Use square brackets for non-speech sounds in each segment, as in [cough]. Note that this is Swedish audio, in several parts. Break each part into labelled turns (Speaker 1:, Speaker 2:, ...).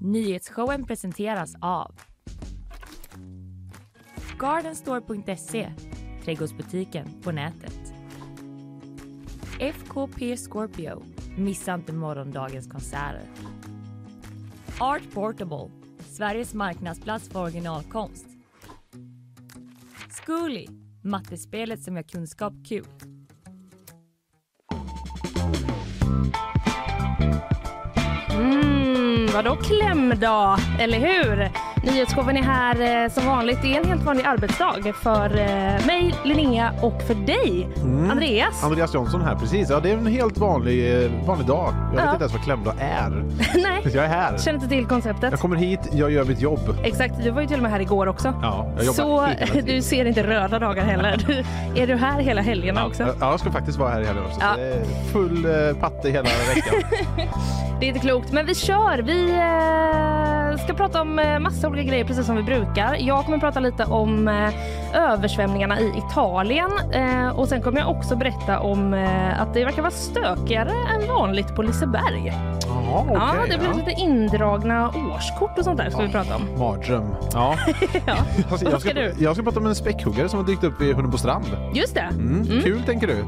Speaker 1: Nyhetsshowen presenteras av Gardenstore.se, trädgårdsbutiken på nätet. FKP Scorpio, missa inte morgondagens konserter. Art Portable, Sveriges marknadsplats för originalkonst. Zcooly, mattespelet som gör kunskap kul.
Speaker 2: Mm, vadå klämdag, eller hur? Nyhetsshowen är här eh, som vanligt. Det är en helt vanlig arbetsdag för eh, mig, Linnea och för dig,
Speaker 3: Mm.
Speaker 2: Andreas.
Speaker 3: Andreas Jonsson här, precis. Ja, det är en helt vanlig, eh, vanlig dag. Jag vet
Speaker 2: Ja.
Speaker 3: inte ens vad klämdag är. [laughs]
Speaker 2: [laughs] Nej,
Speaker 3: Jag är här.
Speaker 2: känner inte till konceptet.
Speaker 3: Jag kommer hit, jag gör mitt jobb.
Speaker 2: Exakt, du var ju till och med här igår också.
Speaker 3: Ja, jag jobbar
Speaker 2: Så
Speaker 3: hela
Speaker 2: [laughs]
Speaker 3: tiden.
Speaker 2: du ser inte röda dagar
Speaker 3: [laughs]
Speaker 2: heller. Du, är du här hela helgerna också?
Speaker 3: Ja, jag ska faktiskt vara här i helgen också.
Speaker 2: Ja.
Speaker 3: Så det är full eh, patte hela veckan.
Speaker 2: [laughs] Det är inte klokt, men vi kör. Vi eh, ska prata om eh, massa olika grejer precis som vi brukar. Jag kommer prata lite om eh, översvämningarna i Italien eh, och sen kommer jag också berätta om eh, att det verkar vara stökigare än vanligt på Liseberg.
Speaker 3: Jaha, okej.
Speaker 2: ja, det blir lite indragna årskort och sånt där ska vi prata
Speaker 3: [laughs]
Speaker 2: om.
Speaker 3: Mardröm.
Speaker 2: [laughs]
Speaker 3: Ja.
Speaker 2: Ja.
Speaker 3: Jag ska,
Speaker 2: Vad
Speaker 3: jag,
Speaker 2: ska
Speaker 3: ska,
Speaker 2: du?
Speaker 3: jag ska prata om en späckhuggare som har dykt upp vid Hunnebostrand.
Speaker 2: Just det.
Speaker 3: Mm. Kul,
Speaker 2: [laughs]
Speaker 3: tänker du.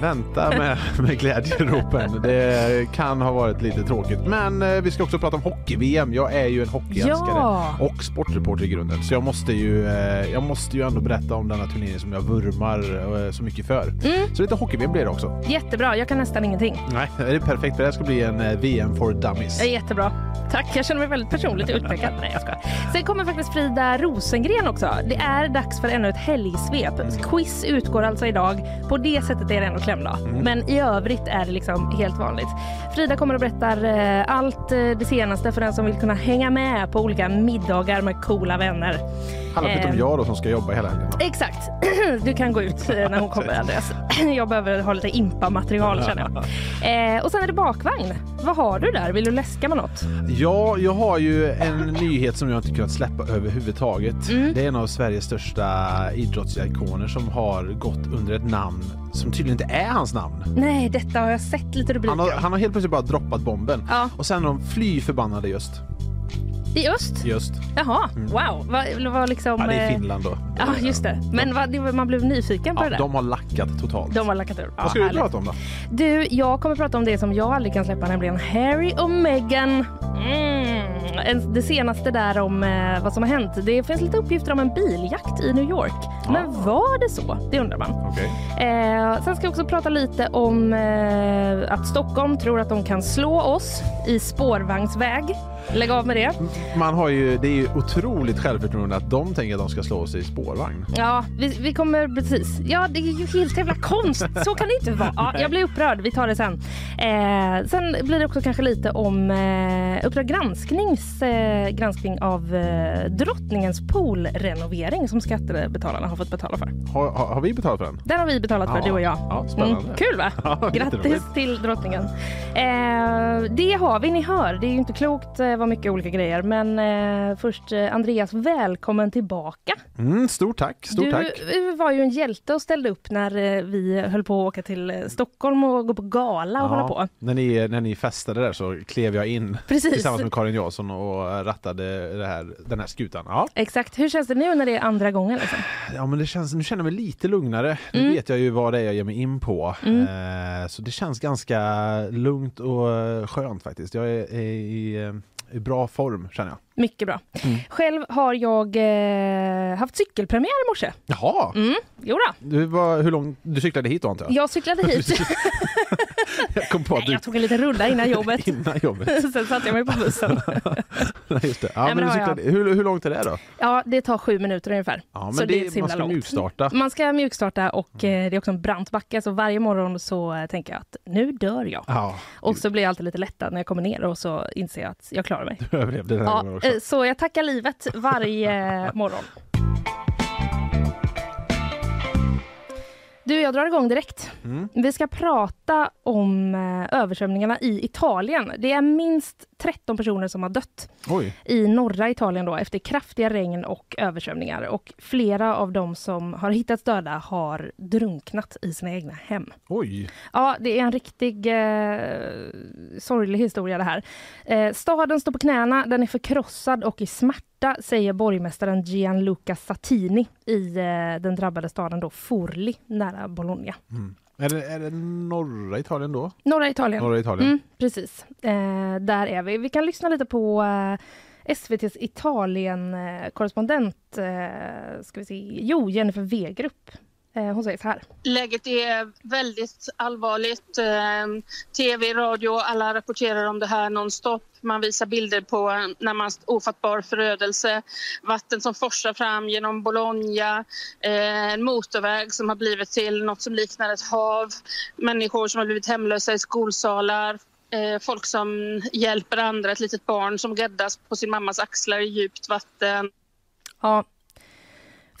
Speaker 3: Vänta med, med glädjeropen. Det kan ha varit lite tråkigt. Men eh, vi ska också prata om hockey-VM. Jag är ju en hockeyälskare
Speaker 2: Ja.
Speaker 3: och sportreporter i grunden. Så jag måste, ju, eh, jag måste ju ändå berätta om denna turnering som jag vurmar eh, så mycket för.
Speaker 2: Mm.
Speaker 3: Så lite hockey-VM blir det också.
Speaker 2: Jättebra, jag kan nästan ingenting.
Speaker 3: Nej, det är perfekt för det här ska bli en eh, VM for dummies.
Speaker 2: Ja, Jättebra. Tack, jag känner mig väldigt personligt utpekad. Nej, jag skojar. Sen kommer faktiskt Frida Rosengren också. Det är dags för ännu ett helgsvep. Quiz utgår alltså idag. På det sättet är det ändå klämdag. Men i övrigt är det liksom helt vanligt. Frida kommer och berättar eh, allt eh, det senaste för den som vill kunna hänga med på olika middagar med coola vänner.
Speaker 3: Alla förutom
Speaker 2: Ehm.
Speaker 3: jag då som ska jobba hela helgen.
Speaker 2: Exakt. [clears throat] Du kan gå ut eh, när hon kommer, Andreas. [clears throat] Jag behöver ha lite impa-material känner jag. Eh, och sen är det bakvagn. Vad har du där? Vill du läska med något?
Speaker 3: Ja, jag har ju en nyhet som jag inte kunnat släppa överhuvudtaget.
Speaker 2: Mm.
Speaker 3: Det är en av Sveriges största idrottsikoner som har gått under ett namn som tydligen inte är hans namn.
Speaker 2: Nej, detta har jag sett lite rubriker
Speaker 3: Han har,
Speaker 2: om.
Speaker 3: han har helt plötsligt bara droppat bomben.
Speaker 2: Ja.
Speaker 3: Och sen är de fly förbannade just.
Speaker 2: I öst?
Speaker 3: Just.
Speaker 2: Jaha, wow. Vad vad liksom...
Speaker 3: Mm. Ja, det är
Speaker 2: eh,
Speaker 3: Finland då.
Speaker 2: Ja, just det. Men vad, det var- man blev nyfiken på
Speaker 3: Ja,
Speaker 2: det där.
Speaker 3: de har lackat totalt.
Speaker 2: De har lackat ur. Ja,
Speaker 3: Vad ska du
Speaker 2: härligt.
Speaker 3: prata om då?
Speaker 2: Du, jag kommer prata om det som jag aldrig kan släppa, nämligen Harry och Meghan. Mm. en- Det senaste där om eh, vad som har hänt. Det finns lite uppgifter om en biljakt i New York. Men var det så? Det undrar man.
Speaker 3: Okej.
Speaker 2: Eh, sen ska jag också prata lite om eh, att Stockholm tror att de kan slå oss i spårvagnsväg. Lägg av med det.
Speaker 3: Man har ju, det är ju otroligt självförtroende att de tänker att de ska slå sig i spårvagn.
Speaker 2: Ja, vi, vi kommer precis. Ja, det är ju helt jävla konst. Så kan det inte vara. Ja, jag blir upprörd. Vi tar det sen. Eh, sen blir det också kanske lite om eh, Uppdrag gransknings eh, granskning av eh, drottningens poolrenovering som skattebetalarna har fått betala för.
Speaker 3: Har, har, har vi betalat för den?
Speaker 2: Den har vi betalat för,
Speaker 3: Ja.
Speaker 2: du och jag. Mm,
Speaker 3: Ja, spännande.
Speaker 2: kul va?
Speaker 3: Ja,
Speaker 2: Grattis
Speaker 3: jätteroligt.
Speaker 2: till drottningen. Eh, det har vi, ni hör. Det är ju inte klokt eh, vad mycket olika grejer. Men eh, först eh, Andreas, välkommen tillbaka.
Speaker 3: Mm, stort tack. Stort
Speaker 2: du
Speaker 3: tack.
Speaker 2: eh, var ju en hjälte och ställde upp när eh, vi höll på att åka till eh, Stockholm och gå på gala och hålla på.
Speaker 3: När ni, när ni festade där så klev
Speaker 2: [laughs]
Speaker 3: jag in
Speaker 2: Precis.
Speaker 3: tillsammans med Karin Jansson och rattade det här, den här skutan. Ja.
Speaker 2: Exakt. Hur känns det nu när det är andra gången? Liksom?
Speaker 3: Ja, men det känns, nu känner jag mig lite lugnare.
Speaker 2: Mm.
Speaker 3: Nu vet jag ju vad det är jag ger mig in på. Eh, så det känns ganska lugnt och eh, skönt faktiskt. Jag är, är i, eh, i bra form känner jag.
Speaker 2: Mycket bra.
Speaker 3: Mm.
Speaker 2: Själv har jag eh, haft cykelpremiär i morse.
Speaker 3: Jaha!
Speaker 2: Mm. Jo då.
Speaker 3: Du, var, hur långt, du cyklade hit då antar jag?
Speaker 2: Jag cyklade
Speaker 3: [laughs]
Speaker 2: hit.
Speaker 3: Jag kom på att
Speaker 2: Nej,
Speaker 3: du
Speaker 2: jag tog en liten runda innan jobbet.
Speaker 3: [laughs] innan jobbet.
Speaker 2: Sen satte jag mig på bussen.
Speaker 3: [laughs] Nej, Just det. Ja,
Speaker 2: Nej, men
Speaker 3: men
Speaker 2: det
Speaker 3: du
Speaker 2: har jag.
Speaker 3: cyklade, hur, hur långt är det då?
Speaker 2: Ja, det tar sju minuter ungefär.
Speaker 3: Ja, men
Speaker 2: så det, är så
Speaker 3: man
Speaker 2: himla
Speaker 3: ska
Speaker 2: långt. Mm.
Speaker 3: mjukstarta.
Speaker 2: Man ska mjukstarta och
Speaker 3: Mm.
Speaker 2: eh, det är också en brant backe. Så varje morgon så eh, tänker jag att nu dör jag.
Speaker 3: Ja, [laughs]
Speaker 2: Och så blir jag alltid lite lättad när jag kommer ner och så inser jag att jag klarar mig.
Speaker 3: du överlevde den här
Speaker 2: Ja,
Speaker 3: gången också.
Speaker 2: eh, så jag tackar livet eh, varje morgon. Du, jag drar igång direkt.
Speaker 3: Mm.
Speaker 2: Vi ska prata om eh, översvämningarna i Italien. Det är minst 13 personer som har dött
Speaker 3: Oj.
Speaker 2: i norra Italien då, efter kraftiga regn och översvämningar. Och flera av de som har hittats döda har drunknat i sina egna hem.
Speaker 3: Oj.
Speaker 2: Ja, det är en riktig eh, sorglig historia det här. Eh, staden står på knäna, den är förkrossad och i smärta, säger borgmästaren Gianluca Satini i eh, den drabbade staden då Forli, nära Bologna.
Speaker 3: Mm. Är, det, är det norra Italien då?
Speaker 2: Norra Italien.
Speaker 3: Norra Italien?
Speaker 2: Mm, precis, eh, där är vi. Vi kan lyssna lite på eh, SVTs Italien-korrespondent, eh, ska vi se, jo, Jennifer Wegerup. Eh, hon säger så här.
Speaker 4: Läget är väldigt allvarligt. Eh, Tv, radio, alla rapporterar om det här nonstop. Man visar bilder på när man, ofattbar förödelse, vatten som forsar fram genom Bologna, eh, en motorväg som har blivit till något som liknar ett hav, människor som har blivit hemlösa i skolsalar, eh, folk som hjälper andra, ett litet barn som gräddas på sin mammas axlar i djupt vatten.
Speaker 2: Ja.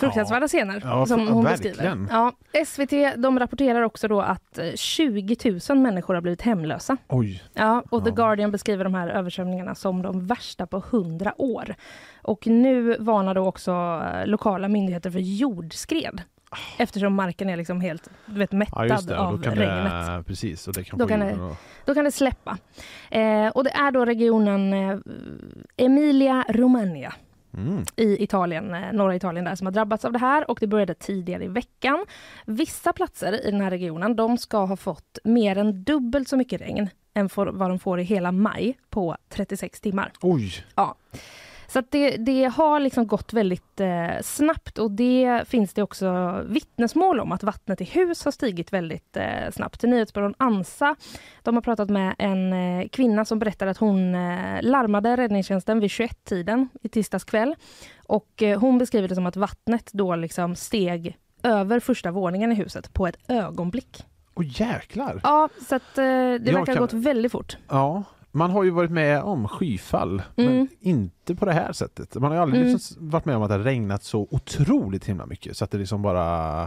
Speaker 2: Fruktansvärda scener
Speaker 3: Ja,
Speaker 2: som
Speaker 3: fr-
Speaker 2: hon
Speaker 3: verkligen.
Speaker 2: beskriver. Ja, SVT de rapporterar också då att eh, 20 000 människor har blivit hemlösa.
Speaker 3: Oj.
Speaker 2: Ja, och The
Speaker 3: Ja.
Speaker 2: Guardian beskriver de här översvämningarna som de värsta på 100 år. Och nu varnar då också eh, lokala myndigheter för jordskred eftersom marken är liksom helt du vet,
Speaker 3: Ah. Ja
Speaker 2: mättad
Speaker 3: just det. Och
Speaker 2: av
Speaker 3: Då kan
Speaker 2: regnet.
Speaker 3: det, precis. Och det kan
Speaker 2: Då
Speaker 3: få
Speaker 2: kan det-
Speaker 3: jorden att-
Speaker 2: Då kan det släppa. Eh, och det är då regionen eh, Emilia Romagna
Speaker 3: Mm.
Speaker 2: i Italien, eh, norra Italien där, som har drabbats av det här och det började tidigare i veckan. Vissa platser i den här regionen, de ska ha fått mer än dubbelt så mycket regn än för, vad de får i hela maj på 36 timmar.
Speaker 3: Oj.
Speaker 2: Så att det, det har liksom gått väldigt eh, snabbt och det finns det också vittnesmål om att vattnet i hus har stigit väldigt eh, snabbt. Nyhetsbyrån Ansa de har pratat med en eh, kvinna som berättade att hon eh, larmade räddningstjänsten vid 21-tiden i tisdags kväll. Och eh, hon beskriver det som att vattnet då liksom steg över första våningen i huset på ett ögonblick.
Speaker 3: Oj jäklar.
Speaker 2: Ja, så att, eh, det verkar
Speaker 3: kan-
Speaker 2: ha gått väldigt fort.
Speaker 3: Ja, man har ju varit med om skyfall, men
Speaker 2: Mm.
Speaker 3: inte på det här sättet. Man har ju aldrig
Speaker 2: Mm.
Speaker 3: liksom varit med om att det har regnat så otroligt himla mycket så att det liksom bara...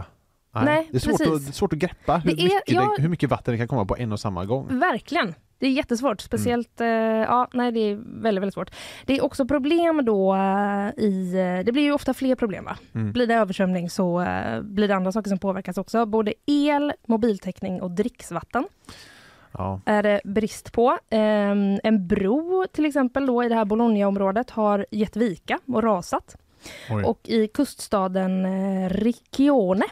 Speaker 2: Nej,
Speaker 3: det är svårt
Speaker 2: precis.
Speaker 3: att, svårt att greppa hur,
Speaker 2: Det är-
Speaker 3: mycket
Speaker 2: ja.
Speaker 3: det, hur mycket vatten det kan komma på en och samma gång.
Speaker 2: Verkligen. Det är jättesvårt. Speciellt, eh, ja, nej det är väldigt, väldigt svårt. Det är också problem då eh, i, eh, det blir ju ofta fler problem va?
Speaker 3: Mm.
Speaker 2: Blir det översvämning så eh, blir det andra saker som påverkas också. Både el, mobiltäckning och dricksvatten
Speaker 3: Ja.
Speaker 2: är det brist på. Ehm, en bro till exempel då i det här Bologna-området har gett vika och rasat.
Speaker 3: Oj.
Speaker 2: Och i kuststaden eh, Riccione,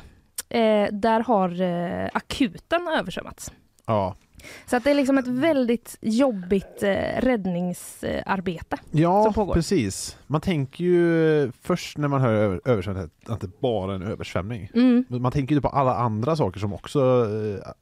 Speaker 2: eh, där har eh, akuten översvämmats.
Speaker 3: ja.
Speaker 2: Så att det är liksom ett väldigt jobbigt eh, räddningsarbete. Som
Speaker 3: ja
Speaker 2: pågår.
Speaker 3: precis. Man tänker ju först när man hör över, översvämning att det bara är en översvämning.
Speaker 2: Mm.
Speaker 3: Men Man tänker ju på alla andra saker som också,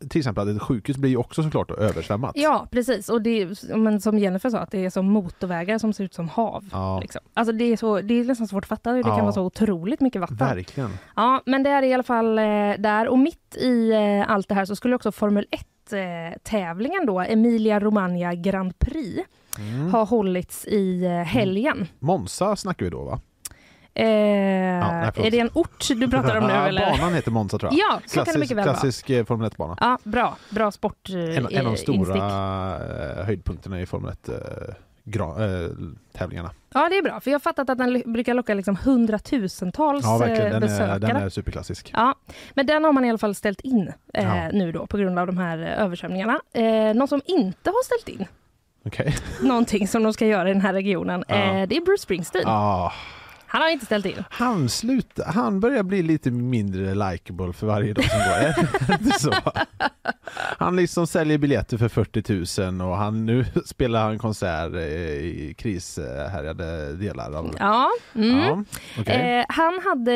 Speaker 3: eh, till exempel att ett sjukhus blir ju också såklart översvämmat.
Speaker 2: Ja, precis. Och det, är- men som Jennifer sa, att det är som motorvägar som ser ut som hav.
Speaker 3: Ja,
Speaker 2: Liksom. Alltså det, är så, det är nästan svårt att fatta hur det
Speaker 3: Ja.
Speaker 2: kan vara så otroligt mycket vatten.
Speaker 3: verkligen.
Speaker 2: Ja, men det är i alla fall eh, där. Och mitt i eh, allt det här så skulle också Formel 1-tävlingen då, Emilia Romagna Grand Prix,
Speaker 3: Mm.
Speaker 2: ha hållits i eh, helgen.
Speaker 3: Monza snackar vi då va?
Speaker 2: Eh,
Speaker 3: nej, förlåt.
Speaker 2: är det en ort du pratar om nu
Speaker 3: [laughs] Ja,
Speaker 2: eller?
Speaker 3: Banan heter Monza tror jag.
Speaker 2: Ja, så kan det mycket väl vara.
Speaker 3: klassisk eh, Formel 1-bana.
Speaker 2: Ja, bra. Bra sport eh,
Speaker 3: En, en av de stora eh, höjdpunkterna i Formel eh, 1-tävlingarna.
Speaker 2: Ja, det är bra. För jag har fattat att den ly- brukar locka liksom hundratusentals
Speaker 3: ja,
Speaker 2: eh,
Speaker 3: verkligen. Den är,
Speaker 2: besökare.
Speaker 3: den är superklassisk.
Speaker 2: Ja, men den har man i alla fall ställt in eh,
Speaker 3: Ja.
Speaker 2: nu då på grund av de här eh, översvämningarna. Eh, någon som inte har ställt in [laughs]
Speaker 3: Okej.
Speaker 2: någonting som de ska göra i den här regionen,
Speaker 3: Ja.
Speaker 2: eh, det är Bruce Springsteen.
Speaker 3: Ah,
Speaker 2: Han har inte ställt in.
Speaker 3: han, slutar, han börjar bli lite mindre likable för varje dag som går. [laughs] Är det inte så? Han liksom säljer biljetter för 40 000 och han, nu [laughs] spelar han konsert eh, i krishärjade delar av...
Speaker 2: Ja, mm.
Speaker 3: Ja, okej.
Speaker 2: Eh, han hade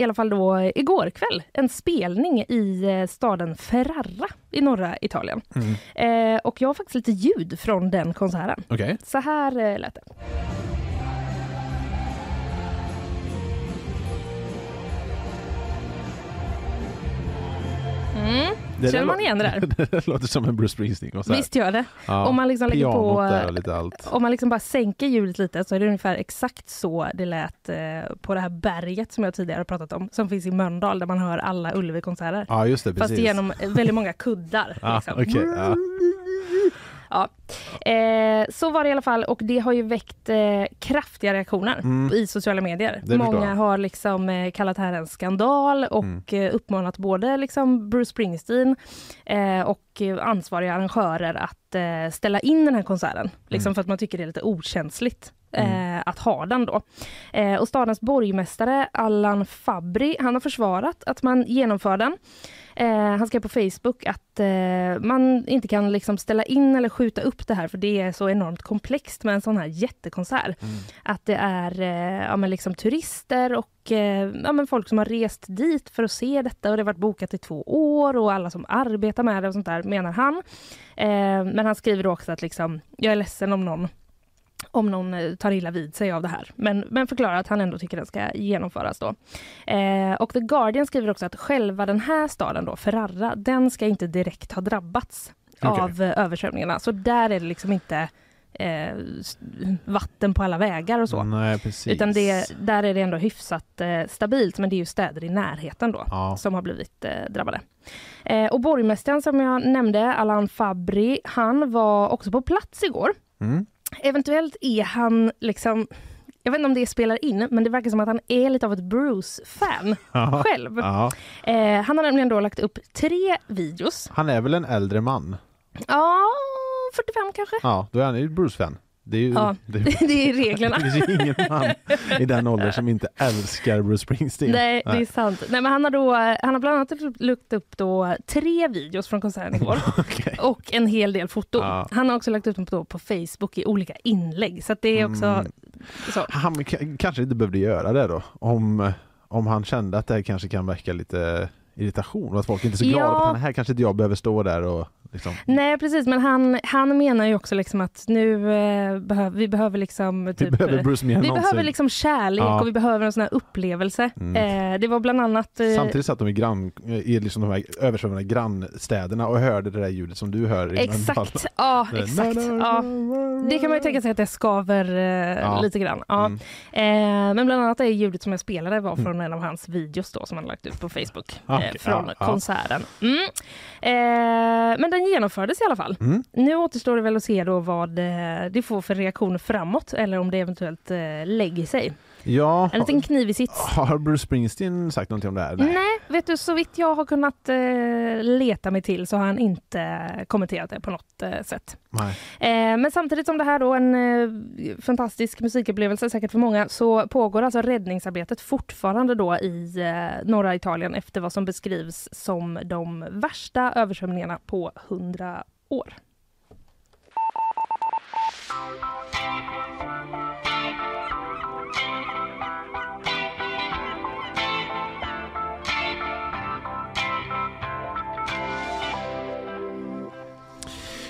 Speaker 2: i alla fall då eh, igår kväll en spelning i eh, staden Ferrara i norra Italien.
Speaker 3: Mm.
Speaker 2: Eh, och jag har faktiskt lite ljud från den konserten.
Speaker 3: Okej.
Speaker 2: Så här eh, lät det. Mm.
Speaker 3: där
Speaker 2: Känner man
Speaker 3: lå-
Speaker 2: igen det där?
Speaker 3: [laughs] det där låter som en Bruce Springsteen-konsert.
Speaker 2: Visst gör det.
Speaker 3: Ja,
Speaker 2: Om man liksom lägger
Speaker 3: pianot
Speaker 2: på-
Speaker 3: där och lite allt.
Speaker 2: Om man liksom bara sänker hjulet lite så är det ungefär exakt så det lät eh, på det här berget som jag tidigare har pratat om, som finns i Mölndal där man hör alla Ullevi-konserter.
Speaker 3: Ja, just det. Precis.
Speaker 2: Fast genom eh, väldigt många kuddar.
Speaker 3: [laughs] Ah,
Speaker 2: liksom.
Speaker 3: okej, ja.
Speaker 2: Ja. Eh, så var det i alla fall och det har ju väckt eh, kraftiga reaktioner i sociala medier.
Speaker 3: Mm. Det
Speaker 2: Många
Speaker 3: förstår jag. Mm.
Speaker 2: har liksom eh, kallat det här en skandal och eh, uppmanat både liksom Bruce Springsteen eh, och eh, ansvariga arrangörer att eh, ställa in den här konserten. Liksom för att man tycker det är lite okänsligt. eh, att ha den då. Eh, och stadens borgmästare Allan Fabri, han har försvarat att man genomför den. Eh, han skrev på Facebook att eh, man inte kan liksom ställa in eller skjuta upp det här för det är så enormt komplext med en sån här jättekonsert.
Speaker 3: Mm.
Speaker 2: Att det är eh, ja, men liksom turister och eh, ja, men folk som har rest dit för att se detta och det har varit bokat i två år och alla som arbetar med det och sånt där menar han. Eh, men han skriver då också att liksom, jag är ledsen om någon om någon eh, tar illa vid sig av det här. Men, men förklarar att han ändå tycker den ska genomföras då. Eh, och The Guardian skriver också att själva den här staden då, Ferrara, den ska inte direkt ha drabbats
Speaker 3: Okej.
Speaker 2: av eh, översvämningarna. Så där är det liksom inte eh, s- vatten på alla vägar och så.
Speaker 3: Nej, Mm, precis.
Speaker 2: Utan det, där är det ändå hyfsat eh, stabilt, men det är ju städer i närheten då
Speaker 3: Ja.
Speaker 2: som har blivit eh, drabbade. Eh, och borgmästaren som jag nämnde, Allan Fabri, han var också på plats igår.
Speaker 3: Mm.
Speaker 2: Eventuellt är han liksom, jag vet inte om det spelar in, men det verkar som att han är lite av ett Bruce-fan
Speaker 3: Ja.
Speaker 2: själv.
Speaker 3: Ja.
Speaker 2: Eh, han har nämligen då lagt upp tre videos.
Speaker 3: Han är väl en äldre man?
Speaker 2: Ja, 45 kanske? [laughs]
Speaker 3: Ja, då är han ju Bruce-fan. Det är ju...
Speaker 2: Ja,
Speaker 3: [laughs] Det
Speaker 2: det är reglerna.
Speaker 3: det finns ju ingen man i den åldern som inte älskar Bruce Springsteen.
Speaker 2: Nej, det är sant. Nej, men han, har då, han har bland annat typ lagt upp då tre videos från konserten
Speaker 3: [laughs]
Speaker 2: igår
Speaker 3: Okej.
Speaker 2: och en hel del foton.
Speaker 3: Ja.
Speaker 2: Han har också lagt upp dem då på Facebook i olika inlägg. Så att det är också... Så.
Speaker 3: Mm. Han k- kanske inte behövde göra det då, om, om han kände att det här kanske kan väcka lite irritation och att folk inte är så glada
Speaker 2: Ja.
Speaker 3: på den här kanske inte jag behöver stå där och liksom...
Speaker 2: Nej, precis. Men han, han menar ju också liksom att nu eh, behöver vi behöver liksom... Typ,
Speaker 3: Vi behöver Bruce mer än
Speaker 2: vi
Speaker 3: någonsin.
Speaker 2: behöver liksom kärlek
Speaker 3: Ja. Mm.
Speaker 2: och vi behöver en sån här upplevelse. Eh, det var bland annat... eh,
Speaker 3: Samtidigt satt de i, grann, i liksom de här översvämmade grannstäderna och hörde det där ljudet som du hör. i [laughs] Mölndal.
Speaker 2: Exakt, ja exakt. Ja. Det kan man ju tänka sig att det skaver eh,
Speaker 3: Ja. Mm.
Speaker 2: lite grann. Ja. Eh, men bland annat det ljudet som jag spelade var från en av hans videos då, som han lagt ut på Facebook
Speaker 3: Ah,
Speaker 2: eh,
Speaker 3: okej.
Speaker 2: från
Speaker 3: Ja, ja.
Speaker 2: konserten. Mm. Eh, men den genomfördes i alla fall.
Speaker 3: Mm.
Speaker 2: Nu återstår det väl att se då vad eh, det får för reaktion framåt eller om det eventuellt eh, lägger sig.
Speaker 3: Ja,
Speaker 2: En liten kniv i sits.
Speaker 3: har Bruce Springsteen sagt någonting om det här?
Speaker 2: Nej, vet du, så vitt jag har kunnat eh, leta mig till så har han inte kommenterat det på något eh, sätt.
Speaker 3: Nej.
Speaker 2: Eh, men samtidigt som det här då en eh, fantastisk musikupplevelse säkert för många så pågår alltså räddningsarbetet fortfarande då i eh, norra Italien efter vad som beskrivs som de värsta översvämningarna på 100 år.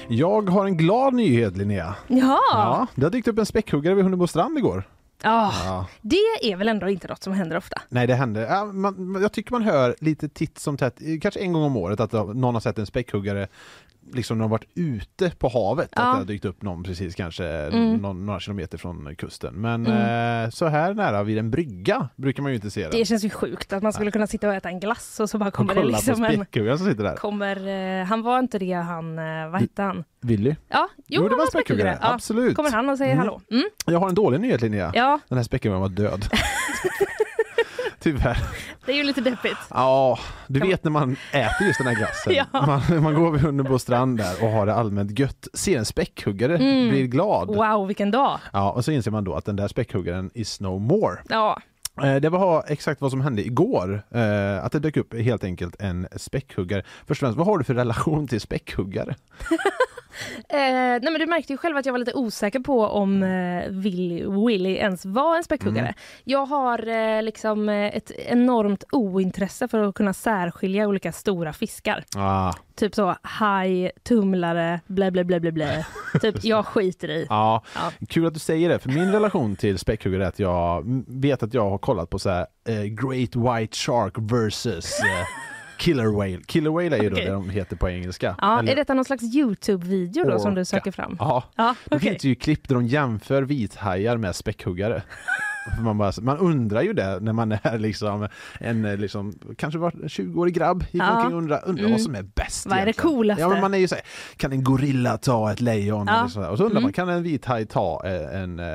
Speaker 3: Jag har en glad nyhet Linnea.
Speaker 2: Ja,
Speaker 3: Ja, det har dykt upp en späckhuggare vid Hunnebo strand igår.
Speaker 2: Ah,
Speaker 3: Ja.
Speaker 2: det är väl ändå inte något som händer ofta.
Speaker 3: Nej, det hände. Ja, man, man- jag tycker man hör lite titt som tätt, eh, kanske en gång om året, att någon har sett en späckhuggare liksom när de har varit ute på havet.
Speaker 2: Ja. Mm.
Speaker 3: Att det har dykt upp någon precis kanske någon, några kilometer från kusten. Men eh, så här nära vid en brygga brukar man ju inte se den.
Speaker 2: Det känns ju sjukt att man skulle kunna sitta och äta en glass och så bara
Speaker 3: Och
Speaker 2: kommer
Speaker 3: kolla
Speaker 2: det liksom
Speaker 3: på
Speaker 2: en...
Speaker 3: späckhuggaren som sitter där.
Speaker 2: Kommer, eh, han var inte det han, eh, vad hette han?
Speaker 3: Willy.
Speaker 2: Ja,
Speaker 3: Jo, det var
Speaker 2: han
Speaker 3: en späckhuggare.
Speaker 2: Ja.
Speaker 3: Absolut.
Speaker 2: Kommer han och säger hallå? Mm.
Speaker 3: Jag har en dålig nyhet Linnea.
Speaker 2: Ja,
Speaker 3: Den här späckhuggaren
Speaker 2: [laughs]
Speaker 3: var död. Tyvärr.
Speaker 2: det är ju lite deppigt.
Speaker 3: Ja, du vet när man äter just den här glassen.
Speaker 2: [laughs] Ja.
Speaker 3: man, man går vid Hunnebo strand där och har det allmänt gött. Ser en späckhuggare, blir glad.
Speaker 2: Mm. Wow, vilken dag!
Speaker 3: Ja, och så inser man då att den där späckhuggaren is no more.
Speaker 2: Ja,
Speaker 3: Eh, Det var exakt vad som hände igår. eh, Att det dök upp helt enkelt en späckhuggare. Först och främst, vad har du för relation till späckhuggare?
Speaker 2: Eh, nej men du märkte ju själv att jag var lite osäker på om eh, Willy, Willy ens var en späckhuggare.
Speaker 3: Mm.
Speaker 2: Jag har eh, liksom eh, ett enormt ointresse för att kunna särskilja olika stora fiskar.
Speaker 3: Ah,
Speaker 2: Typ så haj, tumlare, blä blä blä blä
Speaker 3: [laughs]
Speaker 2: blä. typ jag skiter i.
Speaker 3: Ja,
Speaker 2: Ja.
Speaker 3: kul att du säger det. För min relation till späckhuggare är att jag m- vet att jag har kollat på så här eh, Great White Shark versus eh, Killer Whale. Killer Whale är ju
Speaker 2: Okej.
Speaker 3: då det de heter på engelska.
Speaker 2: Ja,
Speaker 3: Eller
Speaker 2: är detta någon slags Youtube-video då som du
Speaker 3: orca.
Speaker 2: söker fram?
Speaker 3: Ja.
Speaker 2: Ja,
Speaker 3: Då
Speaker 2: okej.
Speaker 3: finns det ju klipp där de jämför vithajar
Speaker 2: [laughs]
Speaker 3: med späckhuggare. Man, bara, man undrar ju det när man är liksom en eh, liksom, kanske var 20-årig grabb, gick
Speaker 2: Ja. Mm.
Speaker 3: omkring och undrar, undrar vad som är bäst.
Speaker 2: Vad är det
Speaker 3: egentligen.
Speaker 2: coolaste?
Speaker 3: Ja, men man är ju så här, kan en gorilla ta ett lejon?
Speaker 2: Ja. Mm.
Speaker 3: Eller sådär. Och så undrar man, kan en vithaj ta eh, en, eh,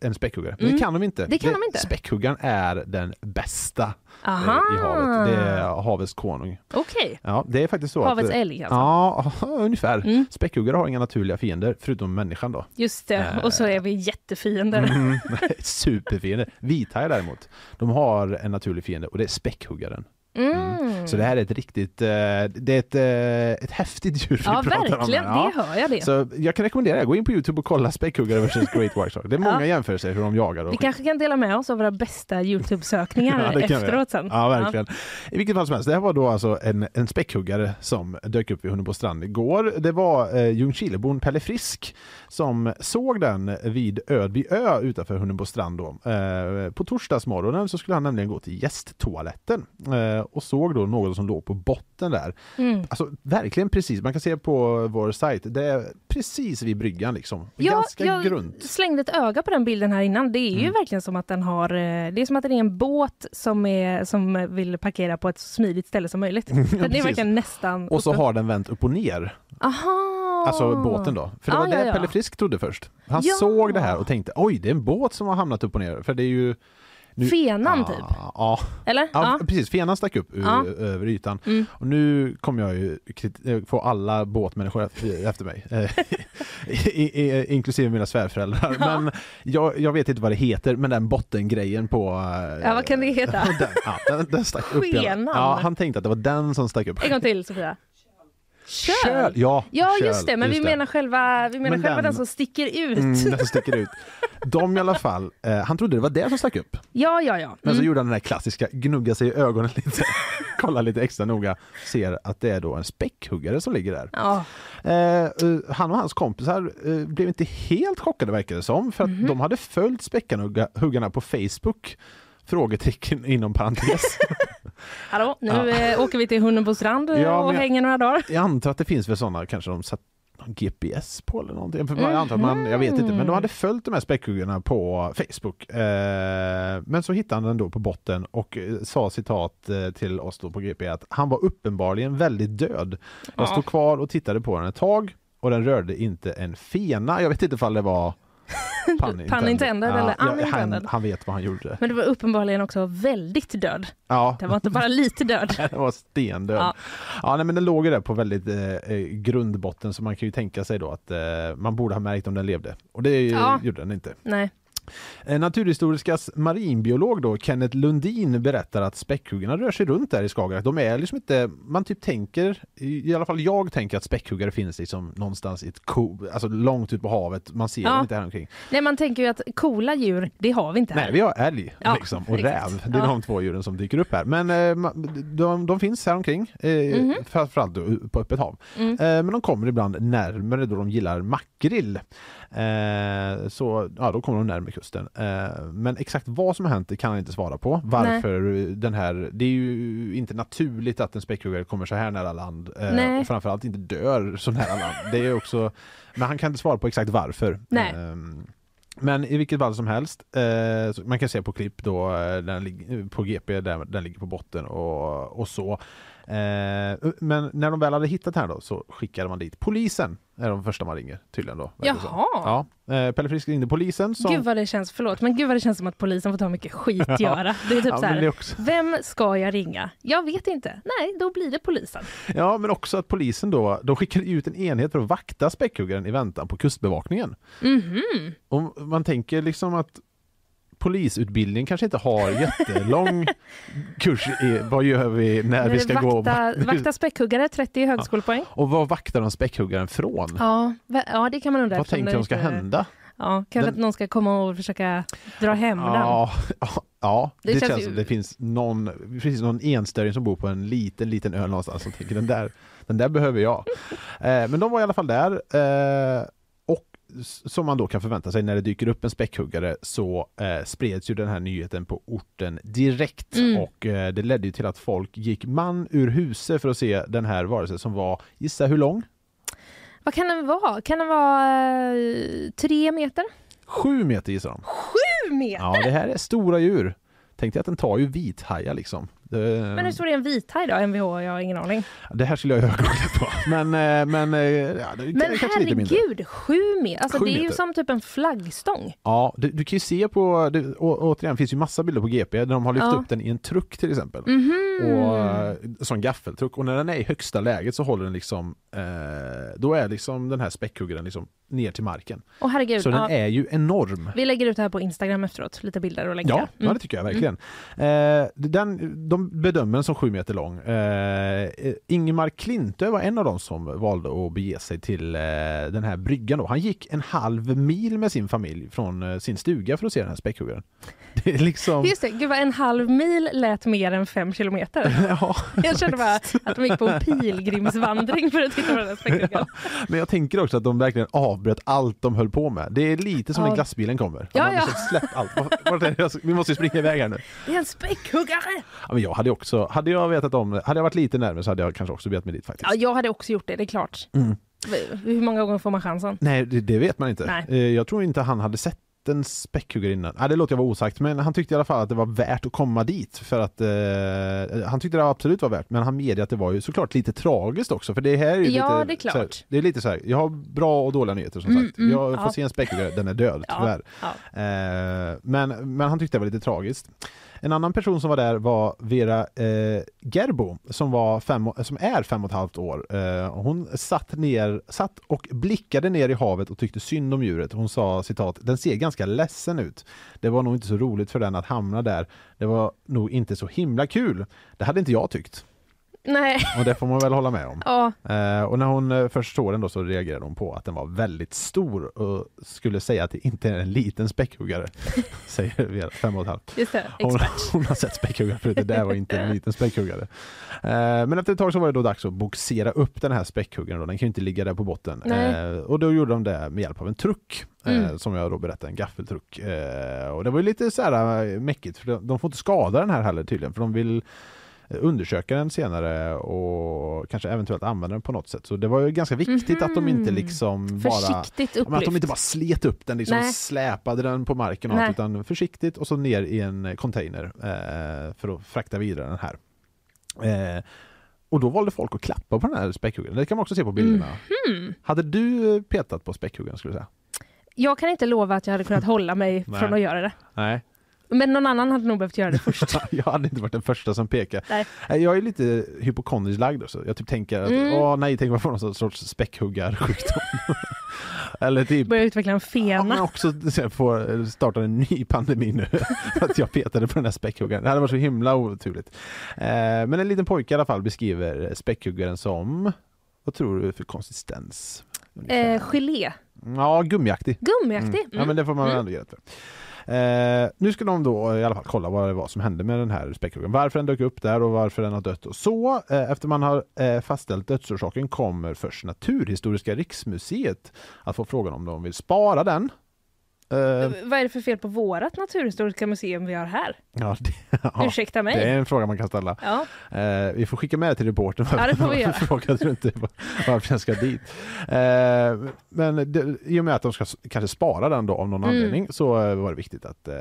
Speaker 3: en späckhuggare? Men det kan de inte.
Speaker 2: Mm. Det kan de inte.
Speaker 3: Späckhuggaren är den bästa eh,
Speaker 2: Aha.
Speaker 3: i havet. Det är havets konung.
Speaker 2: Okej.
Speaker 3: Ja, det är faktiskt så.
Speaker 2: Havets
Speaker 3: att, eh,
Speaker 2: älg, alltså. Mm.
Speaker 3: Ja, ungefär. Späckhuggare har inga naturliga fiender, förutom människan då.
Speaker 2: Just det, och så är vi jättefiender.
Speaker 3: Mm, [laughs] superfiende. Vithajar däremot, de har en naturlig fiende och det är späckhuggaren.
Speaker 2: Mm.
Speaker 3: Så det här är ett riktigt, eh, det är ett, eh, ett häftigt djur vi
Speaker 2: Ja,
Speaker 3: pratar om.
Speaker 2: verkligen.
Speaker 3: här. Ja.
Speaker 2: Det hör jag det.
Speaker 3: Så jag kan rekommendera, gå in på Youtube och kolla späckhuggare versus Great White Shark. Det är många
Speaker 2: Ja.
Speaker 3: jämförelser hur de jagar och
Speaker 2: Vi kanske kan dela med oss av våra bästa
Speaker 3: [laughs] Ja,
Speaker 2: Youtube-sökningar
Speaker 3: det kan vi göra.
Speaker 2: efteråt sen.
Speaker 3: Ja, verkligen. I vilket fall som helst, det här var då alltså en, en späckhuggare som dök upp vid Hunnebo strand igår. Det var eh, Ljungskilebon Pelle Frisk som såg den vid Ödby ö utanför Hunnebo strand då. Eh, på torsdagsmorgonen så skulle han nämligen gå till gästtoaletten eh, och såg då något som låg på botten där.
Speaker 2: Mm.
Speaker 3: Alltså verkligen precis, man kan se på vår sajt, det är precis vid bryggan liksom.
Speaker 2: Ja,
Speaker 3: Ganska
Speaker 2: jag
Speaker 3: grunt.
Speaker 2: slängde ett öga på den bilden här innan. Det är
Speaker 3: Mm.
Speaker 2: ju verkligen som att den har... eh, Det är som att det är en båt som, är, som vill parkera på ett så smidigt ställe som
Speaker 3: [laughs]
Speaker 2: möjligt. Så det är
Speaker 3: precis.
Speaker 2: verkligen nästan...
Speaker 3: Och så
Speaker 2: uppe.
Speaker 3: har den vänt upp och ner
Speaker 2: Aha!
Speaker 3: Alltså båten då. För det
Speaker 2: Ah,
Speaker 3: var det
Speaker 2: ja, ja.
Speaker 3: Pelle Frisk trodde först. Han
Speaker 2: Ja.
Speaker 3: såg det här och tänkte oj, det är en båt som har hamnat upp och ner. För det är ju... nu-
Speaker 2: Fenan,
Speaker 3: Ja,
Speaker 2: typ. Ah.
Speaker 3: Ja,
Speaker 2: Eller?
Speaker 3: ja,
Speaker 2: Ja.
Speaker 3: precis. Fenan stack upp ur,
Speaker 2: Ja.
Speaker 3: över ytan.
Speaker 2: Mm.
Speaker 3: Och nu kommer jag ju kriti- eh, få alla båtmänniskor ef- efter mig. Eh, [laughs] i, i, inklusive mina svärföräldrar. Men jag, jag vet inte vad det heter, men den bottengrejen på... eh,
Speaker 2: ja, vad kan det heta?
Speaker 3: [laughs] Den, ja, den, den stack upp. hela-
Speaker 2: Skenan.
Speaker 3: Ja, han tänkte att det var den som stack upp.
Speaker 2: En gång till, Sofia. Köl.
Speaker 3: Ja,
Speaker 2: Ja,
Speaker 3: köl,
Speaker 2: just det. Men vi
Speaker 3: just
Speaker 2: menar själva, vi menar
Speaker 3: Men
Speaker 2: själva den,
Speaker 3: den-
Speaker 2: som sticker ut.
Speaker 3: Mm, den som sticker ut. De i alla fall, eh, han trodde det var det som stack upp.
Speaker 2: Ja, ja, ja. Mm.
Speaker 3: Men så gjorde han den här klassiska, gnugga sig i ögonen lite, kolla lite extra noga, ser att det är då en späckhuggare som ligger där.
Speaker 2: Ja.
Speaker 3: Eh, eh, han och hans kompisar eh, blev inte helt chockade verkar det som, för att de hade följt späckhuggarna på Facebook. Frågetecken inom parentes.
Speaker 2: Hallå, nu eh, åker vi till Hunnebo strand eh,
Speaker 3: Ja,
Speaker 2: och
Speaker 3: men jag-
Speaker 2: hänger några dagar.
Speaker 3: Jag antar att det finns väl sådana kanske de satt någon GPS på eller någonting. För
Speaker 2: Mm.
Speaker 3: jag antar att man, jag vet inte, men de hade följt de här späckhuggarna på Facebook. Eh, men så hittade han den då på botten och eh, sa citat eh, till oss då på GP att han var uppenbarligen väldigt död. Jag stod kvar och tittade på den ett tag och den rörde inte en fena. Jag vet inte ifall det
Speaker 2: [laughs]
Speaker 3: var pun
Speaker 2: Pun intended eller
Speaker 3: ja,
Speaker 2: unintended.
Speaker 3: han, han vet vad han gjorde.
Speaker 2: Men det var uppenbarligen också väldigt död.
Speaker 3: Ja.
Speaker 2: Det var inte bara lite död.
Speaker 3: [laughs] Det var stendöd.
Speaker 2: Ja.
Speaker 3: Ja. nej, men den låg ju där på väldigt eh, eh, grundbotten så man kan ju tänka sig då att eh, man borde ha märkt om den levde. Och det
Speaker 2: Ja.
Speaker 3: gjorde den inte.
Speaker 2: Nej.
Speaker 3: Eh, Naturhistoriskas marinbiolog då, Kenneth Lundin berättar att späckhuggarna rör sig runt där i Skagerrak. De är liksom inte, man typ tänker, i i alla fall jag tänker att späckhuggare finns liksom någonstans i ett ko, alltså långt ut på havet. Man ser
Speaker 2: Ja.
Speaker 3: dem inte här omkring.
Speaker 2: Nej, man tänker ju att coola djur, det har vi inte här.
Speaker 3: Nej, vi har älg
Speaker 2: Ja,
Speaker 3: liksom, och
Speaker 2: exakt.
Speaker 3: räv. Det är
Speaker 2: Ja.
Speaker 3: de två djuren som dyker upp här. Men eh, ma- de, de finns här omkring, eh,
Speaker 2: Mhm.
Speaker 3: framförallt då på öppet hav.
Speaker 2: Mm.
Speaker 3: Eh, men de kommer ibland närmare då de gillar makrill. Eh, så ja, då kommer de närmare kusten. Eh, men exakt vad som har hänt det kan han inte svara på. Varför den här, det är ju inte naturligt att en späckhuggare kommer så här nära land. Eh,
Speaker 2: Nej.
Speaker 3: och framförallt inte dör så nära land. Det är också, men han kan inte svara på exakt varför.
Speaker 2: Nej.
Speaker 3: Ehm, men i vilket fall som helst, eh, så man kan se på klipp då, eh, den lig- på GP där den ligger på botten och, och så. Eh, men när de väl hade hittat här då så skickade man dit polisen. är de första man ringer tydligen då. verkar det som.
Speaker 2: Jaha.
Speaker 3: Ja, eh, Pelle Frisk ringde polisen. Som,
Speaker 2: Gud vad det känns, förlåt, men gud vad det känns som att polisen får ta mycket skit göra. Det är typ
Speaker 3: Ja,
Speaker 2: så
Speaker 3: men
Speaker 2: här,
Speaker 3: det också.
Speaker 2: vem ska jag ringa? Jag vet inte. Nej, då blir det polisen.
Speaker 3: Ja, men också att polisen då, de skickade ut en enhet för att vakta späckhuggaren i väntan på kustbevakningen.
Speaker 2: Mhm.
Speaker 3: Och man tänker liksom att polisutbildningen kanske
Speaker 2: [laughs]
Speaker 3: inte har jättelång kurs i vad gör vi när
Speaker 2: Men
Speaker 3: vi ska gå och
Speaker 2: vakta,
Speaker 3: [laughs]
Speaker 2: vakta späckhuggare, 30 högskolepoäng.
Speaker 3: Och vad vaktar de späckhuggaren från?
Speaker 2: Ja, va- ja det kan man undra.
Speaker 3: vad
Speaker 2: eftersom
Speaker 3: tänker
Speaker 2: det
Speaker 3: de ska
Speaker 2: inte-
Speaker 3: hända?
Speaker 2: Ja, kanske
Speaker 3: Den-
Speaker 2: att någon ska komma och försöka dra hem den.
Speaker 3: Ja, ja, ja,
Speaker 2: Det
Speaker 3: det,
Speaker 2: känns
Speaker 3: känns,
Speaker 2: ju-
Speaker 3: som det finns någon, det finns någon enstöring som bor på en liten, liten ö
Speaker 2: [laughs]
Speaker 3: någonstans som tänker den där, den där behöver jag. Eh, men de var i alla fall där eh, och s- som man då kan förvänta sig när det dyker upp en späckhuggare så eh, spreds ju den här nyheten på orten direkt
Speaker 2: Mm.
Speaker 3: och eh, det ledde ju till att folk gick man ur huset för att se den här varelsen som var, gissa hur lång?
Speaker 2: Vad kan den vara? Kan den vara eh, tre meter?
Speaker 3: Sju meter gissar de.
Speaker 2: Sju meter?
Speaker 3: Ja, det här är stora djur. Tänkte jag att den tar ju vithajar liksom. Det-
Speaker 2: Men hur stor är en vithaj då? Mvh? Jag har ingen aning.
Speaker 3: Det här skulle jag ju ha googlat på. Men, eh, men, eh, ja, det,
Speaker 2: Men
Speaker 3: kanske lite mindre.
Speaker 2: herregud, sju meter! Alltså,
Speaker 3: Sju
Speaker 2: det är ju
Speaker 3: meter.
Speaker 2: som typ en flaggstång.
Speaker 3: Ja, du, du kan ju se på, det, å, återigen finns ju massa bilder på GP där de har lyft
Speaker 2: Ja. Mm.
Speaker 3: upp den i en truck till exempel.
Speaker 2: Mhm.
Speaker 3: Och, eh, som gaffeltruck. Och när den är i högsta läget så håller den liksom, eh, då är liksom den här späckhuggaren liksom ner till marken.
Speaker 2: Åh herregud.
Speaker 3: Så
Speaker 2: ja.
Speaker 3: den är ju enorm.
Speaker 2: Vi lägger ut det här på Instagram efteråt, lite bilder och länkar. Mm.
Speaker 3: Ja, ja, det tycker jag verkligen. Eh, den, de bedömer den som sju meter lång. Eh, eh, Ingemar Klintö var en av dem som valde att bege sig till eh, den här bryggan. Då. Han gick en halv mil med sin familj från eh, sin stuga för att se den här späckhuggaren. [laughs] Det är liksom...
Speaker 2: Just det, gud vad en halv mil lät mer än fem
Speaker 3: [laughs]
Speaker 2: kilometer.
Speaker 3: Ja,
Speaker 2: Jag kände bara att de gick på en pilgrimsvandring för att titta på den här späckhuggaren.
Speaker 3: [laughs] men jag tänker också att de verkligen avbröt allt de höll på med. Det är lite som
Speaker 2: Ja.
Speaker 3: när glassbilen kommer.
Speaker 2: Ja,
Speaker 3: Man
Speaker 2: ja.
Speaker 3: liksom, Släpp allt. Vart- vart är det jag ska- Vi måste ju springa iväg här nu.
Speaker 2: Det är en späckhuggare!
Speaker 3: Ja, men jag hade, också, hade jag vetat om det, hade jag varit lite närmare så hade jag kanske också begett mig dit faktiskt. Mm.
Speaker 2: Ja, jag hade också gjort det, det är klart. V- Hur många gånger får man chansen?
Speaker 3: [laughs] Nej, det, det vet man inte.
Speaker 2: Nej.
Speaker 3: Eh, Jag tror inte han hade sett en späckhuggare innan. Ah, det låter jag vara osagt, men han tyckte i alla fall att det var värt att komma dit för att eh, han tyckte det absolut var värt, men han medgav att det var ju såklart lite tragiskt också för det här är ju
Speaker 2: Ja,
Speaker 3: lite,
Speaker 2: det är klart. Mm,
Speaker 3: Så här, det är lite så här, jag har bra och dåliga nyheter som sagt. jag får
Speaker 2: ja.
Speaker 3: se en späckhuggare, den är död
Speaker 2: Ja,
Speaker 3: tyvärr.
Speaker 2: ja.
Speaker 3: Eh, men, men han tyckte det var lite tragiskt. En annan person som var där var Vera eh, Gerbo som, var fem, och- som är fem och ett halvt år. Eh, och hon satt, ner, satt och blickade ner i havet och tyckte synd om djuret. Hon sa citat, den ser ganska ledsen ut. Det var nog inte så roligt för den att hamna där. Det var nog inte så himla kul. Det hade inte jag tyckt.
Speaker 2: Nej,
Speaker 3: Och det får man väl hålla med om.
Speaker 2: ja.
Speaker 3: Eh, och när hon eh, först såg den då så reagerade hon på att den var väldigt stor och skulle säga att det inte är en liten späckhuggare. [laughs] Säger Vera, fem och ett halvt.
Speaker 2: Just det,
Speaker 3: Hon,
Speaker 2: expert.
Speaker 3: [laughs] hon har sett späckhuggare förut, det där var inte en liten späckhuggare. Eh, men efter ett tag så var det då dags att boxera upp den här späckhuggaren, då. den kan ju inte ligga där på botten.
Speaker 2: Nej.
Speaker 3: Eh, och då gjorde de det med hjälp av en truck, eh,
Speaker 2: Mm.
Speaker 3: som jag då berättade, en gaffeltruck. Eh, och det var ju lite så här eh, mäckigt, för de, de får inte skada den här heller tydligen, för de vill eh, undersöka den senare och kanske eventuellt använda den på något sätt. Så det var ju ganska viktigt att de inte
Speaker 2: Mhm.
Speaker 3: liksom bara
Speaker 2: Försiktigt
Speaker 3: Ja, men att de inte
Speaker 2: upplyft.
Speaker 3: bara slet upp den, liksom
Speaker 2: Nej.
Speaker 3: släpade den på marken och
Speaker 2: Nej.
Speaker 3: allt, utan försiktigt och så ner i en container eh, för att frakta vidare den här. Eh, och då valde folk att klappa på den här späckhuggaren. Det kan man också se på bilderna.
Speaker 2: Mm-hmm.
Speaker 3: Hade du eh, petat på späckhuggaren skulle du säga?
Speaker 2: Jag kan inte lova att jag hade
Speaker 3: [laughs]
Speaker 2: kunnat hålla mig
Speaker 3: Nej.
Speaker 2: från att göra det.
Speaker 3: Nej, [laughs]
Speaker 2: Men någon annan hade nog behövt göra det först.
Speaker 3: jag hade inte varit den första som pekade.
Speaker 2: Nej.
Speaker 3: Nej, Jag är lite hypokondrisk lagd också. Jag typ tänker att,
Speaker 2: Mm.
Speaker 3: åh nej, tänk vad får någon sorts
Speaker 2: [laughs]
Speaker 3: späckhuggarsjukdom. Eller typ,
Speaker 2: Börja utveckla en
Speaker 3: Ja, men
Speaker 2: fena.
Speaker 3: också sen får eh, starta en ny pandemi nu [laughs] för att jag petade på den här späckhuggaren. Det hade varit så himla oturligt. Eh, men en liten pojke i alla fall beskriver späckhuggaren som, vad tror du för konsistens? Ungefär.
Speaker 2: Eh, gelé.
Speaker 3: Ja, gummiaktig.
Speaker 2: Gummiaktig.
Speaker 3: Mm. Ja men det får
Speaker 2: Mm.
Speaker 3: man väl ändå ge rätt för. Eh, nu ska de då i alla fall kolla vad det var som hände med den här späckhuggaren. Varför den dök upp där och varför den har dött och så. Eh, efter man har eh, fastställt dödsorsaken kommer först Naturhistoriska riksmuseet att få frågan om de vill spara den. Eh,
Speaker 2: Mm. Vad är det för fel på vårat Naturhistoriska museum vi har här?
Speaker 3: ja, det, [laughs] ja,
Speaker 2: Ursäkta mig.
Speaker 3: det är en fråga man kan ställa.
Speaker 2: Ja.
Speaker 3: Eh, vi får skicka med det till reportern.
Speaker 2: Ja, det
Speaker 3: [laughs]
Speaker 2: får vi göra.
Speaker 3: Frågade du inte var- varför jag ska dit. Eh, men det, i och med att de ska s- kanske spara den då av någon
Speaker 2: Mm.
Speaker 3: anledning så eh, var det viktigt att eh,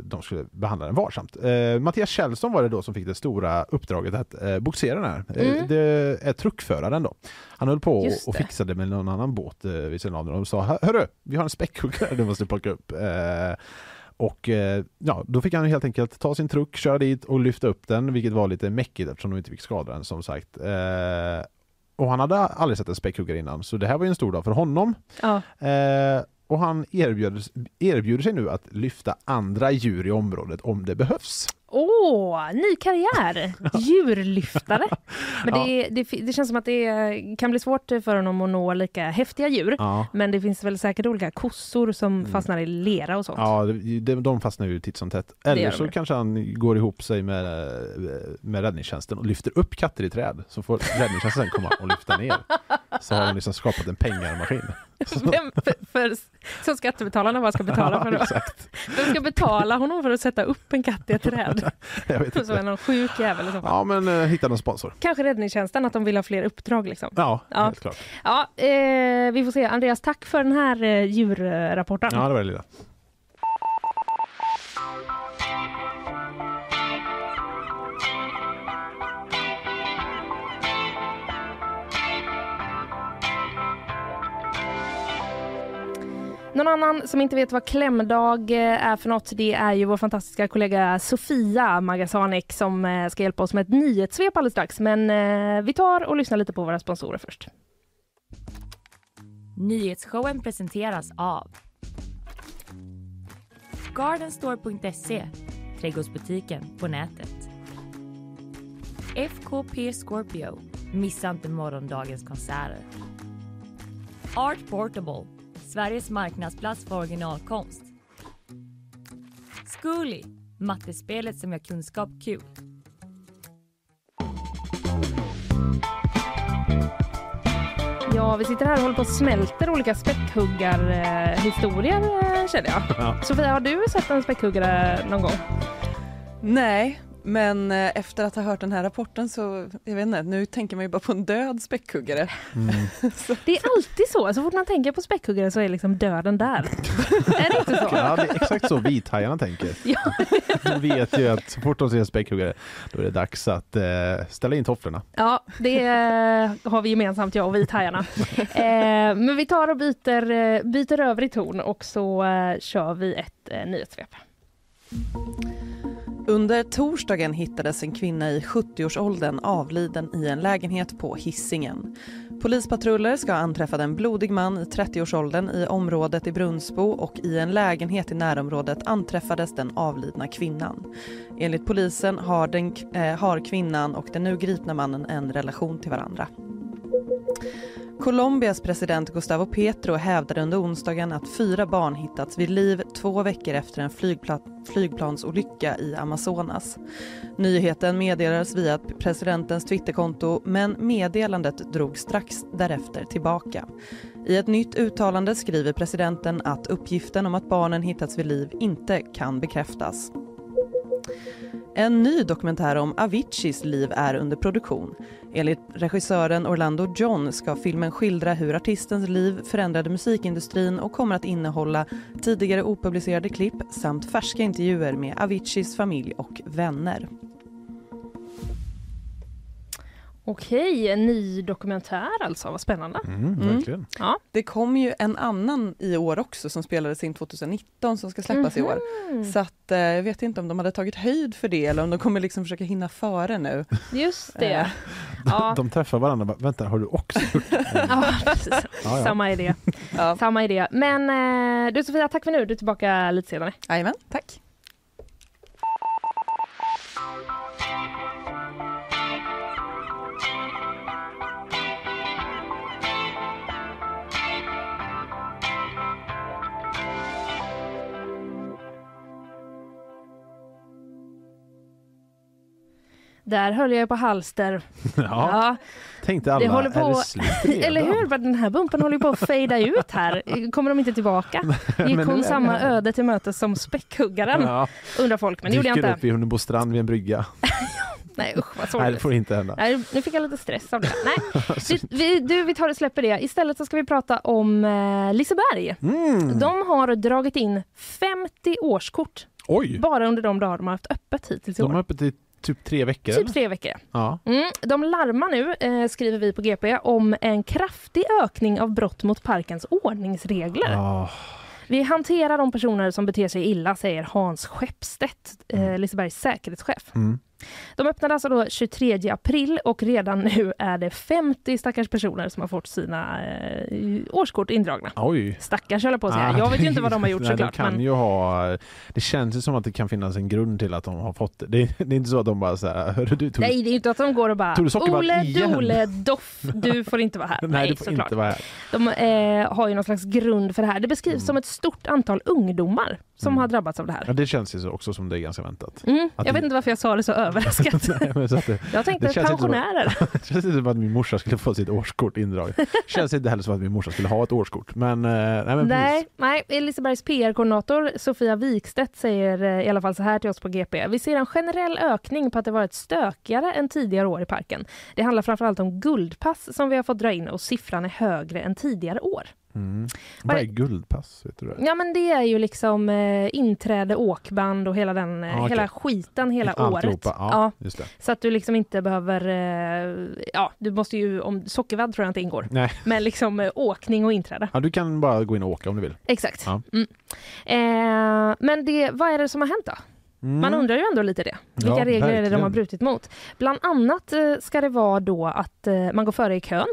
Speaker 3: de skulle behandla den varsamt. Eh, Mattias Kjellson var det då som fick det stora uppdraget att eh, boxera den här. Eh,
Speaker 2: Mm.
Speaker 3: det är truckföraren då. Han höll på
Speaker 2: Just
Speaker 3: och, och
Speaker 2: det.
Speaker 3: fixade med någon annan båt eh, vid sidan av den och sa "Hör- hörru, vi har en späckhuggare du måste plocka upp. Eh, och eh, ja, då fick han helt enkelt ta sin truck, köra dit och lyfta upp den, vilket var lite mäckigt eftersom de inte fick skada den som sagt. Eh, och han hade aldrig sett en späckhuggare innan, så det här var ju en stor dag för honom.
Speaker 2: Ja.
Speaker 3: Eh, och han erbjuder, erbjuder sig nu att lyfta andra djur i området om det behövs.
Speaker 2: Åh, ny
Speaker 3: [laughs]
Speaker 2: karriär! Djurlyftare. Men det, det, det känns som att det eh, kan bli svårt för honom att nå lika häftiga djur.
Speaker 3: Ja. Mm.
Speaker 2: Men det finns väl säkert olika kossor som fastnar i lera och sånt.
Speaker 3: Ja, de, de fastnar ju titt som tätt.
Speaker 2: gör
Speaker 3: Eller
Speaker 2: de
Speaker 3: så
Speaker 2: ju.
Speaker 3: kanske han går ihop sig med, med räddningstjänsten och lyfter upp katter i träd. Så får räddningstjänsten sen komma och lyfta ner. Så har de liksom skapat en pengamaskin.
Speaker 2: [laughs] Vem för, för, som skattebetalarna bara ska betala
Speaker 3: [laughs]
Speaker 2: för. Då.
Speaker 3: Exakt.
Speaker 2: Vem ska betala honom för att sätta upp en katt i ett träd? [laughs]
Speaker 3: Jag vet
Speaker 2: Som är
Speaker 3: inte.
Speaker 2: någon sjuk jävel i så fall.
Speaker 3: Ja, men eh, hitta någon sponsor.
Speaker 2: Kanske räddningstjänsten, att de vill ha fler uppdrag liksom.
Speaker 3: Ja,
Speaker 2: Ja.
Speaker 3: helt klart.
Speaker 2: Ja, eh, vi får se. Andreas, tack för den här eh, djurrapporten.
Speaker 3: Ja, det var det lilla.
Speaker 2: Någon annan som inte vet vad klämdag eh, är för något, det är ju vår fantastiska kollega Sofia Magasanek som eh, ska hjälpa oss med ett nyhetssvep alldeles strax. Men eh, vi tar och lyssnar lite på våra sponsorer först.
Speaker 1: Nyhetsshowen presenteras av Gardenstore.se Trädgårdsbutiken på nätet. FKP Scorpio. Missa inte morgondagens konserter. Art Portable. Sveriges marknadsplats för originalkonst. Zcooly. Mattespelet som gör kunskap kul.
Speaker 2: Ja, vi sitter här och håller på och smälter olika späckhuggarhistorier eh, känner jag.
Speaker 3: Ja.
Speaker 2: Sofia, har du sett en späckhuggare någon gång?
Speaker 5: Nej, men eh, efter att ha hört den här rapporten så, jag vet inte, nu tänker man ju bara på en död späckhuggare.
Speaker 3: Mm.
Speaker 5: så,
Speaker 2: Det är alltid så, så fort man tänker på späckhuggare så är liksom döden där. är [laughs] det inte så?
Speaker 3: Ja, det är exakt så vithajarna tänker.
Speaker 2: Ja.
Speaker 3: [laughs] De vet ju att så fort de ser en späckhuggare, då är det dags att eh, ställa in tofflorna.
Speaker 2: Ja, det eh, har vi gemensamt, jag och [laughs] vithajarna. Eh, men vi tar och byter, eh, byter över i ton och så eh, kör vi ett eh, nyhetssvep.
Speaker 5: under torsdagen hittades en kvinna i 70-årsåldern avliden i en lägenhet på Hisingen. Polispatruller ska ha anträffat en blodig man i 30-årsåldern i området i Brunsbo och i en lägenhet i närområdet anträffades den avlidna kvinnan. Enligt polisen har, den, eh, har kvinnan och den nu gripna mannen en relation till varandra. Colombias president Gustavo Petro hävdade under onsdagen att fyra barn hittats vid liv två veckor efter en flygpla- flygplansolycka i Amazonas. Nyheten meddelades via presidentens Twitterkonto men meddelandet drog strax därefter tillbaka. I ett nytt uttalande skriver presidenten att uppgiften om att barnen hittats vid liv inte kan bekräftas. En ny dokumentär om Aviciis liv är under produktion. Enligt regissören Orlando John ska filmen skildra hur artistens liv förändrade musikindustrin och kommer att innehålla tidigare opublicerade klipp samt färska intervjuer med Aviciis familj och vänner.
Speaker 2: Okej, en ny dokumentär alltså, vad spännande.
Speaker 3: Mm,
Speaker 5: Mm.
Speaker 3: verkligen.
Speaker 2: Ja.
Speaker 5: Det kom ju en annan i år också som spelades in 2019 som ska släppas i år. Så att, eh, jag vet inte om de hade tagit höjd för det eller om de kommer liksom försöka hinna före nu.
Speaker 2: Just
Speaker 5: Eh.
Speaker 2: det. Ja.
Speaker 3: De träffar varandra och bara, vänta, har du också [laughs] gjort det?
Speaker 2: Ja, [laughs] precis.
Speaker 3: Ja, ja.
Speaker 2: Samma idé.
Speaker 5: Ja,
Speaker 2: Samma idé. Men eh, du Sofia, tack för nu. Du är tillbaka lite senare.
Speaker 5: jajamän, tack.
Speaker 2: Där höll jag ju på halster.
Speaker 3: Ja, tänkte alla,
Speaker 2: Det håller på-
Speaker 3: är det slut redan?
Speaker 2: Eller hur? Bara Den här bumpen håller ju på att fejda ut här. Kommer de inte tillbaka? Gick
Speaker 3: [laughs] men nu är
Speaker 2: hon samma
Speaker 3: det-
Speaker 2: öde till mötes som späckhuggaren?
Speaker 3: Ja,
Speaker 2: Undrar folk, men det gjorde jag
Speaker 3: dyker
Speaker 2: inte.
Speaker 3: upp vid Hunnebostrand vid en brygga.
Speaker 2: Nej usch vad
Speaker 3: Nej, det
Speaker 2: sorgligt.
Speaker 3: får Alltså. inte hända.
Speaker 2: Nej, nu fick jag lite stress av det.
Speaker 3: [laughs]
Speaker 2: Nej, vi, vi, du, vi tar och släpper det. Istället så ska vi prata om eh, Liseberg.
Speaker 3: Mm.
Speaker 2: De har dragit in 50 årskort
Speaker 3: Oj,
Speaker 2: bara under de dagar de har haft öppet hittills i
Speaker 3: de har
Speaker 2: år.
Speaker 3: öppet i typ tre veckor.
Speaker 2: Typ
Speaker 3: eller?
Speaker 2: tre veckor.
Speaker 3: Ja.
Speaker 2: Mm, de larmar nu, eh, skriver vi på GP, om en kraftig ökning av brott mot parkens ordningsregler.
Speaker 3: Ah,
Speaker 2: Vi hanterar de personer som beter sig illa, säger Hans Skeppstedt, eh, Lisebergs säkerhetschef.
Speaker 3: Mm.
Speaker 2: De öppnade alltså då 23 april och redan nu är det 50 stackars personer som har fått sina eh, årskort indragna.
Speaker 3: Oj.
Speaker 2: Stackars höll jag på att säga.
Speaker 3: Ah,
Speaker 2: jag vet ju inte vad de har gjort
Speaker 3: [laughs] nej,
Speaker 2: såklart.
Speaker 3: De kan
Speaker 2: men...
Speaker 3: ju ha, det känns ju som att det kan finnas en grund till att de har fått det. Det är, det är inte så att de bara så här, hörru du Tor,
Speaker 2: Nej, det är inte att de går och bara
Speaker 3: Tore Sockervall
Speaker 2: Ole,
Speaker 3: igen."
Speaker 2: Dole, Doff, du får inte vara här.
Speaker 3: [laughs] [laughs] nej, du får
Speaker 2: såklart.
Speaker 3: inte vara här.
Speaker 2: De eh, har ju någon slags grund för det här. Det beskrivs som ett stort antal ungdomar. som
Speaker 3: Mm.
Speaker 2: har drabbats av det här.
Speaker 3: Ja, det känns ju så- också som det är ganska väntat.
Speaker 2: Mm.
Speaker 3: Att
Speaker 2: Jag
Speaker 3: det-
Speaker 2: vet inte varför [laughs] jag
Speaker 3: [laughs]
Speaker 2: sa det så överraskat.
Speaker 3: Nej, men så att det,
Speaker 2: Jag
Speaker 3: Det
Speaker 2: tänkte
Speaker 3: känns inte som- [laughs]
Speaker 2: pensionärer.
Speaker 3: det känns inte som att min morsa skulle få sitt
Speaker 2: [laughs]
Speaker 3: årskort indraget. känns inte heller som att min morsa skulle ha ett årskort. Men, eh, nej, men
Speaker 2: Nej,
Speaker 3: precis.
Speaker 2: nej, Lisebergs PR-koordinator Sofia Wikstedt säger eh, i alla fall så här till oss på GP. Vi ser en generell ökning på att det varit stökigare än tidigare år i parken. Det handlar framförallt om guldpass som vi har fått dra in och siffran är högre än tidigare år.
Speaker 3: Mm. Vad är guldpass? Vet du det?
Speaker 2: Ja men det är ju liksom eh, inträde, åkband och hela den eh,
Speaker 3: Ah, okej.
Speaker 2: hela skiten hela året.
Speaker 3: Alltihopa. Ja,
Speaker 2: Ja,
Speaker 3: just det.
Speaker 2: så att du liksom inte behöver, eh, ja du måste ju, om sockervadd tror jag inte ingår,
Speaker 3: Nej.
Speaker 2: men liksom eh, åkning och inträde.
Speaker 3: Ja, du kan bara gå in och åka om du vill.
Speaker 2: Exakt.
Speaker 3: Ja.
Speaker 2: Mm. Eh, men det, vad är det som har hänt då?
Speaker 3: Mm.
Speaker 2: Man undrar ju ändå lite det. Vilka
Speaker 3: Ja,
Speaker 2: regler är det de har
Speaker 3: verkligen.
Speaker 2: brutit mot? Bland annat eh, ska det vara då att eh, man går före i kön,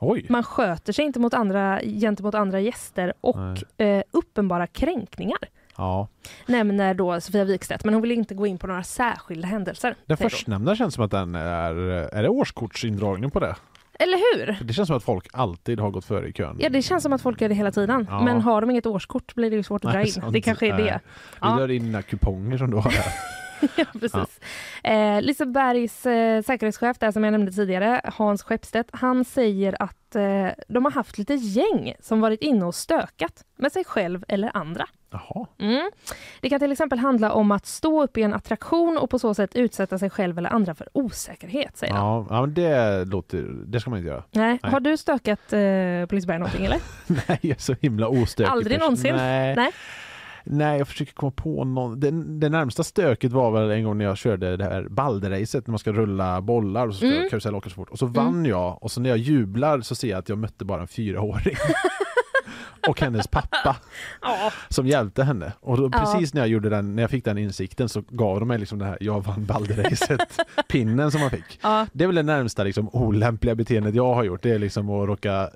Speaker 3: Oj!
Speaker 2: man sköter sig inte mot andra, gentemot andra gäster och eh, uppenbara kränkningar,
Speaker 3: Ja.
Speaker 2: nämner då Sofia Wikstedt. Men hon vill inte gå in på några särskilda händelser.
Speaker 3: Den
Speaker 2: säger hon.
Speaker 3: förstnämnda känns som att den är... Är det årskortsindragning på det?
Speaker 2: Eller hur?
Speaker 3: Det känns som att folk alltid har gått före i kön.
Speaker 2: Ja, det känns som att folk gör det hela tiden.
Speaker 3: Ja.
Speaker 2: Men har de inget årskort blir det ju svårt att dra
Speaker 3: Nej,
Speaker 2: in. Det
Speaker 3: sant.
Speaker 2: kanske är
Speaker 3: Nej.
Speaker 2: det. [laughs]
Speaker 3: Du
Speaker 2: Ja.
Speaker 3: drar in dina kuponger som du har här.
Speaker 2: Ja, precis. Eh, Lisebergs eh, säkerhetschef, där som jag nämnde tidigare, Hans Skeppstedt, han säger att eh, de har haft lite gäng som varit inne och stökat med sig själv eller andra.
Speaker 3: Jaha.
Speaker 2: Mm. Det kan till exempel handla om att stå upp i en attraktion och på så sätt utsätta sig själv eller andra för osäkerhet, säger han.
Speaker 3: Ja, ja, men det låter... Det ska man inte göra.
Speaker 2: Nej.
Speaker 3: Nej.
Speaker 2: Har du stökat eh, på Liseberg någonting eller?
Speaker 3: [laughs] Nej, jag är så himla ostökig.
Speaker 2: Aldrig
Speaker 3: pers-
Speaker 2: någonsin.
Speaker 3: Nej.
Speaker 2: Nej.
Speaker 3: Nej, jag försöker komma på någon. Det, det närmsta stöket var väl en gång när jag körde det här balderacet när man ska rulla bollar och så ska
Speaker 2: Mm.
Speaker 3: mm. karusell åka så fort. Och så vann jag och så när jag jublar så ser jag att jag mötte bara en [laughs] fyraåring. och hennes pappa
Speaker 2: Ja,
Speaker 3: som hjälpte henne. Och då,
Speaker 2: Ja.
Speaker 3: precis när jag, gjorde den, när jag fick den insikten så gav de mig liksom det här jag vann
Speaker 2: [laughs]
Speaker 3: balderacet-pinnen som man fick.
Speaker 2: ja.
Speaker 3: Det är väl det närmsta liksom, olämpliga beteendet jag har gjort. Det är liksom att råka eh,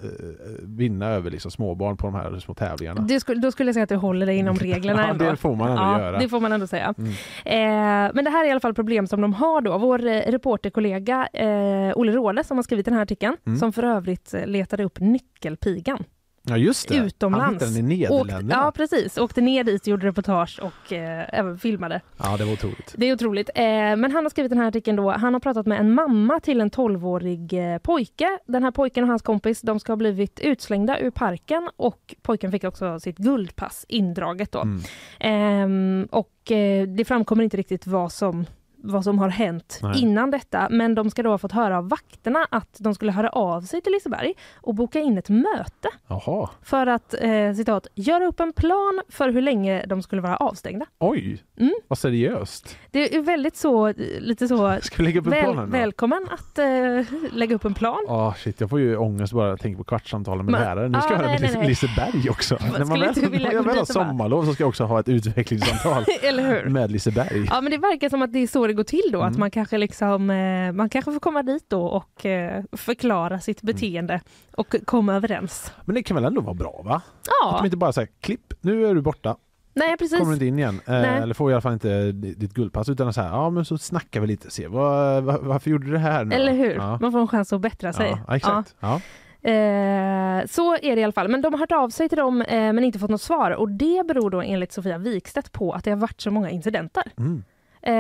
Speaker 3: vinna över liksom, småbarn på de här små tävlingarna.
Speaker 2: Du skulle, då skulle jag säga att du håller dig inom reglerna
Speaker 3: [laughs] ja,
Speaker 2: ändå.
Speaker 3: det får man ändå göra.
Speaker 2: det får man ändå säga.
Speaker 3: Mm.
Speaker 2: Eh, men det här är i alla fall problem som de har då. Vår eh, reporterkollega eh, Olle Råle som har skrivit den här artikeln,
Speaker 3: Mm.
Speaker 2: som för övrigt eh, letade upp nyckelpigan.
Speaker 3: Ja just det. Han
Speaker 2: Utomlands.
Speaker 3: hittade den i
Speaker 2: Åkt-
Speaker 3: Nederländerna.
Speaker 2: ja, precis. Åkte ner dit, gjorde reportage och eh, även filmade.
Speaker 3: Ja det var otroligt.
Speaker 2: Det är otroligt. Eh, men han har skrivit den här artikeln då. Han har pratat med en mamma till en 12-årig eh, pojke. Den här pojken och hans kompis, de ska ha blivit utslängda ur parken och pojken fick också sitt guldpass indraget då.
Speaker 3: Mm.
Speaker 2: Ehm, och eh, det framkommer inte riktigt vad som, vad som har hänt
Speaker 3: Nej.
Speaker 2: innan detta. Men de ska då ha fått höra av vakterna att de skulle höra av sig till Liseberg och boka in ett möte
Speaker 3: Jaha,
Speaker 2: för att, eh, citat, göra upp en plan för hur länge de skulle vara avstängda.
Speaker 3: oj!
Speaker 2: Mm.
Speaker 3: Vad seriöst.
Speaker 2: Det är väldigt så, eh, lite så,
Speaker 3: Ska vi lägga upp en
Speaker 2: väl,
Speaker 3: plan här nu?
Speaker 2: välkommen att eh, lägga upp en plan. [laughs]
Speaker 3: Ah shit, jag får ju ångest bara jag tänker på kvartssamtalen med
Speaker 2: Men-
Speaker 3: lärare. Nu ska
Speaker 2: Ah,
Speaker 3: jag höra
Speaker 2: nej,
Speaker 3: med
Speaker 2: nej,
Speaker 3: Lis-
Speaker 2: nej.
Speaker 3: Liseberg också. När man
Speaker 2: skulle
Speaker 3: väl,
Speaker 2: inte vilja
Speaker 3: när [laughs] jag
Speaker 2: gå
Speaker 3: väl har
Speaker 2: dit och bara-
Speaker 3: sommarlov så ska jag också ha
Speaker 2: [laughs]
Speaker 3: ett utvecklingssamtal
Speaker 2: Eller hur?
Speaker 3: med Liseberg.
Speaker 2: Ja men det verkar som att det är så det går till då,
Speaker 3: Mm.
Speaker 2: att man kanske liksom, eh, man kanske får komma dit då och eh, förklara sitt
Speaker 3: Mm.
Speaker 2: beteende och komma överens.
Speaker 3: Men det kan väl ändå vara bra va? Att
Speaker 2: Ja,
Speaker 3: de inte bara säger klipp, nu är du borta,
Speaker 2: nej precis.
Speaker 3: kommer du inte in igen. Eh,
Speaker 2: Nej.
Speaker 3: eller får i alla fall inte ditt guldpass utan så här, ja men så snackar vi lite, se vad, va- varför gjorde du det här nu?
Speaker 2: Eller hur?
Speaker 3: Ja,
Speaker 2: Man får en chans att bättra sig.
Speaker 3: ja, exakt. Ja.
Speaker 2: Ja. Eh, så är det i alla fall. Men de har hört av sig till dem eh, men inte fått något svar och det beror då enligt Sofia Wikstedt på att det har varit så många incidenter.
Speaker 3: Mm.
Speaker 2: Eh,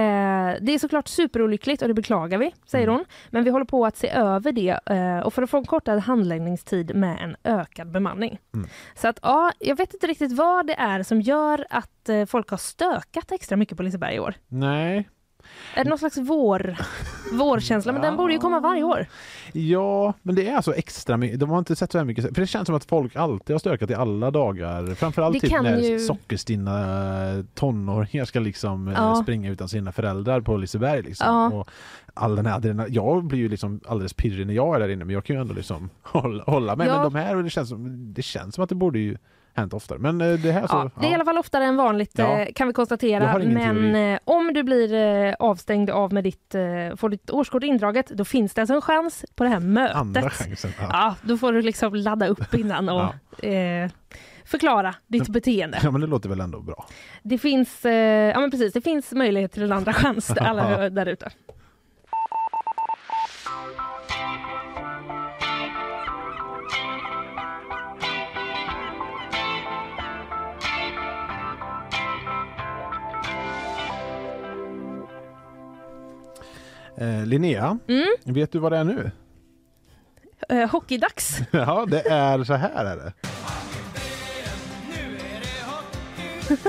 Speaker 2: det är såklart superolyckligt och det beklagar vi, säger
Speaker 3: Mm.
Speaker 2: hon. Men vi håller på att se över det eh, och för att få en kortare handläggningstid med en ökad bemanning.
Speaker 3: Mm.
Speaker 2: Så att ja, jag vet inte riktigt vad det är som gör att eh, folk har stökat extra mycket på Liseberg i år.
Speaker 3: Nej,
Speaker 2: Är det någon slags vår, vårkänsla? Men den borde ju komma varje år.
Speaker 3: Ja, men det är alltså extra mycket. De har inte sett så här mycket. För det känns som att folk alltid har stökat i alla dagar.
Speaker 2: Det
Speaker 3: Framförallt typ
Speaker 2: kan
Speaker 3: när
Speaker 2: ju-
Speaker 3: sockerstinna eh, tonåringar ska liksom eh,
Speaker 2: Ja.
Speaker 3: springa utan sina föräldrar på Liseberg. Liksom.
Speaker 2: Ja.
Speaker 3: Och all den här adrenalin. Jag blir ju liksom alldeles pirrig när jag är där inne men jag kan ju ändå liksom [laughs] hålla, hålla mig.
Speaker 2: Ja.
Speaker 3: Men de här, det känns, som, det känns som att det borde ju hänt oftare. Men eh, det här så...
Speaker 2: Ja, det är i alla fall oftare än vanligt
Speaker 3: Ja.
Speaker 2: eh, kan vi
Speaker 3: Jag
Speaker 2: konstatera.
Speaker 3: har ingen
Speaker 2: Men
Speaker 3: teori.
Speaker 2: eh, om du blir eh, avstängd av med ditt, eh, får ditt årskort indraget, då finns det alltså en chans på det här mötet.
Speaker 3: Andra chansen. Ja.
Speaker 2: Ja, då får du liksom ladda upp innan och eh, förklara ditt beteende.
Speaker 3: ja, men det låter väl ändå bra.
Speaker 2: Det finns, eh, ja men precis, det finns möjlighet till en andra chans
Speaker 3: [laughs]
Speaker 2: till alla där ute.
Speaker 3: Eh, Linnea,
Speaker 2: Mm.
Speaker 3: vet du vad det är nu? [laughs]
Speaker 2: Eh, hockeydags.
Speaker 3: ja, det är så här är det.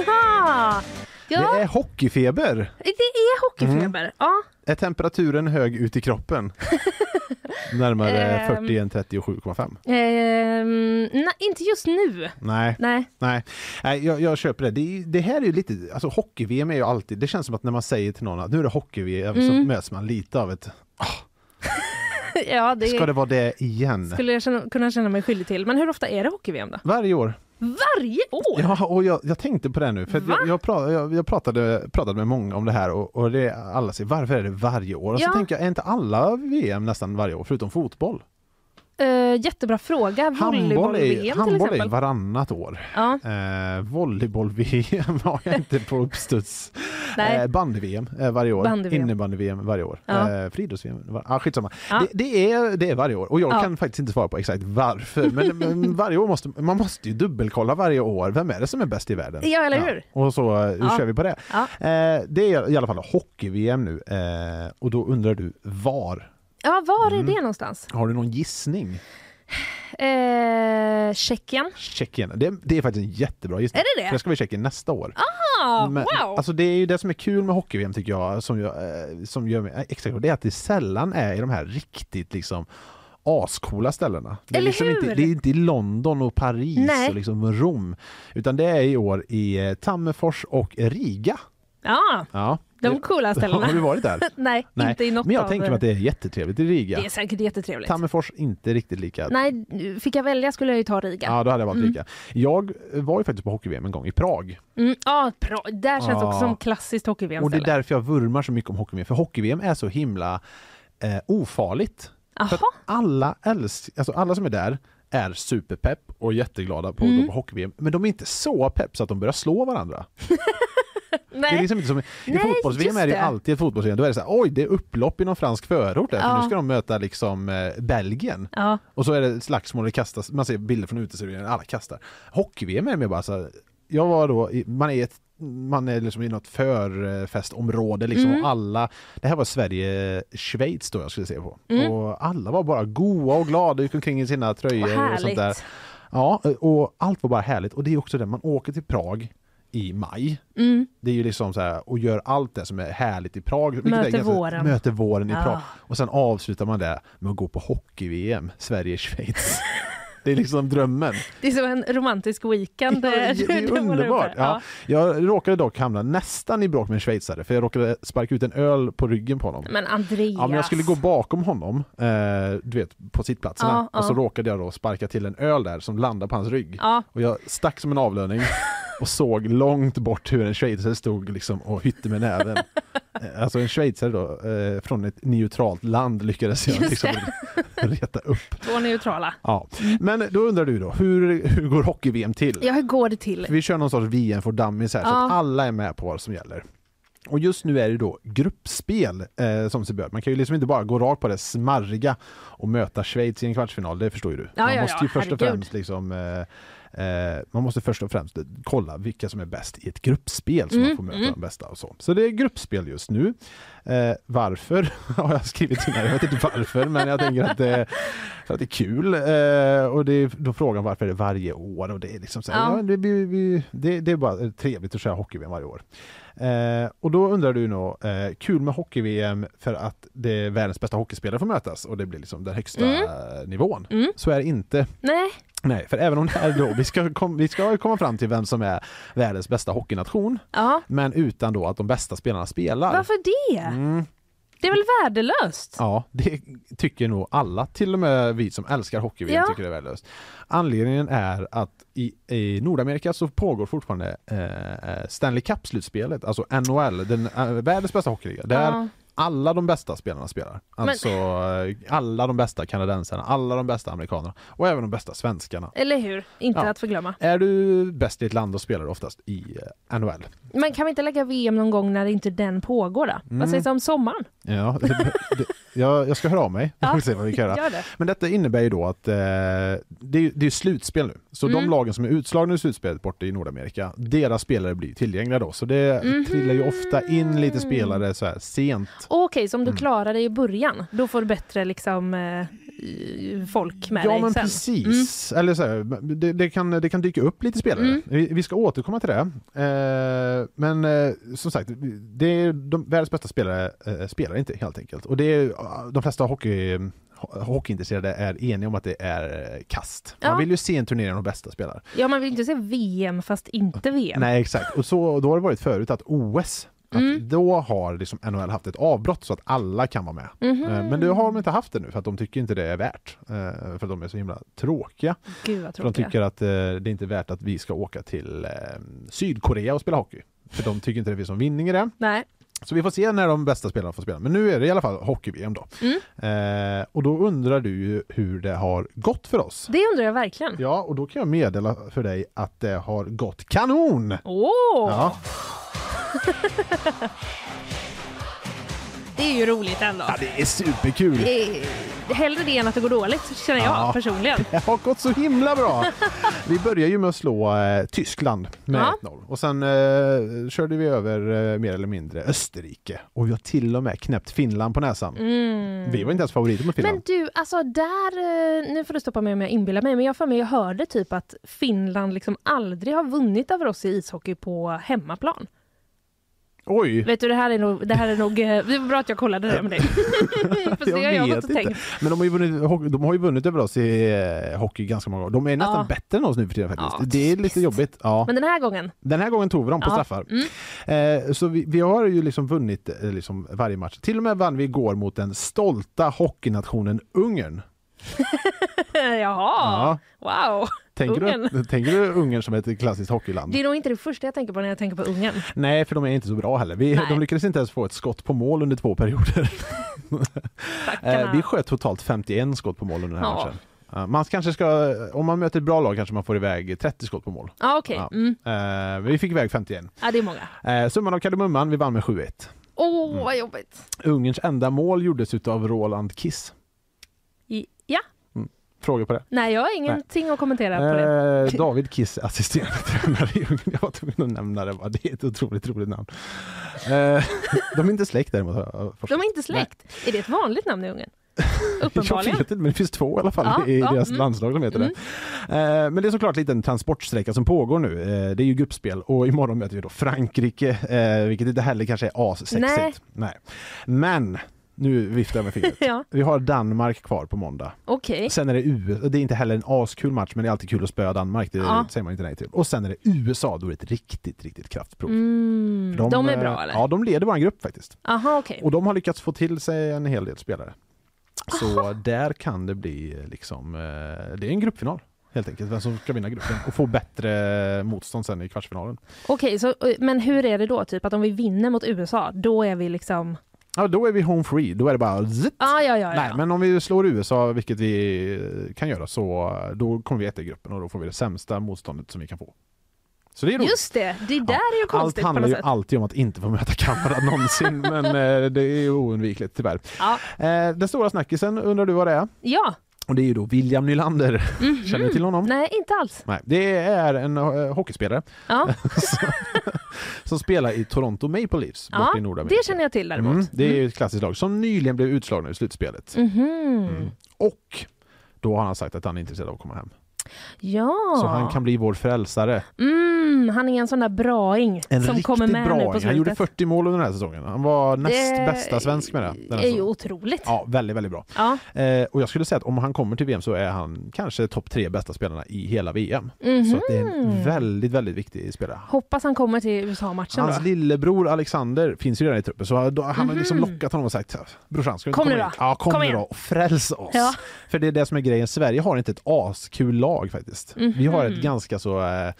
Speaker 2: Haha. ja,
Speaker 3: Det är hockeyfeber.
Speaker 2: det är hockeyfeber.
Speaker 3: Mm.
Speaker 2: Ja.
Speaker 3: Är temperaturen hög ut
Speaker 2: [laughs]
Speaker 3: i kroppen? Närmare
Speaker 2: Ehm.
Speaker 3: 40 än 37,5.
Speaker 2: Ehm, nej, inte just nu.
Speaker 3: Nej,
Speaker 2: Nej. [laughs]
Speaker 3: nej, nej jag, jag köper det. Det, är ju- det här är ju lite, alltså hockey-VM är ju alltid, det känns som att när man säger till någon att nu är det hockey-VM så
Speaker 2: Mm.
Speaker 3: möts man lite av ett,
Speaker 2: ja, det
Speaker 3: ska det vara det igen?
Speaker 2: skulle jag känna, kunna känna mig skyldig till. Men hur ofta är det hockey-VM då?
Speaker 3: Varje år.
Speaker 2: Varje år?
Speaker 3: Ja, och jag, jag tänkte på det nu, för att
Speaker 2: Va?
Speaker 3: jag, jag, pra, jag, jag pratade, pratade med många om det här och, och det, alla säger varför är det varje år? Och
Speaker 2: Ja.
Speaker 3: så tänker jag, är inte alla VM nästan varje år förutom fotboll?
Speaker 2: Eh, jättebra fråga.
Speaker 3: Handboll är, ju-
Speaker 2: Volleyboll-VM till
Speaker 3: handboll är ju
Speaker 2: exempel.
Speaker 3: varannat år.
Speaker 2: Ja,
Speaker 3: Eh, Volleyboll-VM har jag inte på uppstuds.
Speaker 2: Nej.
Speaker 3: Eh, Bandy-VM eh, varje år.
Speaker 2: Bandy-VM.
Speaker 3: Innebandy-VM varje år.
Speaker 2: Ja.
Speaker 3: Eh, Friidrotts-VM. var- Ah, skitsamma.
Speaker 2: Ja.
Speaker 3: Det, det, är, det är varje år och jag
Speaker 2: Ja.
Speaker 3: kan faktiskt inte svara på exakt varför. Men, men varje år måste man måste ju dubbelkolla varje år. Vem är det som är bäst i världen?
Speaker 2: Ja, eller hur?
Speaker 3: Och så eh, hur
Speaker 2: Ja.
Speaker 3: kör vi på det.
Speaker 2: Ja.
Speaker 3: Eh, det är i alla fall hockey-VM nu eh, och då undrar du var?
Speaker 2: ja var är
Speaker 3: Mm.
Speaker 2: det någonstans?
Speaker 3: Har du någon gissning?
Speaker 2: Eh, Tjeckien?
Speaker 3: Tjeckien. Det, det är faktiskt en jättebra gissning.
Speaker 2: Är det det?
Speaker 3: För Jag ska vara i Tjeckien nästa år.
Speaker 2: Ah,
Speaker 3: Men,
Speaker 2: wow!
Speaker 3: Alltså det är ju det som är kul med hockey-VM tycker jag, som, jag, eh, som gör mig eh, extra glad, det är att det sällan är i de här riktigt liksom ascoola ställena. Det är,
Speaker 2: Eller
Speaker 3: liksom
Speaker 2: hur?
Speaker 3: Inte, det är inte i London och Paris
Speaker 2: Nej.
Speaker 3: och liksom Rom, utan det är i år i eh, Tammerfors och Riga.
Speaker 2: ja,
Speaker 3: Ja, [laughs]
Speaker 2: de
Speaker 3: det,
Speaker 2: coola ställena.
Speaker 3: Har du varit där?
Speaker 2: Nej, [laughs]
Speaker 3: Nej,
Speaker 2: inte i något
Speaker 3: Men jag
Speaker 2: av...
Speaker 3: tänker mig att det är jättetrevligt i Riga.
Speaker 2: det är säkert jättetrevligt.
Speaker 3: Tammerfors inte riktigt lika.
Speaker 2: Nej, Mm. fick jag välja skulle jag ju ta Riga.
Speaker 3: Ja, då hade jag valt Riga. Jag var ju faktiskt på hockey-VM en gång i Prag.
Speaker 2: Mm, ja, bra. Där känns det också
Speaker 3: Ja.
Speaker 2: som klassiskt hockey-VM.
Speaker 3: Och det är därför jag vurmar så mycket om hockey-VM, för hockey-VM är så himla eh, ofarligt. För att
Speaker 2: Jaha.
Speaker 3: alla, älsk, alltså alla som är där är superpepp och jätteglada på att
Speaker 2: Mm.
Speaker 3: gå på hockey-VM, men de är inte så pepp så att de börjar slå varandra. Det är
Speaker 2: Nej.
Speaker 3: liksom inte som, I
Speaker 2: Nej,
Speaker 3: fotbolls-VM
Speaker 2: just
Speaker 3: är det ju
Speaker 2: det.
Speaker 3: alltid ett fotbolls-VM, då är det så här, oj det är upplopp i någon fransk förort där, för
Speaker 2: Ja.
Speaker 3: nu ska de möta liksom eh, Belgien.
Speaker 2: Ja.
Speaker 3: Och så är det slagsmål, det kastas, man ser bilder från uteserveringen, alla kastar. Hockey-VM är mer bara så här, jag var då, i, man är i ett man är liksom i något förfestområde liksom och alla, det här var Sverige-Schweiz då jag skulle se på. Och alla var bara goa och glada, gick omkring i sina
Speaker 2: Vad
Speaker 3: tröjor och
Speaker 2: härligt.
Speaker 3: sånt där. Ja, och allt var bara härligt och det är också det, man åker till Prag i maj.
Speaker 2: Mm.
Speaker 3: Det är ju liksom så här, och gör allt det som är härligt i Prag. vilket
Speaker 2: Möter
Speaker 3: är ganska-
Speaker 2: våren.
Speaker 3: Möter våren i
Speaker 2: Ah.
Speaker 3: Prag. Och sen avslutar man det med att gå på hockey-VM, Sverige-Schweiz. det är liksom drömmen.
Speaker 2: Det är som en romantisk weekend.
Speaker 3: [laughs] Ja,
Speaker 2: [laughs]
Speaker 3: det, det är
Speaker 2: man har
Speaker 3: underbart.
Speaker 2: gjort där.
Speaker 3: Ja. Jag råkade dock hamna nästan i bråk med en schweizare för jag råkade sparka ut en öl på ryggen på honom.
Speaker 2: Men Andreas.
Speaker 3: Ja, men jag skulle gå bakom honom, eh, du vet, på sittplatserna.
Speaker 2: Ja,
Speaker 3: Och så
Speaker 2: ja.
Speaker 3: råkade jag då sparka till en öl där som landade på hans rygg.
Speaker 2: Ja.
Speaker 3: Och jag stack som en avlöning och såg långt bort hur en schweizare stod liksom och hytte med näven. Eh, Alltså en schweizare då, eh, från ett neutralt land lyckades jag
Speaker 2: Just
Speaker 3: liksom reta upp.
Speaker 2: Två neutrala.
Speaker 3: Ja. Men då undrar du då, hur, hur går hockey-VM till?
Speaker 2: Ja, hur går det till?
Speaker 3: Vi kör någon sorts VM for dummies här, så
Speaker 2: Ja.
Speaker 3: att alla är med på vad som gäller. Och just nu är det då gruppspel eh, som sig bör. Man kan ju liksom inte bara gå rakt på det smarriga och möta Schweiz i en kvartsfinal, det förstår ju du. man
Speaker 2: ja,
Speaker 3: måste
Speaker 2: ja,
Speaker 3: ju först och
Speaker 2: herregud.
Speaker 3: främst liksom eh, eh, man måste först och främst kolla vilka som är bäst i ett gruppspel som
Speaker 2: Mm,
Speaker 3: man får möta de bästa och så. Så det är gruppspel just nu. Eh, varför [laughs] har jag skrivit in här? Jag vet inte varför, men jag tänker att det, för att det är kul. Eh, och det är då frågan varför är det varje år och det är liksom så här,
Speaker 2: Ja.
Speaker 3: ja. det, blir- vi, det, det är bara trevligt att köra hockey-VM varje år. Eh, och då undrar du nog, eh, kul med hockey-VM för att det är världens bästa hockeyspelare får mötas och det blir liksom den högsta eh, nivån. Så är det inte.
Speaker 2: Nej.
Speaker 3: Nej, för även om det är då, vi ska, kom, vi ska komma fram till vem som är världens bästa hockeynation,
Speaker 2: Ja.
Speaker 3: men utan då att de bästa spelarna spelar.
Speaker 2: Varför det? Det är väl värdelöst?
Speaker 3: Mm. Ja, det tycker nog alla, till och med vi som älskar hockey vi
Speaker 2: Ja.
Speaker 3: tycker det är värdelöst. Anledningen är att i, i Nordamerika så pågår fortfarande eh, Stanley Cup-slutspelet, alltså NHL, den eh, världens bästa hockeyliga, där
Speaker 2: Ja.
Speaker 3: alla de bästa spelarna spelar. Alltså eh, alla de bästa kanadensarna, alla de bästa amerikanerna och även de bästa svenskarna.
Speaker 2: Eller hur? Inte
Speaker 3: Ja.
Speaker 2: att förglömma.
Speaker 3: Är du bäst i ett land och spelar du oftast i eh, NHL? Mm.
Speaker 2: Men kan vi inte lägga VM någon gång när inte den pågår då? Vad sägs om sommaren?
Speaker 3: Ja, det, det, Jag, jag ska höra av mig.
Speaker 2: Ja.
Speaker 3: [laughs] Vi får se vad vi kan göra.
Speaker 2: Gör det.
Speaker 3: Men detta innebär ju då att eh, det, är, ju- det är slutspel nu. Så
Speaker 2: Mm.
Speaker 3: de lagen som är utslagna ur slutspelet borta i Nordamerika, deras spelare blir tillgängliga då. Så det
Speaker 2: Mhm.
Speaker 3: trillar ju ofta in lite spelare så här sent.
Speaker 2: Okej, så
Speaker 3: Mm.
Speaker 2: om du klarar dig i början, då får du bättre liksom, eh, folk med
Speaker 3: Ja
Speaker 2: dig
Speaker 3: men
Speaker 2: sen. Mm.
Speaker 3: precis. Eller så här, det, det, kan, det kan dyka upp lite spelare. Vi, vi ska återkomma till det. Eh, men eh, som sagt, det är de, världens bästa spelare eh, spelar inte helt enkelt. Och det är, eh, de flesta hockey, ho- hockeyintresserade är eniga om att det är eh, kast. Man
Speaker 2: Ja.
Speaker 3: vill ju se en turnering av de bästa spelarna.
Speaker 2: Ja, man vill inte se VM fast inte VM.
Speaker 3: Nej, exakt. Och så, då har det varit förut att OS, att
Speaker 2: Mm.
Speaker 3: då har liksom NHL haft ett avbrott så att alla kan vara med.
Speaker 2: Mhm. Mm.
Speaker 3: Eh, Men det har de inte haft det nu för att de tycker inte det är värt. eh, För att de är så himla tråkiga.
Speaker 2: Gud vad
Speaker 3: För de
Speaker 2: tråkiga.
Speaker 3: tycker att eh, det är inte värt att vi ska åka till eh, Sydkorea och spela hockey. För de tycker inte det finns någon vinning i det.
Speaker 2: Nej.
Speaker 3: Så vi får se när de bästa spelarna får spela. Men nu är det i alla fall hockey-VM då.
Speaker 2: Mm.
Speaker 3: Eh, och då undrar du ju hur det har gått för oss.
Speaker 2: Det undrar jag verkligen.
Speaker 3: Ja, och då kan jag meddela för dig att det har gått kanon!
Speaker 2: Åh!
Speaker 3: Ja.
Speaker 2: Det är ju roligt ändå.
Speaker 3: Ja, det är [laughs] superkul!
Speaker 2: Det är, hellre det än att det går dåligt, känner jag
Speaker 3: Ja.
Speaker 2: personligen.
Speaker 3: Det har gått så
Speaker 2: [laughs]
Speaker 3: himla bra! Vi börjar ju med att slå eh, Tyskland med
Speaker 2: Ja.
Speaker 3: 1-0 och sen eh, körde vi över eh, mer eller mindre Österrike och vi har till och med knäppt Finland på näsan.
Speaker 2: Mm.
Speaker 3: Vi var inte ens favoriter mot Finland.
Speaker 2: Men du, alltså där, eh, nu får du stoppa mig om jag inbillar mig, men jag har för mig jag hörde typ att Finland liksom aldrig har vunnit över oss i ishockey på hemmaplan.
Speaker 3: Oj!
Speaker 2: Vet du, det här är nog, det här är nog, eh, det var bra att jag kollade det där
Speaker 3: [laughs]
Speaker 2: med dig. För det har jag gått och tänkt.
Speaker 3: Men de har, ju vunnit, hockey- de har ju vunnit över oss i eh, hockey ganska många gånger. De är nästan
Speaker 2: Ja.
Speaker 3: bättre än oss nu för tiden faktiskt.
Speaker 2: Ja,
Speaker 3: det är lite
Speaker 2: visst.
Speaker 3: jobbigt. Ja.
Speaker 2: Men den här gången, [laughs]
Speaker 3: Den här gången tog vi dem på
Speaker 2: Ja. Mm.
Speaker 3: straffar. Eh, så vi, vi har ju liksom vunnit eh, liksom varje match. Till och med vann vi igår mot den stolta hockeynationen Ungern.
Speaker 2: jaha, wow.
Speaker 3: Tänker, du,
Speaker 2: Ungern.
Speaker 3: [laughs] tänker du Ungern som ett klassiskt hockeyland?
Speaker 2: Det är nog inte det första jag tänker på när jag tänker på Ungern.
Speaker 3: Nej, för de är inte så bra heller. Vi,
Speaker 2: Nej.
Speaker 3: de lyckades inte ens få ett skott på mål under
Speaker 2: [laughs]
Speaker 3: två perioder. Eh,
Speaker 2: Stackarna.
Speaker 3: vi sköt totalt 51 skott på mål under den här
Speaker 2: Ja.
Speaker 3: matchen. Ja, Man kanske ska, om man möter ett bra lag kanske man får iväg 30 skott på mål.
Speaker 2: Ja, okej.
Speaker 3: Ja.
Speaker 2: Mm.
Speaker 3: Eh, men vi fick iväg 51.
Speaker 2: Ja, det är många.
Speaker 3: Eh, summan av kardemumman, vi vann med 7-1.
Speaker 2: Åh,
Speaker 3: Mm.
Speaker 2: vad jobbigt.
Speaker 3: Ungerns enda mål gjordes utav Roland Kiss.
Speaker 2: I- Ja,
Speaker 3: Frågor på det?
Speaker 2: nej, jag har ingenting att kommentera på det.
Speaker 3: Eh, David Kiss är assisterande tränare i Ungern. Jag var tvungen att nämna det. bara. Det är ett otroligt roligt namn. Eh, de är inte släkt däremot. har jag förstått.
Speaker 2: De är inte släkt. Är det ett vanligt namn i Ungern?
Speaker 3: [laughs] Jag
Speaker 2: Uppenbarligen.
Speaker 3: vet inte, men det finns två i alla fall
Speaker 2: Ja,
Speaker 3: i
Speaker 2: ja,
Speaker 3: deras
Speaker 2: mm.
Speaker 3: landslag som heter det. Eh, Men det är såklart lite en transportsträcka som pågår nu. Eh, Det är ju gruppspel och imorgon möter vi då Frankrike, eh, vilket inte heller kanske är assexigt.
Speaker 2: Nej.
Speaker 3: Nej. Men, nu viftar jag med fingret.
Speaker 2: [laughs] Ja.
Speaker 3: Vi har Danmark kvar på måndag.
Speaker 2: Okej.
Speaker 3: Sen är det USA, det är inte heller en askul match men det är alltid kul att spöa Danmark, det
Speaker 2: Ja.
Speaker 3: säger man inte nej till. Och sen är det USA, då är det ett riktigt, riktigt kraftprov.
Speaker 2: Mm. De, är
Speaker 3: eh,
Speaker 2: bra eller?
Speaker 3: Ja, de leder vår grupp faktiskt.
Speaker 2: Aha, okej.
Speaker 3: Och de har lyckats få till sig en hel del spelare. Så där kan det bli liksom, eh, det är en gruppfinal helt enkelt, vem som ska vinna gruppen och få bättre motstånd sen i kvartsfinalen.
Speaker 2: Okej, så, eh, men hur är det då? Typ att om vi vinner mot USA, då är vi liksom...
Speaker 3: Ja, då är vi home free, då är det bara zitt.
Speaker 2: Ah, ja, ja, ja.
Speaker 3: Nej, men om vi slår USA, vilket vi eh, kan göra, så då kommer vi etta i gruppen och då får vi det sämsta motståndet som vi kan få. Så det är roligt.
Speaker 2: Just det, det där är ju
Speaker 3: Allt
Speaker 2: konstigt på
Speaker 3: handlar
Speaker 2: något
Speaker 3: ju
Speaker 2: sätt.
Speaker 3: alltid om att inte få möta Kanada någonsin, men eh, det är ju oundvikligt tyvärr.
Speaker 2: Ja.
Speaker 3: Eh, den stora snackisen undrar du vad det är?
Speaker 2: ja,
Speaker 3: Och det är ju då William Nylander. Känner du till honom?
Speaker 2: Mhm. nej inte alls.
Speaker 3: Nej, det är en eh, hockeyspelare
Speaker 2: Ja,
Speaker 3: som spelar i Toronto Maple Leafs borta
Speaker 2: ja
Speaker 3: i Nordamerika.
Speaker 2: det känner jag till däremot.
Speaker 3: Mm, det är ju ett klassiskt lag som nyligen blev utslagna i slutspelet.
Speaker 2: Mhm.
Speaker 3: Mm. Och då har han sagt att han är intresserad av att komma hem.
Speaker 2: Ja,
Speaker 3: Så han kan bli vår frälsare.
Speaker 2: mm, han är en sån där braing
Speaker 3: En
Speaker 2: som
Speaker 3: riktigt
Speaker 2: kommer med
Speaker 3: bra.
Speaker 2: nu på
Speaker 3: Han
Speaker 2: slutet.
Speaker 3: gjorde 40 mål under den här säsongen. Han var näst
Speaker 2: Det
Speaker 3: bästa svensk med det. Den här
Speaker 2: är ju
Speaker 3: säsongen.
Speaker 2: otroligt. Ja.
Speaker 3: Ja, väldigt, väldigt bra. Eh, och jag skulle säga att om han kommer till VM så är han kanske topp tre bästa spelarna i hela VM. Så att det är
Speaker 2: Mm.
Speaker 3: en väldigt, väldigt viktig spelare.
Speaker 2: Mhm. Hoppas han kommer till USA-matchen
Speaker 3: Hans
Speaker 2: då.
Speaker 3: lillebror Alexander finns ju redan i truppen så då, han har liksom lockat honom och sagt brorsan ska du inte
Speaker 2: Kom
Speaker 3: komma
Speaker 2: nu
Speaker 3: in?
Speaker 2: Mhm. då.
Speaker 3: Ja, kom,
Speaker 2: Kom
Speaker 3: nu
Speaker 2: igen."
Speaker 3: då och fräls oss.
Speaker 2: Ja.
Speaker 3: För det är det som är grejen, Sverige har inte ett askul lag faktiskt. Vi har
Speaker 2: Mhm.
Speaker 3: ett ganska så eh,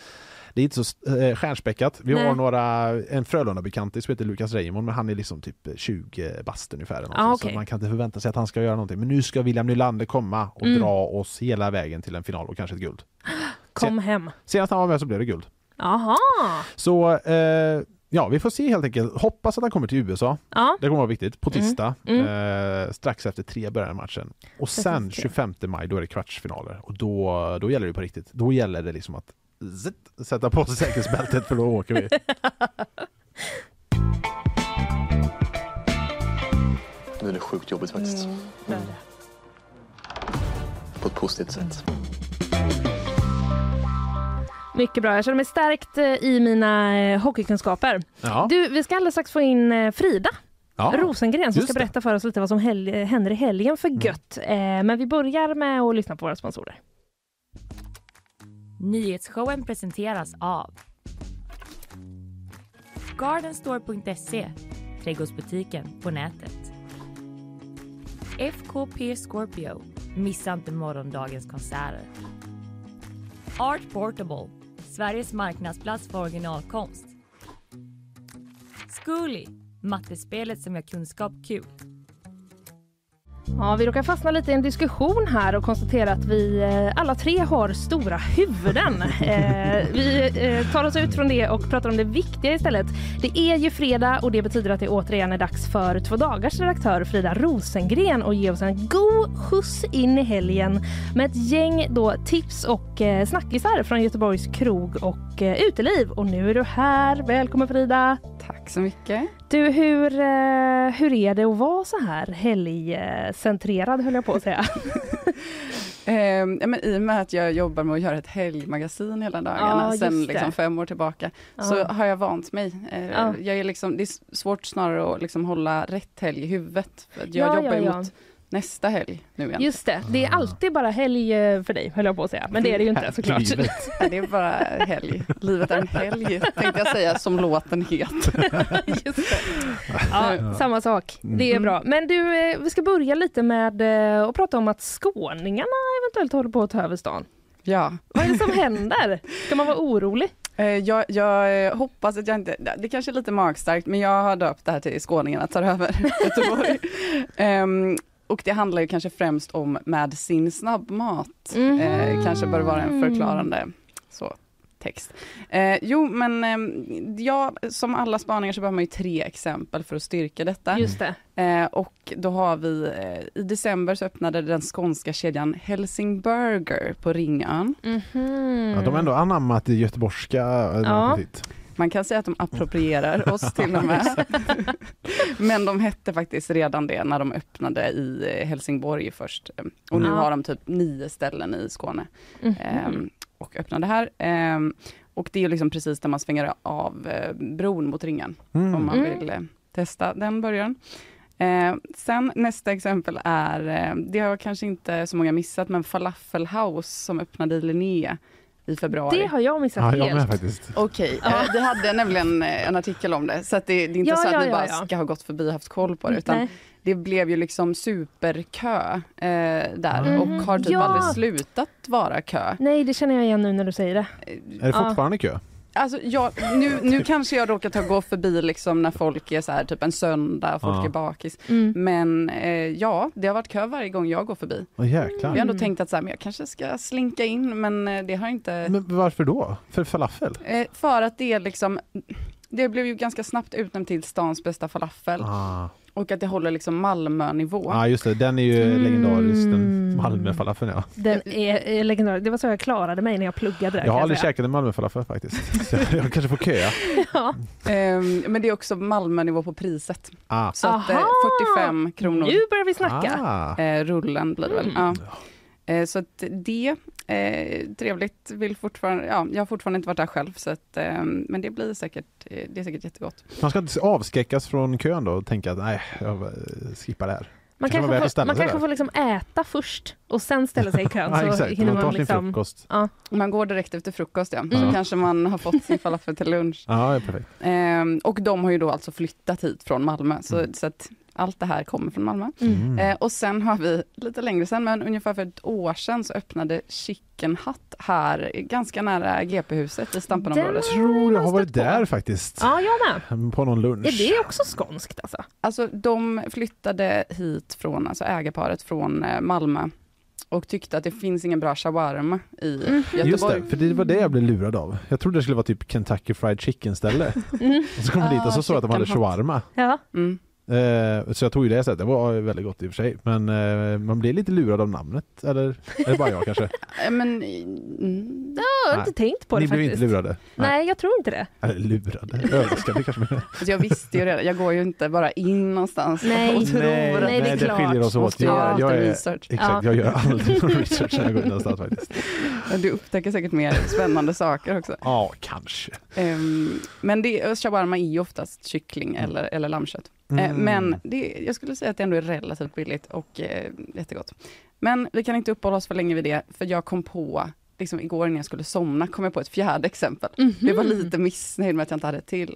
Speaker 3: det är inte så eh, stjärnspäckat. Vi har
Speaker 2: Nej.
Speaker 3: några, en Frölunda-bekant som heter Lukas Reimond, men han är liksom typ 20 bast ungefär. Eller någonting.
Speaker 2: Ah,
Speaker 3: Så
Speaker 2: okej.
Speaker 3: man kan inte förvänta sig att han ska göra någonting. Men nu ska William Nylander komma och
Speaker 2: Mm.
Speaker 3: dra oss hela vägen till en final och kanske ett guld.
Speaker 2: Kom hem.
Speaker 3: Senast han var med så blev det guld.
Speaker 2: Jaha.
Speaker 3: Så eh, Ja, vi får se helt enkelt. Hoppas att han kommer till USA.
Speaker 2: Ja.
Speaker 3: Det kommer vara viktigt. På
Speaker 2: Mm.
Speaker 3: tisdag,
Speaker 2: Mm.
Speaker 3: Eh, strax efter tre börjar matchen. Och
Speaker 2: Precis,
Speaker 3: sen
Speaker 2: tre.
Speaker 3: 25 maj, då är det kvartsfinaler. Och då, då gäller det på riktigt. Då gäller det liksom att zitt, sätta på sig säkerhetsbältet för då
Speaker 2: [laughs]
Speaker 3: åker vi.
Speaker 6: Nu är det sjukt jobbigt faktiskt.
Speaker 7: Mm.
Speaker 6: Mm. På ett positivt sätt.
Speaker 2: Mycket bra. Jag känner mig stärkt eh, i mina eh, hockeykunskaper.
Speaker 3: Ja.
Speaker 2: Du, vi ska alldeles strax få in eh, Frida
Speaker 3: ja.
Speaker 2: Rosengren som
Speaker 3: just
Speaker 2: ska
Speaker 3: det. Mm.
Speaker 2: berätta för oss lite vad som hel- eh, händer i helgen för gött. Eh, Men vi börjar med att lyssna på våra sponsorer.
Speaker 1: Nyhetsshowen presenteras av Gardenstore.se, trädgårdsbutiken på nätet. FKP Scorpio, missa inte morgondagens konserter. Art Portable, Sveriges marknadsplats för originalkonst. Zcooly, mattespelet som gör kunskap kul.
Speaker 2: Ja, vi råkar fastna lite i en diskussion här och konstatera att vi eh, alla tre har stora huvuden. Eh, Vi eh, tar oss ut från det och pratar om det viktiga istället. Det är ju fredag och det betyder att det återigen är dags för två dagars redaktör Frida Rosengren och ge oss en god skjuts in i helgen med ett gäng då tips och eh, snackisar från Göteborgs krog och eh, uteliv. Och nu är du här. Välkommen Frida!
Speaker 8: Tack så mycket.
Speaker 2: Du, hur, eh, hur är det att vara så här helgcentrerad höll jag på att [laughs] säga.
Speaker 8: Ehm, ja, men I och med att jag jobbar med att göra ett helgmagasin hela
Speaker 2: Ja,
Speaker 8: dagarna,
Speaker 2: just
Speaker 8: sen
Speaker 2: det.
Speaker 8: liksom fem år tillbaka, så har jag vant mig. Eh,
Speaker 2: Ja.
Speaker 8: jag är liksom, det är s- svårt snarare att liksom hålla rätt helg i huvudet. För att jag
Speaker 2: Ja,
Speaker 8: jobbar
Speaker 2: ja,
Speaker 8: ju
Speaker 2: ja.
Speaker 8: mot nästa helg nu igen.
Speaker 2: Just det, det är alltid bara helg eh, för dig höll jag på att säga. Men det är det ju inte
Speaker 3: Här,
Speaker 2: såklart.
Speaker 3: livet.
Speaker 8: [laughs] Det är bara helg. Livet är en helg, tänkte jag säga, som låten heter.
Speaker 2: [laughs] Just det. Ja, samma sak. Det är bra. Men du, eh, vi ska börja lite med eh, att prata om att skåningarna eventuellt håller på att ta över stan.
Speaker 8: Ja.
Speaker 2: Vad är det som händer? Ska man vara orolig?
Speaker 8: Eh, Jag, jag eh, hoppas att jag inte, det kanske är lite magstarkt, men jag har döpt det här till skåningarna tar över [laughs] Göteborg. Ehm, och det handlar ju kanske främst om med sin snabbmat.
Speaker 2: Mm-hmm.
Speaker 8: Eh, kanske bör vara
Speaker 2: Mm.
Speaker 8: en förklarande så, text. Eh, jo, men ehm, ja, som alla spaningar så behöver man ju tre exempel för att styrka detta.
Speaker 2: Just det.
Speaker 8: Eh, och då har vi, eh, i december så öppnade den skånska kedjan Helsingburger på Ringön.
Speaker 2: Mhm.
Speaker 3: Ja, de har ändå anammat det göteborgska. eh,
Speaker 2: Ja.
Speaker 3: riktigt.
Speaker 8: Man kan säga att de approprierar oss till och med. Men de hette faktiskt redan det när de öppnade i eh, Helsingborg först. Och nu
Speaker 2: Ja.
Speaker 8: har de typ nio ställen i Skåne
Speaker 2: Mhm.
Speaker 8: ehm, och öppnade här. Ehm, Och det är ju liksom precis där man svänger av eh, bron mot ringen om
Speaker 3: Mm.
Speaker 8: man
Speaker 2: Mm.
Speaker 8: vill eh, testa den början. Eh, sen nästa exempel är, eh, det har kanske inte så många missat, men Falafel House som öppnade i Linné i februari.
Speaker 2: Det har jag missat
Speaker 3: Ja, jag med
Speaker 2: helt.
Speaker 3: faktiskt.
Speaker 8: Okej,
Speaker 2: Ja.
Speaker 8: eh, vi hade nämligen eh, en artikel om det, så att det, det är inte
Speaker 2: Ja,
Speaker 8: så att
Speaker 2: ja,
Speaker 8: vi
Speaker 2: ja,
Speaker 8: bara
Speaker 2: ja.
Speaker 8: ska ha gått förbi och haft koll på det, utan
Speaker 2: Nej.
Speaker 8: det blev ju liksom superkö eh, där
Speaker 2: Mhm.
Speaker 8: och har typ
Speaker 2: Ja.
Speaker 8: aldrig slutat vara kö.
Speaker 2: Nej, det känner jag igen nu när du säger det.
Speaker 3: Är det
Speaker 2: Ja.
Speaker 3: fortfarande kö?
Speaker 8: Alltså jag, nu, nu kanske jag råkat ha gått förbi liksom när folk är så här, typ en söndag, folk
Speaker 3: Ja.
Speaker 8: är bakis,
Speaker 2: Mm.
Speaker 8: men eh, ja, det har varit kö varje gång jag går förbi.
Speaker 3: Oh,
Speaker 8: Jag
Speaker 3: jäklar.
Speaker 8: har ändå
Speaker 2: Mm.
Speaker 8: tänkt att så här, men jag kanske ska slinka in, men eh, det har inte
Speaker 3: Men varför då? För falafel?
Speaker 8: Eh, för att det är liksom, det blev ju ganska snabbt utnämnt till stans bästa falafel
Speaker 3: Ah.
Speaker 8: och att det håller liksom Malmö-nivå.
Speaker 3: Ja, just det. Den är ju legendarisk, den
Speaker 2: Mm.
Speaker 3: Malmöfalafeln. Ja.
Speaker 2: Den är, är legendarisk. Det var så jag klarade mig när jag pluggade där.
Speaker 3: Jag
Speaker 2: kan
Speaker 3: har aldrig
Speaker 2: säga.
Speaker 3: käkat en Malmöfalafel faktiskt. [laughs] Så jag jag kanske får köa.
Speaker 2: Ja.
Speaker 8: Eh, men det är också Malmö-nivå på priset.
Speaker 3: Ah.
Speaker 8: Så att, eh,
Speaker 2: Aha!
Speaker 8: 45 kronor
Speaker 2: Nu börjar vi snacka.
Speaker 3: Ah.
Speaker 8: eh, rullen blir det väl. Ja. Eh, så att det, eh, trevligt, vill fortfarande, ja, jag har fortfarande inte varit där själv så att, eh, men det blir säkert, eh, det är säkert jättegott.
Speaker 3: Man ska inte avskräckas från kön då och tänka att nej, jag eh, skippar det här.
Speaker 2: Man
Speaker 3: Kanske var värt
Speaker 2: kanske
Speaker 3: att
Speaker 2: får,
Speaker 3: ställa
Speaker 2: man
Speaker 3: sig
Speaker 2: kanske
Speaker 3: där.
Speaker 2: får liksom äta först och sen ställa sig i kön.
Speaker 3: [laughs] Ja,
Speaker 2: så
Speaker 3: exakt,
Speaker 2: hinner
Speaker 3: man tar
Speaker 2: man
Speaker 3: sin
Speaker 2: liksom...
Speaker 3: frukost.
Speaker 8: Om man går direkt efter frukost ja,
Speaker 3: Ja.
Speaker 8: så kanske man har fått sin falafel till lunch.
Speaker 3: [laughs] Ja, det är perfekt.
Speaker 8: Ehm, och de har ju då alltså flyttat hit från Malmö, så, så att allt det här kommer från Malmö.
Speaker 2: Mm.
Speaker 3: Mm.
Speaker 8: Eh, och sen har vi, lite längre sen, men ungefär för ett år sedan så öppnade Chicken Hut här, eh, ganska nära GP-huset i Stampenområdet.
Speaker 2: Den-
Speaker 3: Tror jag har varit
Speaker 2: stött på.
Speaker 3: där faktiskt.
Speaker 2: Ja, jag med.
Speaker 3: På någon
Speaker 2: Är
Speaker 3: lunch.
Speaker 2: det också skånskt alltså?
Speaker 8: Alltså de flyttade hit från, alltså ägarparet från eh, Malmö och tyckte att det finns ingen bra shawarma i Göteborg.
Speaker 3: Mm. Just det, för det var det jag blev lurad av. Jag trodde det skulle vara typ Kentucky Fried Chicken ställe.
Speaker 2: Mm.
Speaker 3: Och så kom jag dit och så såg jag att de hade
Speaker 8: chicken hot.
Speaker 3: shawarma.
Speaker 2: Ja.
Speaker 8: Mm.
Speaker 3: Eh, så jag tog ju det istället. Det var väldigt gott i och för sig. Men eh, man blir lite lurad av namnet. Eller är det bara jag kanske?
Speaker 8: Eh, Men, mm,
Speaker 2: Jag har
Speaker 3: Nej.
Speaker 2: inte tänkt på det
Speaker 3: Ni blev
Speaker 2: faktiskt.
Speaker 3: inte lurade?
Speaker 2: Nej, jag tror inte det.
Speaker 3: Eller lurade? Överraskade kanske. men-
Speaker 8: alltså jag visste ju redan, jag går ju inte bara in någonstans
Speaker 2: Nej.
Speaker 8: och tror
Speaker 2: Nej,
Speaker 8: att
Speaker 2: det är
Speaker 3: nej, det
Speaker 2: klart.
Speaker 3: skiljer oss åt.
Speaker 8: måste göra
Speaker 3: Jag,
Speaker 8: lite
Speaker 3: jag är,
Speaker 8: research.
Speaker 3: exakt, jag gör aldrig någon research när jag går in någonstans faktiskt.
Speaker 8: Du upptäcker säkert mer spännande saker också.
Speaker 3: Ja, kanske.
Speaker 8: Ehm, men det, shawarma är ju oftast kyckling
Speaker 3: Mm.
Speaker 8: eller, eller lammkött. Eh, Men det, jag skulle säga att det ändå är relativt billigt och eh, jättegott. Men vi kan inte uppehålla oss för länge vid det, för jag kom på, liksom igår innan jag skulle somna, kom jag på ett fjärde exempel. Jag var lite missnöjd med att jag inte hade ett till.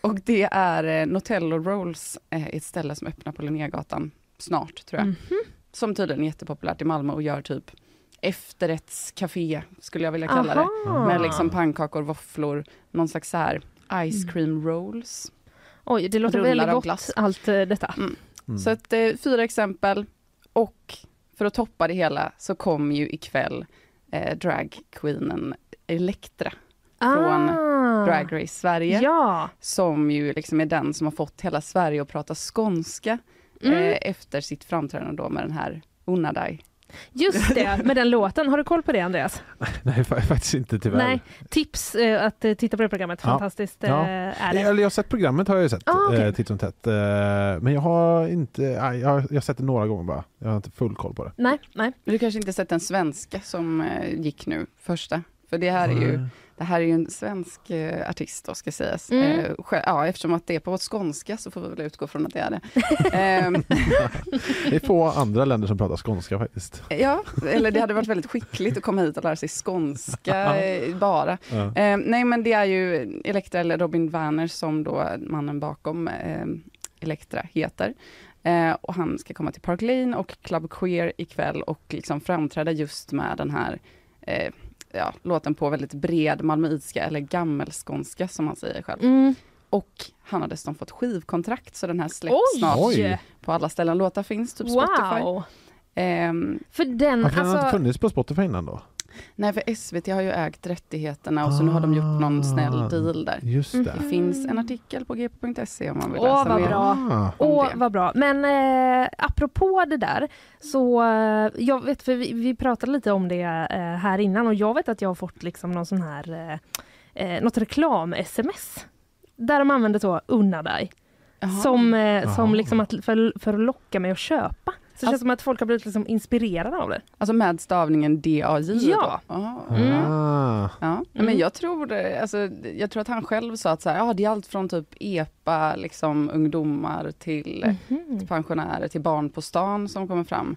Speaker 8: och det är eh, Notello Rolls, eh, ett ställe som öppnar på Linnégatan snart, tror jag. Som tydligen är jättepopulärt i Malmö och gör typ efterrättscafé, skulle jag vilja kalla det
Speaker 2: Aha.
Speaker 8: med liksom pannkakor, våfflor, någon slags så här ice cream rolls.
Speaker 2: Oj, det låter
Speaker 8: rullar
Speaker 2: väldigt
Speaker 8: av
Speaker 2: gott
Speaker 8: glass.
Speaker 2: allt eh, detta.
Speaker 3: Mm.
Speaker 8: Så att, eh, fyra exempel och för att toppa det hela så kom ju ikväll eh, dragqueenen Elektra, Från
Speaker 2: ah.
Speaker 8: Drag Race Sverige,
Speaker 2: Ja.
Speaker 8: som ju liksom är den som har fått hela Sverige att prata skånska
Speaker 2: Mm.
Speaker 8: eh, efter sitt framträdande då med den här Unadai.
Speaker 2: Just det, med den låten. Har du koll på det Andreas?
Speaker 3: [laughs] Nej, fa- faktiskt inte tyvärr.
Speaker 2: Nej. Tips eh, att eh, titta på det programmet.
Speaker 3: Ja.
Speaker 2: Fantastiskt eh,
Speaker 3: Ja.
Speaker 2: är
Speaker 3: Eller
Speaker 2: det.
Speaker 3: jag har sett programmet har jag ju sett
Speaker 2: Ah, okej.
Speaker 3: eh, titt som tätt. Eh, Men jag har inte, nej, jag, har- jag har sett det några gånger bara. Jag har inte full koll på det.
Speaker 2: Nej, nej.
Speaker 8: Du kanske inte sett den svenska som eh, gick nu, första? För det här är ju Det här är ju en svensk eh, artist då ska sägas.
Speaker 2: Mm.
Speaker 8: Eh, själv, ja, eftersom att det är på skånska så får vi väl utgå från att det
Speaker 2: [laughs]
Speaker 8: är det. Ehm,
Speaker 3: Det är få andra länder som pratar skånska faktiskt.
Speaker 8: ja, eller det hade varit väldigt skickligt att komma hit och lära sig skånska eh, bara.
Speaker 3: Ja.
Speaker 8: Ehm, nej men det är ju Elektra eller Robin Werner som då mannen bakom eh, Elektra heter. Eh, och han ska komma till Park Lane och Club Queer ikväll och liksom framträda just med den här eh, ja, låten på väldigt bred malmöitska eller gammelskånska som han säger själv.
Speaker 2: Mm.
Speaker 8: Och han har dessutom fått skivkontrakt så den här släpps snart
Speaker 2: Oj!
Speaker 3: Oj.
Speaker 8: på alla ställen. Låtar finns, typ Spotify.
Speaker 2: Wow!
Speaker 8: Ehm,
Speaker 2: För den,
Speaker 3: Varför har den inte
Speaker 2: alltså,
Speaker 3: funnits på Spotify innan då?
Speaker 8: nej, för SVT har ju ägt rättigheterna och så nu har de gjort någon snäll
Speaker 3: Ah.
Speaker 8: deal där.
Speaker 3: Just
Speaker 8: Det
Speaker 3: det.
Speaker 8: finns en artikel på gp.se om man vill
Speaker 2: åh
Speaker 8: läsa
Speaker 2: vad
Speaker 8: mer.
Speaker 2: bra.
Speaker 3: Ah.
Speaker 8: om
Speaker 2: Åh,
Speaker 8: det.
Speaker 2: vad bra. Men eh, apropå det där, så eh, jag vet, för vi, vi pratade lite om det eh, här innan och jag vet att jag har fått liksom någon sån här, eh, eh, något reklam-sms. Där de använder så, unna dig,
Speaker 8: Jaha.
Speaker 2: som, eh, som
Speaker 3: Jaha.
Speaker 2: liksom att, för, för att locka mig att köpa. Så det känns som att folk har blivit liksom inspirerade av det.
Speaker 8: Alltså med stavningen DAJ?
Speaker 2: Ja. Mm.
Speaker 8: Då. Jaha.
Speaker 3: Ah.
Speaker 8: Ja, men jag tror, det- alltså, jag tror att han själv sa att så här, ja, det är allt från typ EPA, liksom, ungdomar till
Speaker 2: Mm.
Speaker 8: eh, till pensionärer, till barn på stan som kommer fram.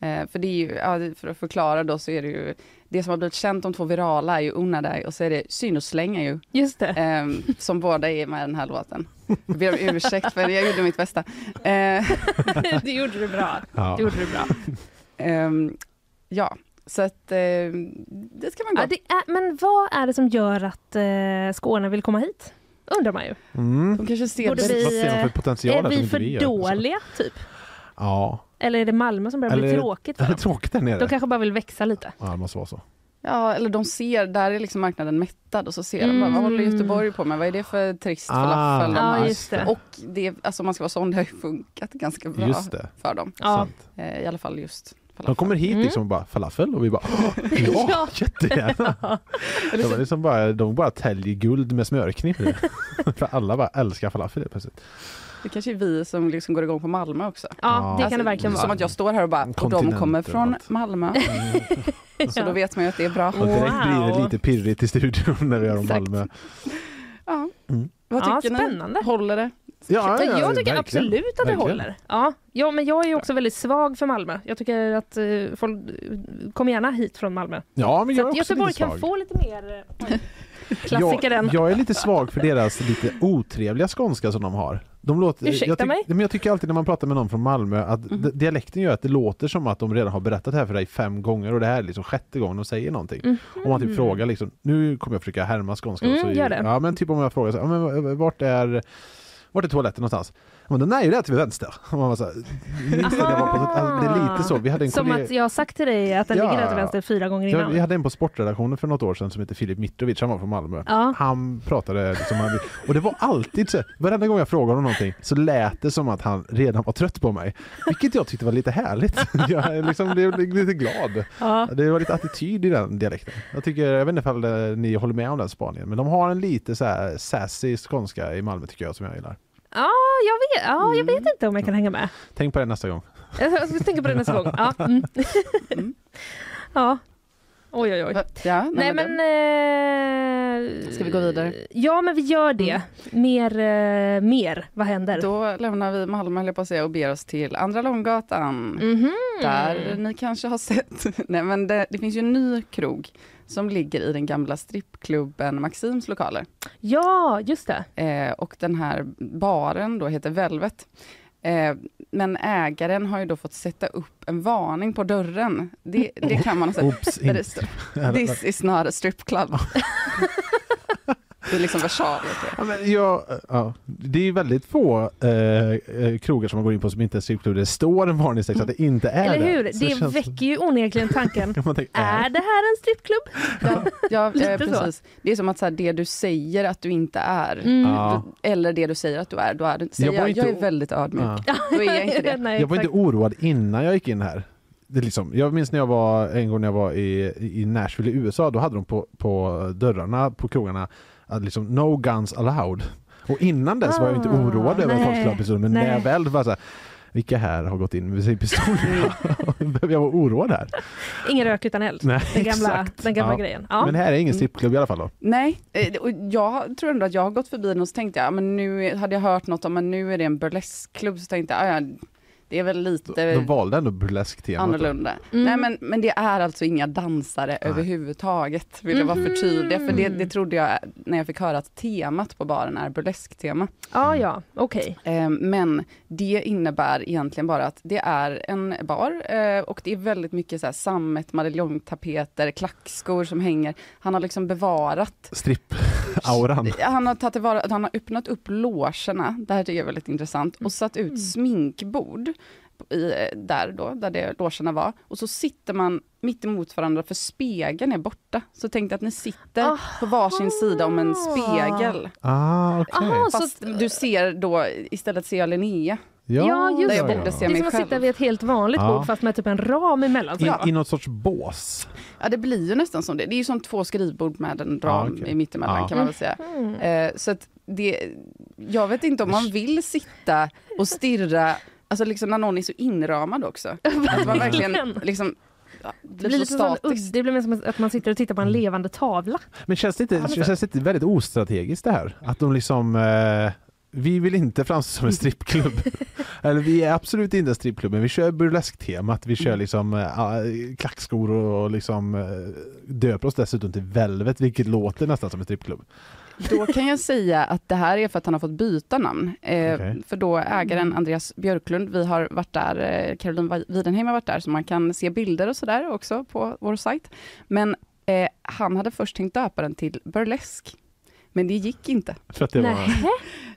Speaker 8: Eh, för det är ju, ja, det- för att förklara då så är det ju, det som har blivit känt de två virala är ju Unna dig och så är det Syn och slänga ju,
Speaker 2: Just det.
Speaker 8: eh, som båda är med i den här låten. Jag ber om ursäkt för jag gjorde mitt bästa. Eh,
Speaker 2: [laughs] det gjorde du bra.
Speaker 3: Ja.
Speaker 2: Det gjorde du bra.
Speaker 8: ehm, ja, så att eh, det ska man gå.
Speaker 2: Ja, det är, men vad är det som gör att eh, Skåne vill komma hit? Undrar man ju.
Speaker 3: Mm.
Speaker 8: De kanske ser
Speaker 2: Borde vi-
Speaker 8: väldigt-
Speaker 3: Vad ser de för
Speaker 2: eh,
Speaker 3: potential
Speaker 2: är
Speaker 3: där som
Speaker 2: vi
Speaker 3: inte alltså.
Speaker 2: för
Speaker 3: vi gör?
Speaker 2: dåliga, typ?
Speaker 3: Ja.
Speaker 2: Eller är det Malmö som börjar bli
Speaker 3: Eller-
Speaker 2: tråkigt för
Speaker 3: Det [laughs] är
Speaker 2: dem?
Speaker 3: tråkigt där
Speaker 2: De
Speaker 3: nere.
Speaker 2: kanske bara vill växa lite.
Speaker 3: Ja, det måste vara så.
Speaker 8: Ja, eller de ser, där är liksom marknaden mättad och så ser de bara,
Speaker 2: Mm.
Speaker 8: vad håller Göteborg på med? Vad är det för trist
Speaker 3: Ah.
Speaker 8: falafel de
Speaker 2: Ja,
Speaker 8: har?
Speaker 2: just det.
Speaker 8: Och det, alltså om man ska vara sån, det har ju funkat ganska bra
Speaker 3: Just det.
Speaker 8: för dem.
Speaker 2: Ja.
Speaker 3: Sant.
Speaker 8: Eh, I alla fall just falafel.
Speaker 3: De kommer hit
Speaker 2: Mm.
Speaker 3: liksom och bara falafel och vi bara "Åh, ja,
Speaker 2: [laughs] Ja.
Speaker 3: jättegärna. De, är liksom bara, de bara täljer guld
Speaker 2: [laughs]
Speaker 3: med smörkniv. i. För alla bara älskar falafel helt plötsligt.
Speaker 8: Det kanske är vi som liksom går igång på Malmö också.
Speaker 2: Ja, det
Speaker 3: Alltså,
Speaker 2: kan det verkligen
Speaker 8: som
Speaker 2: vara.
Speaker 8: att jag står här och bara, och de
Speaker 3: Kontinenten
Speaker 8: kommer
Speaker 3: och
Speaker 8: från
Speaker 3: allt.
Speaker 8: [laughs] Malmö. Så då vet man ju att det är bra.
Speaker 3: Och direkt blir det
Speaker 2: Wow.
Speaker 3: lite pirrigt i studion när vi gör om
Speaker 8: Exakt.
Speaker 3: Malmö.
Speaker 8: Ja.
Speaker 3: Mm.
Speaker 8: Vad
Speaker 2: Ja,
Speaker 8: tycker
Speaker 2: spännande.
Speaker 8: ni? Håller det?
Speaker 3: Ja,
Speaker 2: Men jag tycker
Speaker 3: verkligen.
Speaker 2: absolut att det
Speaker 3: Verkligen.
Speaker 2: håller. Ja, ja, men jag är ju också väldigt svag för Malmö. Jag tycker att eh, folk eh, kom gärna hit från Malmö.
Speaker 3: Ja, men
Speaker 2: Så
Speaker 3: jag är
Speaker 2: att
Speaker 3: också
Speaker 2: Göteborg
Speaker 3: lite svag.
Speaker 2: kan få lite mer eh,
Speaker 3: [laughs]
Speaker 2: klassiker än...
Speaker 3: jag, jag är lite svag för deras lite otrevliga skånska som de har. De låter,
Speaker 2: Ursäkta
Speaker 3: jag tyck-
Speaker 2: mig? Mm.
Speaker 3: Men jag tycker alltid när man pratar med någon från Malmö att d- dialekten gör att det låter som att de redan har berättat det här för dig fem gånger och det här är liksom sjätte gången de säger någonting. Om man typ frågar liksom, nu kommer jag försöka härma skånska. och
Speaker 2: Mm. Mm,
Speaker 3: så,
Speaker 2: gör det.
Speaker 3: Ja men typ om jag frågar så här, "Ja, men v- v- vart är, vart är toaletten någonstans? Men den är ju där till vänster. [laughs] Och man var så här, minns det, jag var på, alltså, det är lite så. Vi hade en
Speaker 2: Ah. Som
Speaker 3: kollega,
Speaker 2: att jag har sagt till dig att den
Speaker 3: Ja.
Speaker 2: ligger där till vänster fyra gånger
Speaker 3: jag,
Speaker 2: innan.
Speaker 3: vi hade en på sportredaktionen för något år sedan som heter Filip Mitrovic, han var från Malmö.
Speaker 2: Ja.
Speaker 3: Han pratade liksom, han, och det var alltid så, varenda gång jag frågade honom någonting så lät det som att han redan var trött på mig. Vilket jag tyckte var lite härligt. [laughs] Jag är liksom blev lite glad.
Speaker 2: Ja.
Speaker 3: Det var lite attityd i den dialekten. Jag tycker, jag vet inte ifall eh, ni håller med om den spaningen, men de har en lite så här sassy skånska i Malmö tycker jag som jag gillar.
Speaker 2: Ja, jag vet,
Speaker 3: Mm.
Speaker 2: ja, jag vet inte om jag kan hänga med. [laughs]
Speaker 3: Tänk på det nästa gång.
Speaker 2: Jag ska tänka på det nästa gång. Ja. Mm. [laughs] ja. Oj, oj, oj.
Speaker 8: Ja, nej,
Speaker 2: Nej,
Speaker 8: den-
Speaker 2: men... eh,
Speaker 8: Ska vi gå vidare?
Speaker 2: Ja, men vi gör det.
Speaker 3: Mm.
Speaker 2: Mer, eh, mer. Vad händer?
Speaker 8: Då lämnar vi Malmö, höll jag på att säga, och beger oss till Andra Långgatan.
Speaker 2: Mhm.
Speaker 8: Där ni kanske har sett. [laughs] Nej, men det, det finns ju en ny krog som ligger i den gamla strippklubben Maxims lokaler.
Speaker 2: Ja, just det.
Speaker 8: Eh, och den här baren då heter Velvet. Eh, men ägaren har ju då fått sätta upp en varning på dörren. Det, det kan man ha sett.
Speaker 3: Oops,
Speaker 8: Där
Speaker 3: in, [laughs]
Speaker 8: det står, This is not a strip club. [laughs] det är liksom versaler. tror jag.
Speaker 3: Ja, men jag, eh, ja, det är ju väldigt få eh, eh, krogar som man går in på som inte är strippklubb. där Det står en varningstext att det inte är
Speaker 2: Eller
Speaker 3: det.
Speaker 2: hur?
Speaker 3: Så
Speaker 2: Det
Speaker 3: känns-
Speaker 2: väcker ju onekligen tanken.
Speaker 3: Man tänker,
Speaker 2: Är
Speaker 3: [laughs] är
Speaker 2: det här en strippklubb?
Speaker 8: Ja, eh,
Speaker 2: Lite så.
Speaker 8: precis. Det är som att så här, det du säger att du inte är,
Speaker 2: Mm.
Speaker 3: Ja.
Speaker 8: eller det du säger att du är, då är du inte. Så
Speaker 3: Jag
Speaker 8: Jag,
Speaker 3: var
Speaker 8: jag,
Speaker 3: inte o-
Speaker 8: är väldigt ödmjuk.
Speaker 3: Ja.
Speaker 8: Då är jag inte
Speaker 2: [laughs]
Speaker 8: det.
Speaker 2: Nej,
Speaker 3: Jag var inte
Speaker 2: exakt.
Speaker 3: oroad innan jag gick in här. Det är liksom, jag minns när jag var en gång när jag var i, i Nashville i USA, då hade de på, på dörrarna på krogarna att liksom no guns allowed. Och innan dess var jag inte
Speaker 2: Ah,
Speaker 3: oroad över
Speaker 2: nej,
Speaker 3: att folk skulle ha pistol, men när
Speaker 2: nej.
Speaker 3: jag väl var så här, vilka här har gått in med sin pistol?
Speaker 2: Mm.
Speaker 3: [laughs] Behöver jag vara oroad här?
Speaker 2: Ingen rök utan eld.
Speaker 3: Nej,
Speaker 2: Den gamla,
Speaker 3: exakt.
Speaker 2: den gamla
Speaker 3: Ja.
Speaker 2: grejen. Ja. Mm.
Speaker 3: Men här är ingen strippklubb i alla fall då.
Speaker 8: Nej, eh, och jag tror ändå att jag har gått förbi den och så tänkte jag, ja, men nu hade jag hört något om att nu är det en burleskklubb, så tänkte jag, "Ah, ja, ja, det är väl
Speaker 3: De,
Speaker 8: lite
Speaker 3: de valde ändå burlesk-temat. då.
Speaker 8: annorlunda.
Speaker 2: Mm.
Speaker 8: Nej, men, men det är alltså inga dansare överhuvudtaget, vill jag vara förtydliga, för det, det trodde jag när jag fick höra att temat på baren är burlesktema.
Speaker 2: ja, ja, okej.
Speaker 8: Eh, Men det innebär egentligen bara att det är en bar eh, och det är väldigt mycket så här sammet, medaljongtapeter, klackskor som hänger. Han har liksom bevarat
Speaker 3: Stripp-auran.
Speaker 8: [laughs] Han har, tagit tillvara, han har öppnat upp logerna, det här tycker jag är väldigt intressant, och satt ut sminkbord i, eh, där då, där det logerna var. Och så sitter man mitt emot varandra för spegeln är borta. Så tänkte att ni sitter på varsin sida om en spegel.
Speaker 3: Ah, okej.
Speaker 2: Aha, så,
Speaker 8: Fast du ser då, istället ser jag Linnea.
Speaker 2: Ja, just
Speaker 8: Där jag borde se
Speaker 2: det är
Speaker 8: mig
Speaker 2: som att
Speaker 8: själv.
Speaker 2: sitta vid ett helt vanligt
Speaker 3: Ja.
Speaker 2: bord fast med typ en ram emellan. sig, va?
Speaker 3: I, I något sorts bås.
Speaker 8: Ja det blir ju nästan som det. Det är ju som två skrivbord med en ram
Speaker 3: Ja, okej.
Speaker 8: i mittemellan
Speaker 3: Ja.
Speaker 8: kan man väl säga. Eh, så att det, jag vet inte om man vill sitta och stirra, alltså liksom när någon är så inramad också. Att man verkligen
Speaker 2: Verkligen.
Speaker 8: liksom, ja,
Speaker 2: Det
Speaker 8: blir
Speaker 2: blir,
Speaker 8: så
Speaker 2: lite som en udd.
Speaker 8: statiskt.
Speaker 2: det blir mer som att man sitter och tittar på en levande tavla.
Speaker 3: Men känns det inte, känns det inte väldigt ostrategiskt det här? Att de liksom, eh, vi vill inte framstå som en strippklubb.
Speaker 2: [laughs]
Speaker 3: Eller vi är absolut inte en strippklubb, men vi kör burlesktemat, vi
Speaker 2: Mm.
Speaker 3: kör liksom eh, ah, klackskor och, och liksom eh, döper oss dessutom till Velvet, vilket låter nästan som en strippklubb.
Speaker 8: Då kan jag säga att det här är för att han har fått byta namn. Eh,
Speaker 3: Okej.
Speaker 8: För då ägaren Andreas Björklund, vi har varit där, eh, Caroline Wa- Widenheim har varit där, så man kan se bilder och sådär också på vår sajt. Men eh, han hade först tänkt döpa den till Burlesk. Men det gick inte.
Speaker 3: För att det var,
Speaker 2: Nej.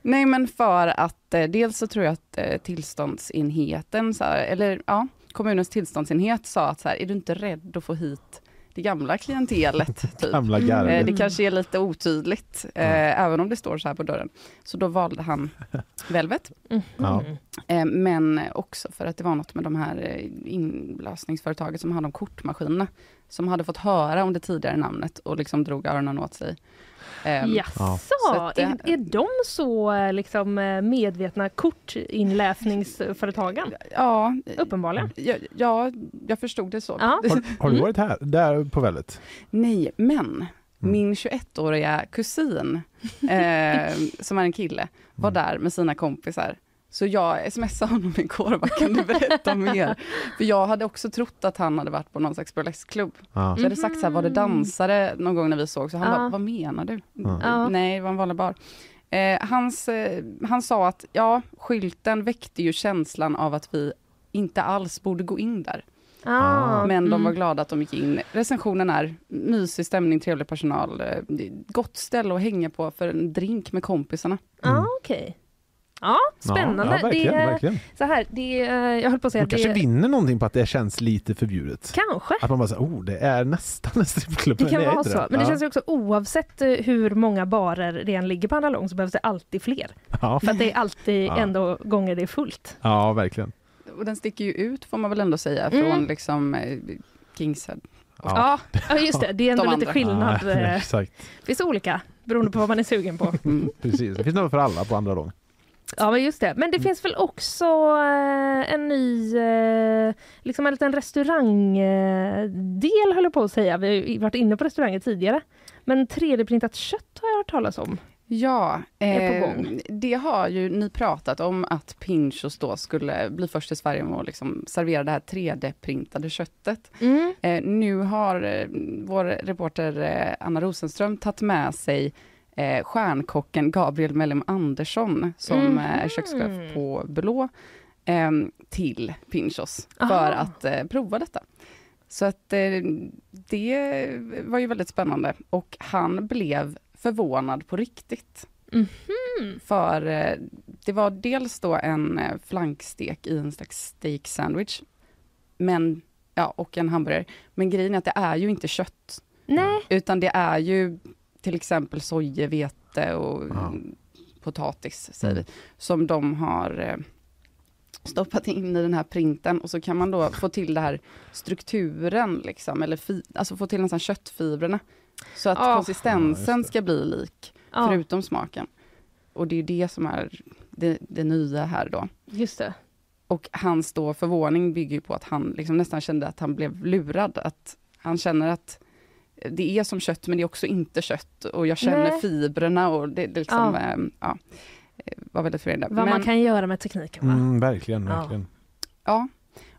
Speaker 8: Nej, men för att eh, dels så tror jag att eh, tillståndsenheten, så här, eller ja, kommunens tillståndsenhet sa att så här, är du inte rädd att få hit det gamla klientelet? Typ.
Speaker 3: gamla
Speaker 2: Mm.
Speaker 8: Eh,
Speaker 3: garvet.
Speaker 8: Det kanske är lite otydligt, eh, även om det står så här på dörren. Så då valde han Velvet,
Speaker 3: Ja.
Speaker 2: Mm.
Speaker 8: eh, men också för att det var något med de här eh, inlösningsföretaget som hade om kortmaskinerna, som hade fått höra om det tidigare namnet och liksom drog öronen åt sig. Eh,
Speaker 3: Ja.
Speaker 2: Jaså,
Speaker 8: Så att det-
Speaker 2: är, är de så eh, liksom, eh, medvetna kortinläsningsföretagen?
Speaker 8: Ja,
Speaker 2: Uppenbarligen.
Speaker 8: ja, ja, jag förstod det så.
Speaker 2: Ja.
Speaker 3: Har, har du varit här, där på Velvet? Mm.
Speaker 8: Nej, men
Speaker 2: Mm.
Speaker 8: min 21-åriga
Speaker 2: [laughs]
Speaker 8: kusin, eh, som är en kille, var
Speaker 2: Mm.
Speaker 8: där med sina kompisar. Så jag smsade honom igår, vad kan du berätta mer? För jag hade också trott att han hade varit på någon slags burleskklubb.
Speaker 3: Ja.
Speaker 2: Mm,
Speaker 8: Så jag hade sagt så här, var det dansare någon gång när vi såg? Så han
Speaker 2: Ja.
Speaker 8: bara, vad menar du?
Speaker 2: Ja.
Speaker 8: Nej, det var en vanlig bar. Eh, hans, eh, han sa att, ja, skylten väckte ju känslan av att vi inte alls borde gå in där.
Speaker 2: Ah,
Speaker 8: Men de
Speaker 2: mm.
Speaker 8: var glada att de gick in. Recensionen är mysig stämning, trevlig personal, eh, gott ställe att hänga på för en drink med kompisarna.
Speaker 2: Ah, okej. Ja, spännande.
Speaker 3: Ja, verkligen,
Speaker 2: det, är-
Speaker 3: verkligen.
Speaker 2: Så här, det, är- jag höll på att säga
Speaker 3: Man
Speaker 2: att det
Speaker 3: kanske vinner någonting på att det känns lite förbjudet.
Speaker 2: Kanske.
Speaker 3: Att man bara säger, oh, det är nästan en strippklubb.
Speaker 2: Det
Speaker 3: men
Speaker 2: kan
Speaker 3: är
Speaker 2: vara
Speaker 3: inte
Speaker 2: så. Men det
Speaker 3: ja.
Speaker 2: känns ju också oavsett eh, hur många barer det än ligger på andra lång så behövs det alltid fler.
Speaker 3: Ja.
Speaker 2: För att det är alltid
Speaker 3: Ja.
Speaker 2: ändå gånger det är fullt.
Speaker 3: ja, verkligen.
Speaker 8: Och den sticker ju ut får man väl ändå säga
Speaker 2: Mm.
Speaker 8: från liksom eh, Kingshead.
Speaker 2: Ja, ja just det. Det är ändå
Speaker 8: De
Speaker 2: lite
Speaker 8: andra.
Speaker 2: skillnad.
Speaker 3: Ja, [laughs]
Speaker 2: Det
Speaker 3: exakt,
Speaker 2: finns olika beroende på vad man är sugen
Speaker 3: [laughs]
Speaker 2: på.
Speaker 8: Mm.
Speaker 3: precis. Det finns något för alla på andra lång.
Speaker 2: Ja, men just det. Men det
Speaker 3: Mm.
Speaker 2: finns väl också eh, en ny, eh, liksom en liten restaurangdel eh, höll jag på att säga. Vi har ju varit inne på restauranger tidigare. Men 3D-printat kött har jag hört talas om.
Speaker 8: Ja,
Speaker 2: Är på
Speaker 8: eh,
Speaker 2: gång.
Speaker 8: det har ju ni pratat om att Pinchos då skulle bli först i Sverige med att liksom servera det här 3D-printade köttet. Eh, nu har eh, vår reporter eh, Anna Rosenström tagit med sig eh, stjärnkocken Gabriel Mellem Andersson, som eh, är kökschef på Blå, eh, till Pinchos för
Speaker 2: Aha.
Speaker 8: att eh, prova detta. Så att eh, det var ju väldigt spännande och han blev förvånad på riktigt. För eh, det var dels då en eh, flankstek i en slags steak sandwich, men, ja, och en hamburgare. Men grejen är att det är ju inte kött,
Speaker 2: Nej,
Speaker 8: utan det är ju till exempel sojevete och
Speaker 3: Ja. Mm.
Speaker 8: potatis, säger vi, som de har eh, stoppat in i den här printen och så kan man då få till den här strukturen, liksom, eller fi- alltså få till nästan köttfibrerna, så att
Speaker 2: Ah.
Speaker 3: Ja,
Speaker 8: konsistensen
Speaker 3: just det.
Speaker 8: ska bli lik,
Speaker 2: ja,
Speaker 8: förutom smaken. Och det är ju det som är det, det nya här då.
Speaker 2: just det.
Speaker 8: Och hans då förvåning bygger ju på att han liksom nästan kände att han blev lurad, att han känner att det är som kött men det är också inte kött och jag känner
Speaker 2: Nej.
Speaker 8: fibrerna och det, det liksom,
Speaker 2: Ja.
Speaker 8: eh, ja, eh, var väldigt förvirrande.
Speaker 2: Vad man
Speaker 8: Men-
Speaker 2: kan göra med tekniken va?
Speaker 3: Mm, verkligen,
Speaker 2: Ja.
Speaker 3: verkligen.
Speaker 8: Ja,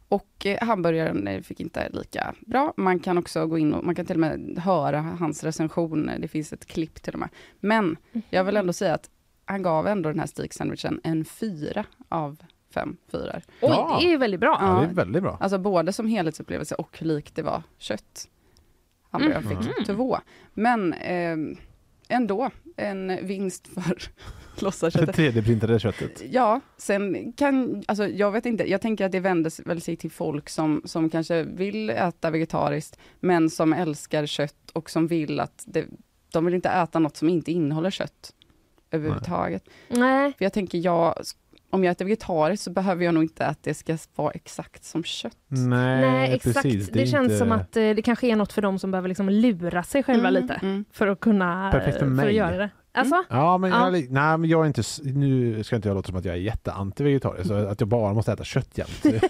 Speaker 8: och eh, hamburgaren eh, fick inte lika bra. Man kan också gå in och man kan till och med höra hans recension. Det finns ett klipp till och med. Men jag vill ändå säga att han gav ändå den här steak sandwichen en fyra av fem fyror.
Speaker 2: Oj,
Speaker 3: Ja.
Speaker 2: det är ju väldigt bra.
Speaker 3: Ja,
Speaker 8: Ja.
Speaker 3: det är väldigt bra.
Speaker 8: Alltså både som helhetsupplevelse och hur likt det var kött. Hamburgaren fick två. Men eh, ändå en vinst för [laughs]
Speaker 3: Det
Speaker 8: låtsasköttet.
Speaker 3: 3D-printade köttet.
Speaker 8: Ja, sen kan, alltså jag vet inte, jag tänker att det vänder väl sig till folk som, som kanske vill äta vegetariskt, men som älskar kött och som vill att, det, de vill inte äta något som inte innehåller kött överhuvudtaget.
Speaker 2: Nej,
Speaker 8: För jag tänker, jag, om jag äter vegetariskt så behöver jag nog inte att det ska vara exakt som kött.
Speaker 3: Nej,
Speaker 2: nej exakt.
Speaker 3: precis.
Speaker 2: det
Speaker 3: är
Speaker 2: känns
Speaker 3: inte
Speaker 2: som att eh, det kanske är något för dem som behöver liksom lura sig själva
Speaker 8: Mm,
Speaker 2: lite
Speaker 8: mm.
Speaker 2: för att kunna
Speaker 3: Perfekt för
Speaker 2: eh, För att
Speaker 3: mig.
Speaker 2: göra det. Alltså,
Speaker 3: Ja, men,
Speaker 2: Ja.
Speaker 3: Jag, nej, men jag är inte, s- nu ska inte jag låta som att jag är jätteantivegetarisk, så att jag bara måste äta
Speaker 2: [laughs]
Speaker 3: kött jämt. Jag,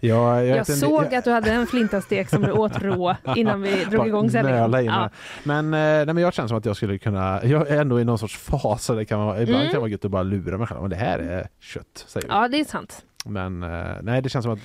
Speaker 3: jag,
Speaker 2: jag,
Speaker 3: äter en-
Speaker 2: såg
Speaker 3: jag-
Speaker 2: att du hade en flintastek som du åt
Speaker 3: [laughs]
Speaker 2: rå innan vi drog
Speaker 3: bara
Speaker 2: igång sändningen.
Speaker 3: nöla i
Speaker 2: Ja.
Speaker 3: mig. Men, eh, nej, men jag känner som att jag skulle kunna, jag är ändå i någon sorts fas, så det kan vara, ibland
Speaker 2: Mm.
Speaker 3: kan det vara gött att bara lura mig själv, men det här är kött, säger vi.
Speaker 2: ja, det är sant.
Speaker 3: Men eh, nej, det känns som att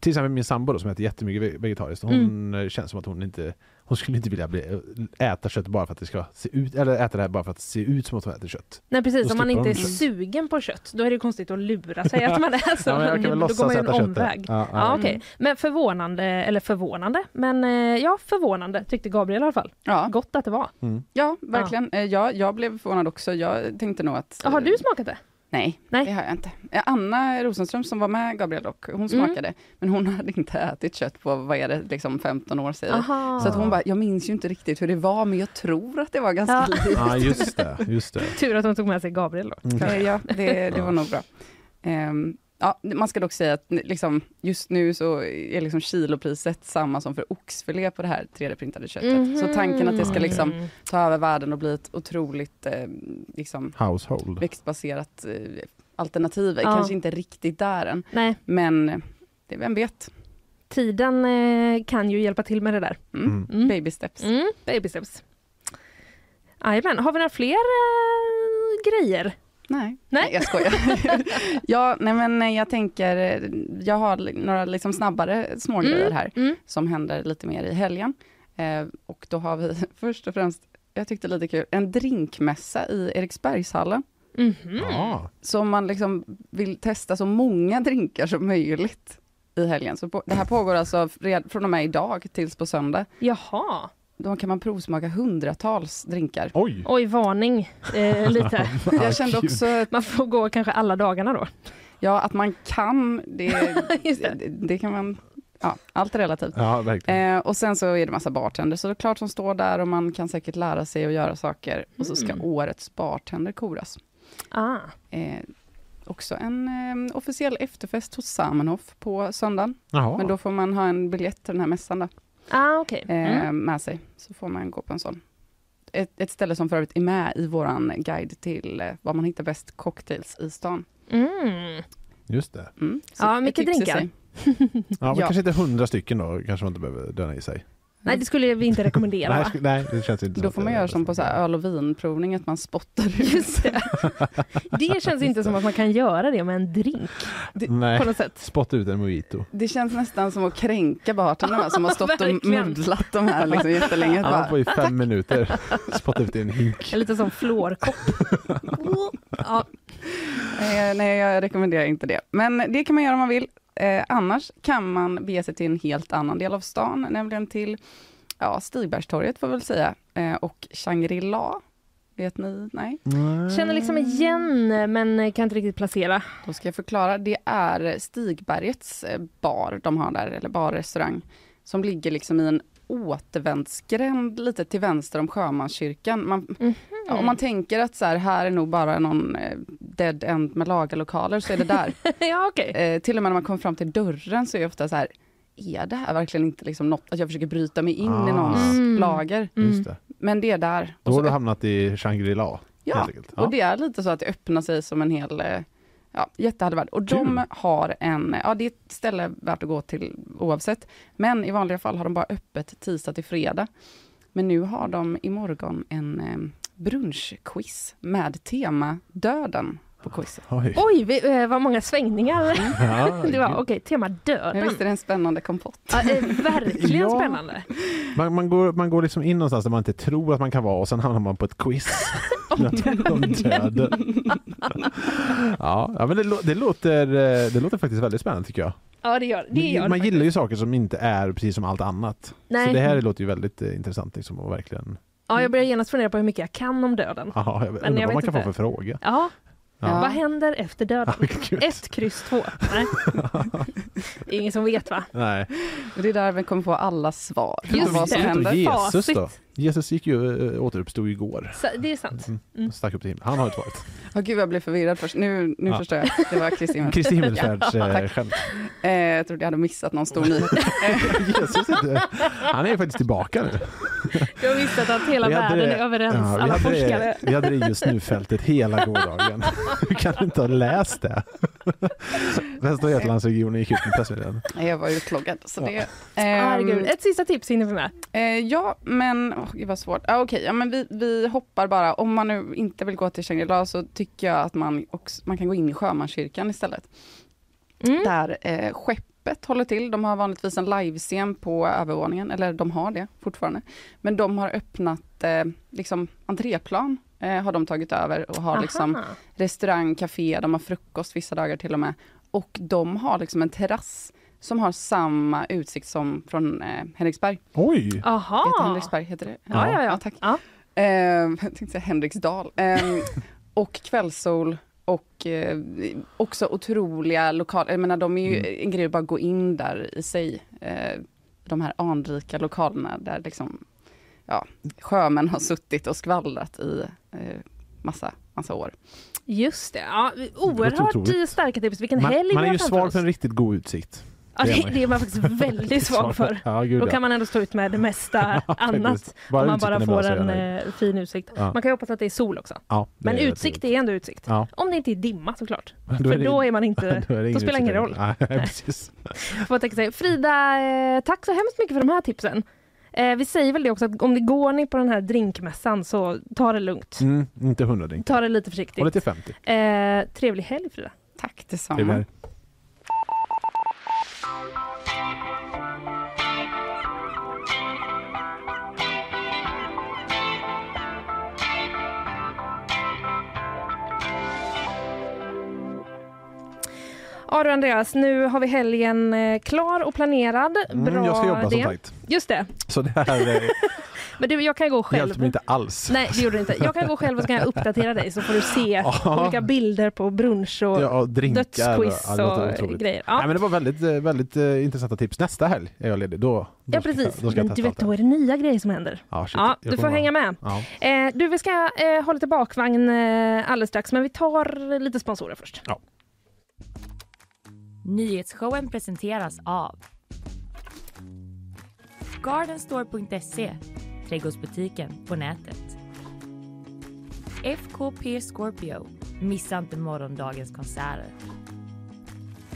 Speaker 3: till exempel min sambo då, som äter jättemycket ve- vegetariskt, hon eh,
Speaker 8: Mm.
Speaker 3: känns som att hon inte hon skulle inte vilja bli, eh, äta kött bara för att det ska se ut, eller äta det här bara för att det ser ut som att hon äter kött.
Speaker 2: Nej precis,
Speaker 3: Då
Speaker 2: om man
Speaker 3: slipper
Speaker 2: inte är
Speaker 3: de kött.
Speaker 2: sugen på kött då är det konstigt att lura
Speaker 3: [laughs]
Speaker 2: sig att man är så.
Speaker 3: Ja, men jag kan väl
Speaker 2: då går man
Speaker 3: låtsas
Speaker 2: ju en
Speaker 3: äta kött.
Speaker 2: omväg.
Speaker 3: där. Ja,
Speaker 2: Ja,
Speaker 3: ja.
Speaker 2: okej. Men förvånande, eller förvånande, men eh, ja förvånande tyckte Gabriel i alla fall.
Speaker 8: Ja,
Speaker 2: Gott att det var.
Speaker 3: Mm.
Speaker 8: ja verkligen. Eh, Jag, jag blev förvånad också. Jag tänkte nog att...
Speaker 2: Har
Speaker 8: eh,
Speaker 2: du smakat det?
Speaker 8: Nej,
Speaker 2: Nej.
Speaker 8: det har jag inte. Eh, Anna Rosenström som var med Gabriel och
Speaker 2: Mm.
Speaker 8: hon smakade, men hon [laughs] hade inte ätit kött på, vad är det, liksom 15 år säger vi.
Speaker 2: Aha.
Speaker 8: Så att hon bara, jag minns ju inte riktigt hur det var, men jag tror att det var ganska
Speaker 2: Ja.
Speaker 8: likt.
Speaker 3: Ja, just det. Just
Speaker 8: [laughs]
Speaker 3: det.
Speaker 2: [laughs] Tur att hon tog med sig Gabriel då.
Speaker 8: Eh,
Speaker 2: [laughs]
Speaker 8: Ja, det, det var nog bra. Ehm, ja, man ska dock säga att liksom, just nu så är liksom kilopriset samma som för oxfilé på det här 3D-printade köttet. Typ, Så
Speaker 2: Mhm.
Speaker 8: tanken att det
Speaker 2: Mm.
Speaker 8: ska liksom ta över världen och bli ett otroligt eh, liksom,
Speaker 3: Household.
Speaker 8: växtbaserat eh, alternativ är
Speaker 2: Ja.
Speaker 8: kanske inte riktigt där än.
Speaker 2: Nej,
Speaker 8: Men det, vem vet?
Speaker 2: tiden eh, kan ju hjälpa till med det där.
Speaker 8: Mm.
Speaker 2: Mm.
Speaker 8: Baby steps.
Speaker 2: Mm, baby steps. Jajamän, har vi några fler eh, grejer?
Speaker 8: Nej.
Speaker 2: Nej. [laughs]
Speaker 8: jag skojar. ja, nej men eh, jag tänker, eh, jag har li- några liksom snabbare smågrejer här
Speaker 2: Mm.
Speaker 8: som händer lite mer i helgen. Eh, och då har vi [laughs] först och främst, jag tyckte lite kul, en drinkmässa i Eriksbergshallen.
Speaker 2: Mhm.
Speaker 3: Ja.
Speaker 8: Så man liksom vill testa så många drinkar som möjligt i helgen. Så på, det här pågår alltså red, från och med idag tills på söndag.
Speaker 2: Jaha.
Speaker 8: då kan man provsmaka hundratals drinkar.
Speaker 3: Oj! [laughs]
Speaker 2: Oj, varning
Speaker 8: [laughs]
Speaker 2: eh, lite.
Speaker 3: Ah,
Speaker 8: Jag kände
Speaker 3: gud.
Speaker 8: också att,
Speaker 2: Man får gå kanske alla dagarna då.
Speaker 8: ja, att man kan, det,
Speaker 2: Just
Speaker 8: det,
Speaker 2: det.
Speaker 8: det kan man, ja, allt är relativt.
Speaker 3: Ja, verkligen.
Speaker 8: Eh, och sen så är det massa bartenders, så det är klart som står där och man kan säkert lära sig att göra saker. Och så ska årets bartender koras.
Speaker 2: Ah.
Speaker 8: Eh, också en eh, officiell efterfest hos Samenhof på söndagen.
Speaker 3: Jaha.
Speaker 8: Men då får man ha en biljett till den här mässan då,
Speaker 2: Ah, okej.
Speaker 8: eh,
Speaker 2: Mm.
Speaker 8: med sig. Så får man gå på en sån. Ett, ett ställe som för övrigt är med i våran guide till eh, var man hittar bäst cocktails i stan.
Speaker 2: Mm.
Speaker 3: Just det.
Speaker 8: Mm. Så
Speaker 2: Ja,
Speaker 8: ett
Speaker 2: mycket
Speaker 8: tips i
Speaker 2: drinkar.
Speaker 8: sig.
Speaker 3: Ja, men
Speaker 8: Ja.
Speaker 3: kanske inte hundra stycken då, kanske man inte behöver döna i sig.
Speaker 2: Nej, det skulle vi inte rekommendera.
Speaker 3: Nej,
Speaker 2: va?
Speaker 3: sk- nej, det känns inte
Speaker 8: Då
Speaker 3: att
Speaker 8: får
Speaker 3: det
Speaker 8: man
Speaker 3: är
Speaker 8: göra
Speaker 3: det
Speaker 8: som på så här öl och vinprovning, att man spottar ut.
Speaker 2: Just det. det känns inte som att man kan göra det med en drink på
Speaker 3: Nej,
Speaker 2: något sätt.
Speaker 3: spotta ut en mojito.
Speaker 8: Det känns nästan som att kränka
Speaker 2: [laughs]
Speaker 8: bartendern som har stått och
Speaker 2: verkligen.
Speaker 8: muddlat de här liksom jättelänge.
Speaker 3: Han
Speaker 8: Bara,
Speaker 3: får ju
Speaker 2: [laughs]
Speaker 3: fem minuter spotta ut i en hink.
Speaker 2: En liten sån fluorkopp. ja.
Speaker 8: eh, nej, jag rekommenderar inte det. Men det kan man göra om man vill. Eh, annars kan man bege sig till en helt annan del av stan, nämligen till ja, Stigbergstorget får vi väl säga, eh, och Shangri-La. Vet ni? Nej?
Speaker 2: Känner liksom igen men kan inte riktigt placera.
Speaker 8: Då ska jag förklara. Det är Stigbergets eh, bar de har där, eller barrestaurang, som ligger liksom i en återvändsgränd lite till vänster om Sjömanskyrkan. Man, ja, om man tänker att så här, här är nog bara någon eh, dead end med lagerlokaler så är det där.
Speaker 2: [laughs] ja, okej.
Speaker 8: eh, till och med när man kommer fram till dörren så är jag ofta så här, är det här verkligen inte liksom något, att jag försöker bryta mig in
Speaker 3: Ah.
Speaker 8: i någons
Speaker 2: Mm.
Speaker 8: lager?
Speaker 3: Just det.
Speaker 8: Men det är där.
Speaker 3: Då
Speaker 8: Och
Speaker 3: har
Speaker 8: så
Speaker 3: du hamnat i Shangri-La.
Speaker 8: Ja,
Speaker 3: helt enkelt.
Speaker 8: och det är lite så att det öppnar sig som en hel eh, ja, jättehärlig värld. Och de
Speaker 3: Kul.
Speaker 8: har en, eh, ja det är ett ställe värt att gå till oavsett, men i vanliga fall har de bara öppet tisdag till fredag. Men nu har de imorgon en eh, brunchquiz med tema döden på quizet.
Speaker 3: Oj.
Speaker 2: Oj, vi, eh, vad många [laughs] svängningar
Speaker 3: Ja,
Speaker 2: det var.
Speaker 3: gud.
Speaker 2: Okej, tema
Speaker 8: Men
Speaker 2: döden.
Speaker 8: visst är det en spännande kompott?
Speaker 2: Ja, eh, verkligen
Speaker 3: Ja.
Speaker 2: spännande.
Speaker 3: Man, man, går, man går liksom in någonstans där man inte tror att man kan vara och sen hamnar man på
Speaker 2: [laughs]
Speaker 3: ett quiz. om döden. [laughs] ja, ja, men det, lå- det, låter, eh, det låter faktiskt väldigt spännande tycker jag.
Speaker 2: Ja, det gör det.
Speaker 3: Man,
Speaker 2: Gör det
Speaker 3: man
Speaker 2: faktiskt.
Speaker 3: gillar ju saker som inte är precis som allt annat. Så
Speaker 2: Nej.
Speaker 3: det här låter ju väldigt eh, intressant liksom
Speaker 2: [laughs]
Speaker 3: och verkligen,
Speaker 2: Ja, jag börjar genast fundera på hur mycket jag kan om döden.
Speaker 3: aha, jag undrar
Speaker 2: jag
Speaker 3: vad man
Speaker 2: vet
Speaker 3: kan få för
Speaker 2: inte.
Speaker 3: fråga.
Speaker 2: Ja,
Speaker 8: Ja.
Speaker 2: vad händer efter döden?
Speaker 3: [laughs] Gud.
Speaker 2: Ett kryss två.
Speaker 3: [laughs]
Speaker 2: Nej. Det är ingen som vet va?
Speaker 3: Nej.
Speaker 8: Och Det är där vi kommer få alla svar. om
Speaker 2: Just
Speaker 8: vad som
Speaker 2: det.
Speaker 8: händer.
Speaker 3: Förutom Jesus
Speaker 2: Facit.
Speaker 3: då? Jesus gick ju, eh, återuppstod ju igår.
Speaker 2: Så, det är sant.
Speaker 3: Mm. Stack upp till himlen. Han har ju
Speaker 2: [laughs]
Speaker 3: ett varit.
Speaker 8: Åh gud, jag blev förvirrad först. Nu, nu
Speaker 3: Ja.
Speaker 8: förstår jag. Det var Kristin.
Speaker 3: Kristi himmelsfärds eh, skämt.
Speaker 8: Eh, jag trodde jag hade missat någon stor nyhet.
Speaker 3: [laughs] Jesus är inte, han är ju faktiskt tillbaka nu.
Speaker 2: Jag visste att hela
Speaker 3: Vi hade
Speaker 2: världen
Speaker 3: det-
Speaker 2: är överens,
Speaker 3: Ja, vi
Speaker 2: alla
Speaker 3: hade det-
Speaker 2: forskare.
Speaker 3: Vi hade det just nu-fältet hela
Speaker 2: [laughs]
Speaker 3: gårdagen. Hur kan du inte ha läst det? [laughs] Västra Götalandsregionen gick ut med pressmeddelande.
Speaker 8: Nej, Jag var utloggad. Så
Speaker 3: Ja.
Speaker 8: det,
Speaker 2: Ah, Herregud.
Speaker 8: ehm,
Speaker 2: Ett sista tips hinner vi med.
Speaker 8: eh, ja, men åh, gud vad svårt. Ah, Okej, ja, men vi, vi hoppar bara. Om man nu inte vill gå till Shangri-La så tycker jag att man, också, man kan gå in i Sjömanskyrkan istället.
Speaker 2: Mm.
Speaker 8: Där eh, skeppet håller till. De har vanligtvis en livescen på övervåningen, eller de har det fortfarande. Men de har öppnat eh, liksom, entréplan, eh, har de tagit över och har liksom
Speaker 2: Aha.
Speaker 8: restaurang, café, de har frukost vissa dagar till och med. Och de har liksom en terrass som har samma utsikt som från eh, Henriksberg.
Speaker 3: Oj!
Speaker 8: Heter det
Speaker 2: Aha.
Speaker 8: Henriksberg, heter det?
Speaker 2: Ah. Ja, ja, ja.
Speaker 8: tack.
Speaker 2: Ja.
Speaker 8: Eh, [laughs] jag tänkte säga Henriksdal. Eh,
Speaker 2: [laughs]
Speaker 8: och kvällssol och eh, också otroliga lokaler. Jag menar, de är ju
Speaker 2: Mm.
Speaker 8: en grej att bara gå in där i sig. Eh, de här anrika lokalerna där liksom, ja, sjömän har suttit och skvallrat i eh, massa, massa år.
Speaker 2: Just det. Ja,
Speaker 3: låter otroligt.
Speaker 2: oerhört starka tips. Vilken
Speaker 3: Man,
Speaker 2: helg
Speaker 3: man
Speaker 2: vi
Speaker 3: är
Speaker 2: har
Speaker 3: ju
Speaker 2: framför
Speaker 3: svag
Speaker 2: oss.
Speaker 3: för en riktigt god utsikt.
Speaker 2: Ja,
Speaker 3: Det är
Speaker 2: det,
Speaker 3: man ju.
Speaker 2: det är man
Speaker 3: [laughs]
Speaker 2: faktiskt väldigt svag för.
Speaker 3: Ja, gud
Speaker 2: Då
Speaker 3: ja.
Speaker 2: kan man ändå stå ut med det
Speaker 3: [laughs]
Speaker 2: mesta annat.
Speaker 3: Faktiskt.
Speaker 2: Om man
Speaker 3: utsikten
Speaker 2: bara
Speaker 3: är bra
Speaker 2: får
Speaker 3: så är jag
Speaker 2: en
Speaker 3: nöjd.
Speaker 2: eh, fin utsikt.
Speaker 3: Ja.
Speaker 2: Man kan ju hoppas att det är sol också.
Speaker 3: Ja, det
Speaker 2: Men
Speaker 3: är rätt
Speaker 2: utsikt
Speaker 3: trevligt.
Speaker 2: är ändå utsikt.
Speaker 3: Ja.
Speaker 2: Om det inte är dimma såklart.
Speaker 3: Då
Speaker 2: För
Speaker 3: är det-
Speaker 2: då är man
Speaker 3: [laughs]
Speaker 2: inte...
Speaker 3: är
Speaker 2: då spelar det ingen
Speaker 3: utsikt. Nej, precis.
Speaker 2: Får man tänka sig. Frida, eh, tack så hemskt mycket för de här tipsen. Eh, vi säger väl det också att om det går ni på den här drinkmässan så ta det lugnt.
Speaker 3: Mm, inte hundra drink.
Speaker 2: Ta det lite
Speaker 3: Håll det
Speaker 2: försiktigt.
Speaker 3: till 50.
Speaker 2: Eh, trevlig helg Frida.
Speaker 8: Tack
Speaker 3: Det är
Speaker 8: detsamma.
Speaker 3: väl-
Speaker 2: Ja du Andreas, nu har vi helgen eh, klar och planerad. Bra
Speaker 3: Mm, jag ska jobba
Speaker 2: det.
Speaker 3: som sagt.
Speaker 2: [laughs] Just det.
Speaker 3: Så det här är
Speaker 2: Men du, jag kan gå
Speaker 3: Det
Speaker 2: själv.
Speaker 3: hjälpte mig inte alls.
Speaker 2: Nej, det gjorde du inte. Jag kan gå själv och så kan jag uppdatera dig så får du se
Speaker 3: [laughs] Ja.
Speaker 2: olika bilder på brunch och
Speaker 3: Ja, och drinkar och-
Speaker 2: dödsquiz
Speaker 3: ja,
Speaker 2: och,
Speaker 3: det låter otroligt.
Speaker 2: grejer. Ja.
Speaker 3: Nej, men det var väldigt, eh, väldigt eh, intressanta tips. Nästa helg är jag ledig. Då, då
Speaker 2: Ja
Speaker 3: ska
Speaker 2: precis,
Speaker 3: Jag, då ska
Speaker 2: men
Speaker 3: jag
Speaker 2: du
Speaker 3: testa
Speaker 2: vet
Speaker 3: allt det
Speaker 2: då är
Speaker 3: här.
Speaker 2: det nya grejer som händer.
Speaker 3: Ja, shit,
Speaker 2: Ja,
Speaker 3: jag
Speaker 2: du får
Speaker 3: kommer-
Speaker 2: hänga med.
Speaker 3: Ja.
Speaker 2: Eh, du, vi ska eh, ha lite bakvagn eh, alldeles strax, men vi tar lite sponsorer först.
Speaker 1: Nyhetsshowen presenteras av Gardenstore.se Trädgårdsbutiken på nätet. FKP Scorpio. Missa inte morgondagens konserter.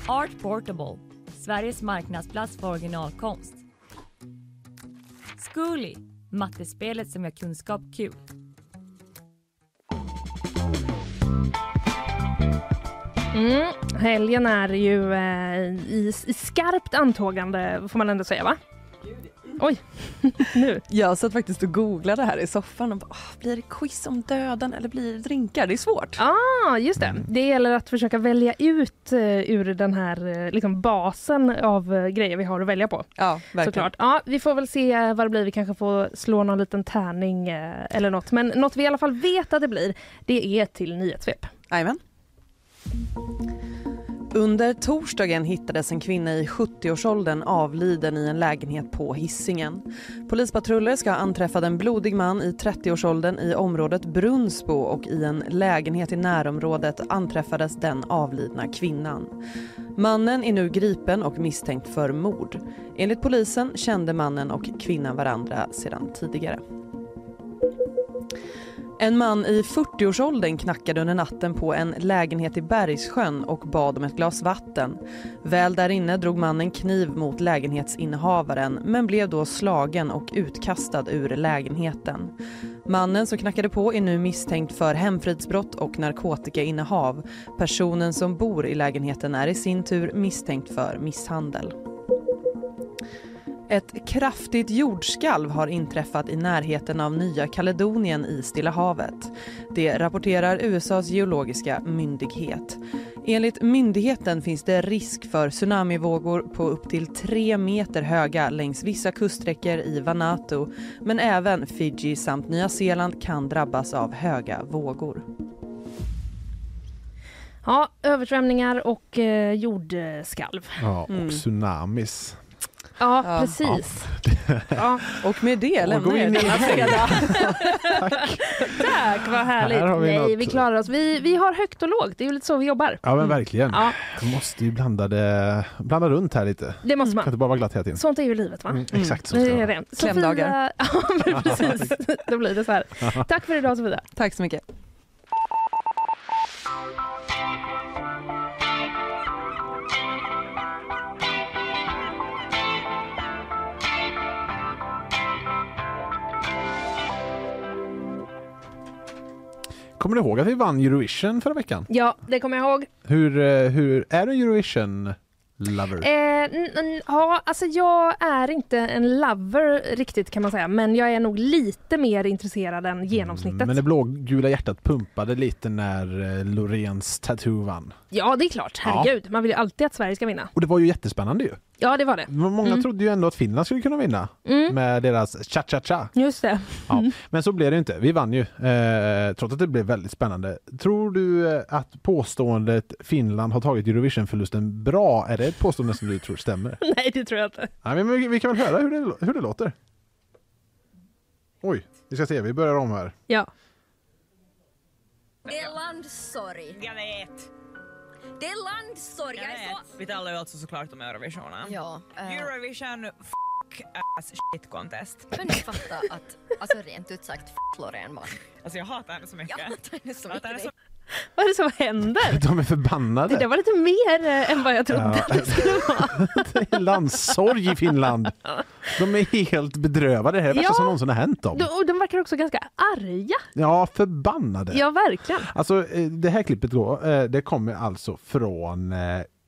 Speaker 1: Art Portable. Sveriges marknadsplats för originalkonst. Zcooly. Mattespelet som gör kunskap kul.
Speaker 2: Mm. Helgen är ju eh, i, i skarpt antågande, får man ändå säga va? Oj, nu.
Speaker 5: Jag satt faktiskt och googlade här i soffan och bara, "Ah, blir det quiz om döden eller blir det drinkar? Det är svårt.
Speaker 2: Ah, just det.
Speaker 3: Mm.
Speaker 2: Det gäller att försöka välja ut eh, ur den här eh, liksom basen av eh, grejer vi har att välja på.
Speaker 5: Ja, verkligen.
Speaker 2: Såklart. Ja, vi får väl se eh, vad det blir. Vi kanske får slå någon liten tärning eh, eller något. Men något vi i alla fall vet att det blir, det är till nyhetssvep.
Speaker 5: Jajamän. Under torsdagen hittades en kvinna i 70-årsåldern avliden i en lägenhet på Hisingen. Polispatruller ska ha anträffat en blodig man i 30-årsåldern i området Brunsbo och i en lägenhet i närområdet anträffades den avlidna kvinnan. Mannen är nu gripen och misstänkt för mord. Enligt polisen kände mannen och kvinnan varandra sedan tidigare. En man i 40-årsåldern knackade under natten på en lägenhet i Bergssjön och bad om ett glas vatten. Väl där inne drog mannen kniv mot lägenhetsinnehavaren men blev då slagen och utkastad ur lägenheten. Mannen som knackade på är nu misstänkt för hemfridsbrott och narkotikainnehav. Personen som bor i lägenheten är i sin tur misstänkt för misshandel. Ett kraftigt jordskalv har inträffat i närheten av Nya Kaledonien i Stilla havet. Det rapporterar USAs geologiska myndighet. Enligt myndigheten finns det risk för tsunamivågor på upp till tre meter höga längs vissa kuststräckor i Vanuatu men även Fiji samt Nya Zeeland kan drabbas av höga vågor.
Speaker 2: Ja, översvämningar och eh, jordskalv.
Speaker 3: Ja, och
Speaker 2: Mm.
Speaker 3: tsunamis.
Speaker 2: Ja,
Speaker 5: Ja.
Speaker 2: precis. Ja.
Speaker 5: Och med det lämnar
Speaker 3: gå
Speaker 5: jag
Speaker 3: in i
Speaker 5: denna
Speaker 3: helg.
Speaker 5: fredag.
Speaker 2: [laughs] Tack, vad härligt.
Speaker 3: Här har vi
Speaker 2: Nej,
Speaker 3: något.
Speaker 2: vi klarar oss. Vi, vi har högt och lågt. Det är ju lite så vi jobbar.
Speaker 3: Ja, men verkligen.
Speaker 2: Mm. Ja.
Speaker 3: Jag måste ju blanda, det, blanda runt här lite.
Speaker 2: Det måste
Speaker 3: Kan
Speaker 2: man.
Speaker 3: inte bara vara glatt hela tiden.
Speaker 2: Sånt är ju livet, va?
Speaker 3: Mm, exakt så
Speaker 2: Det
Speaker 3: ska
Speaker 2: är
Speaker 3: det vara.
Speaker 2: det.
Speaker 5: Klämdagar.
Speaker 2: Sofia... [laughs] Ja, men
Speaker 3: [laughs]
Speaker 2: precis. Då blir det så här. Tack för idag, Sofia.
Speaker 5: Tack så mycket.
Speaker 3: Kommer du ihåg att vi vann Eurovision förra veckan?
Speaker 2: Ja, det kommer jag ihåg.
Speaker 3: Hur, eh, hur är du en Eurovision-lover?
Speaker 2: Eh, n- n- ja, alltså jag är inte en lover riktigt kan man säga, men jag är nog lite mer intresserad än genomsnittet.
Speaker 3: Mm, Men det blågula hjärtat pumpade lite när eh, Loreens Tattoo vann.
Speaker 2: Ja, det är klart. Herregud, man vill ju alltid att Sverige ska vinna.
Speaker 3: Och det var ju jättespännande ju.
Speaker 2: Ja, det var det.
Speaker 3: Många trodde ju ändå att Finland skulle kunna vinna
Speaker 2: Mm.
Speaker 3: med deras cha-cha-cha.
Speaker 2: Just det. [laughs]
Speaker 3: Ja. Men så blev det ju inte. Vi vann ju, eh, trots att det blev väldigt spännande. Tror du eh, att påståendet Finland har tagit Eurovision-förlusten bra, är det ett påstående som du
Speaker 2: [laughs]
Speaker 3: tror stämmer?
Speaker 2: Nej, det tror jag inte.
Speaker 3: Nej, men vi, vi kan väl höra hur det, hur det låter? Oj, vi ska se, vi börjar om här.
Speaker 2: Ja.
Speaker 9: Det är landsorg.
Speaker 10: Jag vet,
Speaker 9: Det är landsorg.
Speaker 10: jag
Speaker 9: Jag är
Speaker 10: vet.
Speaker 9: så...
Speaker 10: Vi talar ju alltså såklart om Eurovision.
Speaker 9: Ja, eh,
Speaker 10: Eurovision f**k ass shit contest.
Speaker 9: men jag fattar att, alltså rent ut sagt, f- Loreen man.
Speaker 10: Alltså jag hatar henne så mycket.
Speaker 9: Jag hatar henne så
Speaker 10: Jag hatar henne
Speaker 9: mycket.
Speaker 10: så
Speaker 2: Vad är det som händer?
Speaker 3: [laughs] De är
Speaker 2: Det där
Speaker 3: förbannade.
Speaker 2: var lite mer eh, än vad jag trodde
Speaker 3: Ja.
Speaker 2: att det skulle vara.
Speaker 3: [laughs] Det är landssorg i Finland. De är helt bedrövade. Det här är det värsta
Speaker 2: Ja.
Speaker 3: som någonsin har hänt dem.
Speaker 2: De, och de verkar också ganska arga.
Speaker 3: Ja, förbannade.
Speaker 2: Ja, verkligen.
Speaker 3: Alltså eh, det här klippet då, eh, det kommer alltså från eh,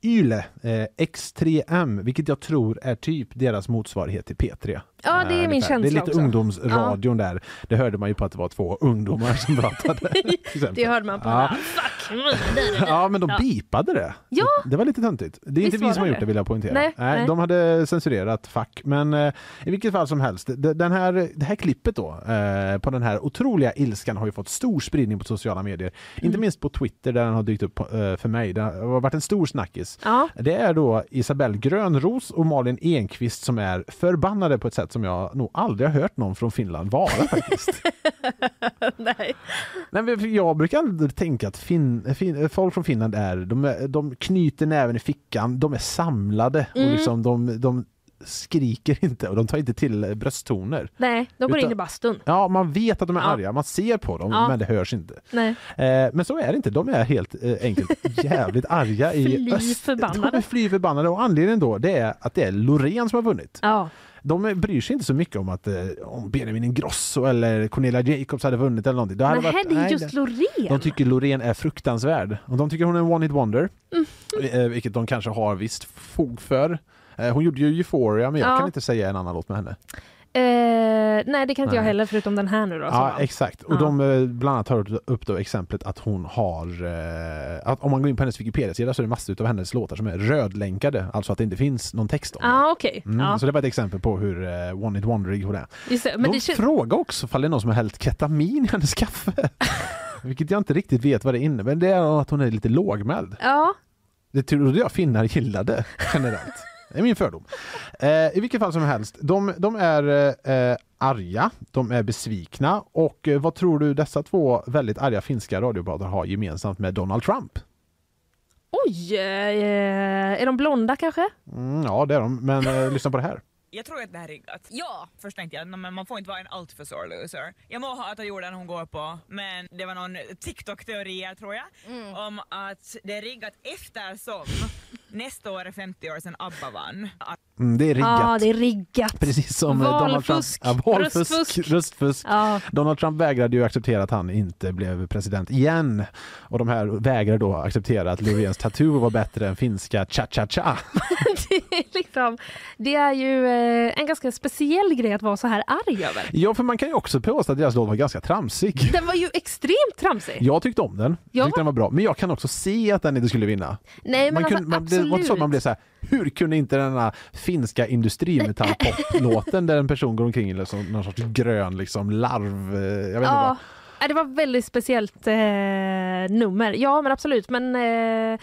Speaker 3: Yle eh, X3M, vilket jag tror är typ deras motsvarighet till P3.
Speaker 2: Ja, det är
Speaker 3: Eh,
Speaker 2: min
Speaker 3: ungefär.
Speaker 2: känsla
Speaker 3: Det är lite
Speaker 2: också. [laughs]
Speaker 3: ungdomsradion där. Det hörde man ju på att det var två ungdomar som pratade. till exempel.
Speaker 2: Det hörde man på.
Speaker 3: Ja.
Speaker 2: Ja. Fuck!
Speaker 3: Ja, men de bipade det.
Speaker 2: Ja.
Speaker 3: Det var lite töntigt. Det är
Speaker 2: Visst
Speaker 3: inte
Speaker 2: var
Speaker 3: vi som har
Speaker 2: det
Speaker 3: gjort det vill jag poängtera.
Speaker 2: Nej, nej.
Speaker 3: De hade censurerat fack, men eh, i vilket fall som helst. d- Den här, det här klippet då, eh, på den här otroliga ilskan har ju fått stor spridning på sociala medier.
Speaker 2: Mm.
Speaker 3: Inte minst på Twitter där den har dykt upp på, eh, för mig. Det har varit en stor snackis.
Speaker 2: Ja.
Speaker 3: Det är då Isabelle Grönros och Malin Enqvist som är förbannade på ett sätt som jag nog aldrig har hört någon från Finland vara faktiskt.
Speaker 2: [laughs] Nej.
Speaker 3: Nej, men för jag brukar aldrig tänka att fin, fin, folk från Finland är de, är- de knyter näven i fickan, de är samlade
Speaker 2: Mm.
Speaker 3: och liksom de, de skriker inte och de tar inte till eh, brösttoner.
Speaker 2: Nej, de går
Speaker 3: Utan-
Speaker 2: in i bastun.
Speaker 3: Ja, man vet att de är
Speaker 2: Ja.
Speaker 3: arga, man ser på dem,
Speaker 2: Ja.
Speaker 3: men det hörs inte.
Speaker 2: Nej.
Speaker 3: Eh, men så är det inte, de är helt eh,
Speaker 2: [laughs]
Speaker 3: enkelt jävligt arga i
Speaker 2: Fly
Speaker 3: öst. De
Speaker 2: förbannade.
Speaker 3: är fly förbannade och anledningen då det är att det är Loreen som har vunnit.
Speaker 2: Ja.
Speaker 3: De bryr sig inte så mycket om att eh, om Benjamin Ingrosso eller Cornelia Jacobs hade vunnit eller någonting. Då hade
Speaker 2: Men här
Speaker 3: varit,
Speaker 2: det är
Speaker 3: nej,
Speaker 2: just Loreen.
Speaker 3: de tycker Loreen är fruktansvärd. Och de tycker hon är en one-hit wonder.
Speaker 2: Mm.
Speaker 3: Eh, Vilket de kanske har visst fog för. Eh, Hon gjorde ju Euphoria, men jag
Speaker 2: Ja.
Speaker 3: kan inte säga en annan låt med henne.
Speaker 2: Eh, nej, det kan inte jag
Speaker 3: Nej.
Speaker 2: heller förutom den här nu då. som
Speaker 3: Ja,
Speaker 2: vann.
Speaker 3: exakt. Och
Speaker 2: Ja.
Speaker 3: de eh, bland annat tar upp då exemplet att hon har... eh, Att om man går in på hennes Wikipedia-sida så är det massor av hennes låtar som är rödlänkade. Alltså att det inte finns någon text om det.
Speaker 2: ah, okej.
Speaker 3: Mm,
Speaker 2: Ja,
Speaker 3: Så det var ett exempel på hur eh, one-hit wonderig hon är.
Speaker 2: just det. Men
Speaker 3: de
Speaker 2: det känns...
Speaker 3: frågar också ifall det är någon som har hällt ketamin i
Speaker 2: [laughs]
Speaker 3: hennes kaffe. Vilket jag inte riktigt vet vad det innebär. Det är att hon är lite lågmäld.
Speaker 2: Ja,
Speaker 3: Det trodde jag finnar gillade generellt. Det är min fördom. Eh, I vilket fall som helst, de, de är eh, arga, de är besvikna och eh, vad tror du dessa två väldigt arga finska radiopratare har gemensamt med Donald Trump?
Speaker 2: oj. Eh, är de blonda kanske?
Speaker 3: Mm, ja, det är de, men eh, [laughs] lyssna på det här.
Speaker 10: Jag tror att det här är riggat.
Speaker 9: Ja!
Speaker 10: Först tänkte jag "Nå, men man får inte vara en alltför sore loser. Jag må ha att jorden hon går på men det var någon TikTok-teori här, tror jag
Speaker 9: Mm.
Speaker 10: om att det är riggat eftersom nästa år är 50 år sedan ABBA vann. Att
Speaker 3: Mm, det är riggat.
Speaker 2: Ja, det är riggat.
Speaker 3: Precis som eh, Donald Trump.
Speaker 2: Valfusk,
Speaker 3: Ja, valfusk,
Speaker 2: röstfusk.
Speaker 3: röstfusk.
Speaker 2: Ja. [laughs]
Speaker 3: Donald Trump vägrade ju acceptera att han inte blev president igen. Och de här vägrade då acceptera att Löfvens tattoo var bättre än finska cha-cha-cha.
Speaker 2: det, är liksom, det är ju eh, en ganska speciell grej att vara så här arg över.
Speaker 3: Ja, för man kan ju också påstå att deras låt var
Speaker 2: [laughs]
Speaker 3: ganska tramsig.
Speaker 2: Den var ju extremt tramsig.
Speaker 3: Jag tyckte om den,
Speaker 2: Ja.
Speaker 3: jag tyckte den var bra, men jag kan också se att den inte skulle vinna.
Speaker 2: Nej, men
Speaker 3: man
Speaker 2: alltså,
Speaker 3: kunde, man, det var inte så att man blev så här, hur kunde inte denna finska industrimetallpoplåten där en person går omkring i liksom, någon sorts grön liksom, larv, eh, jag vet inte vad.
Speaker 2: Ja. ja, det var väldigt speciellt eh, nummer. Ja, men absolut. Men eh,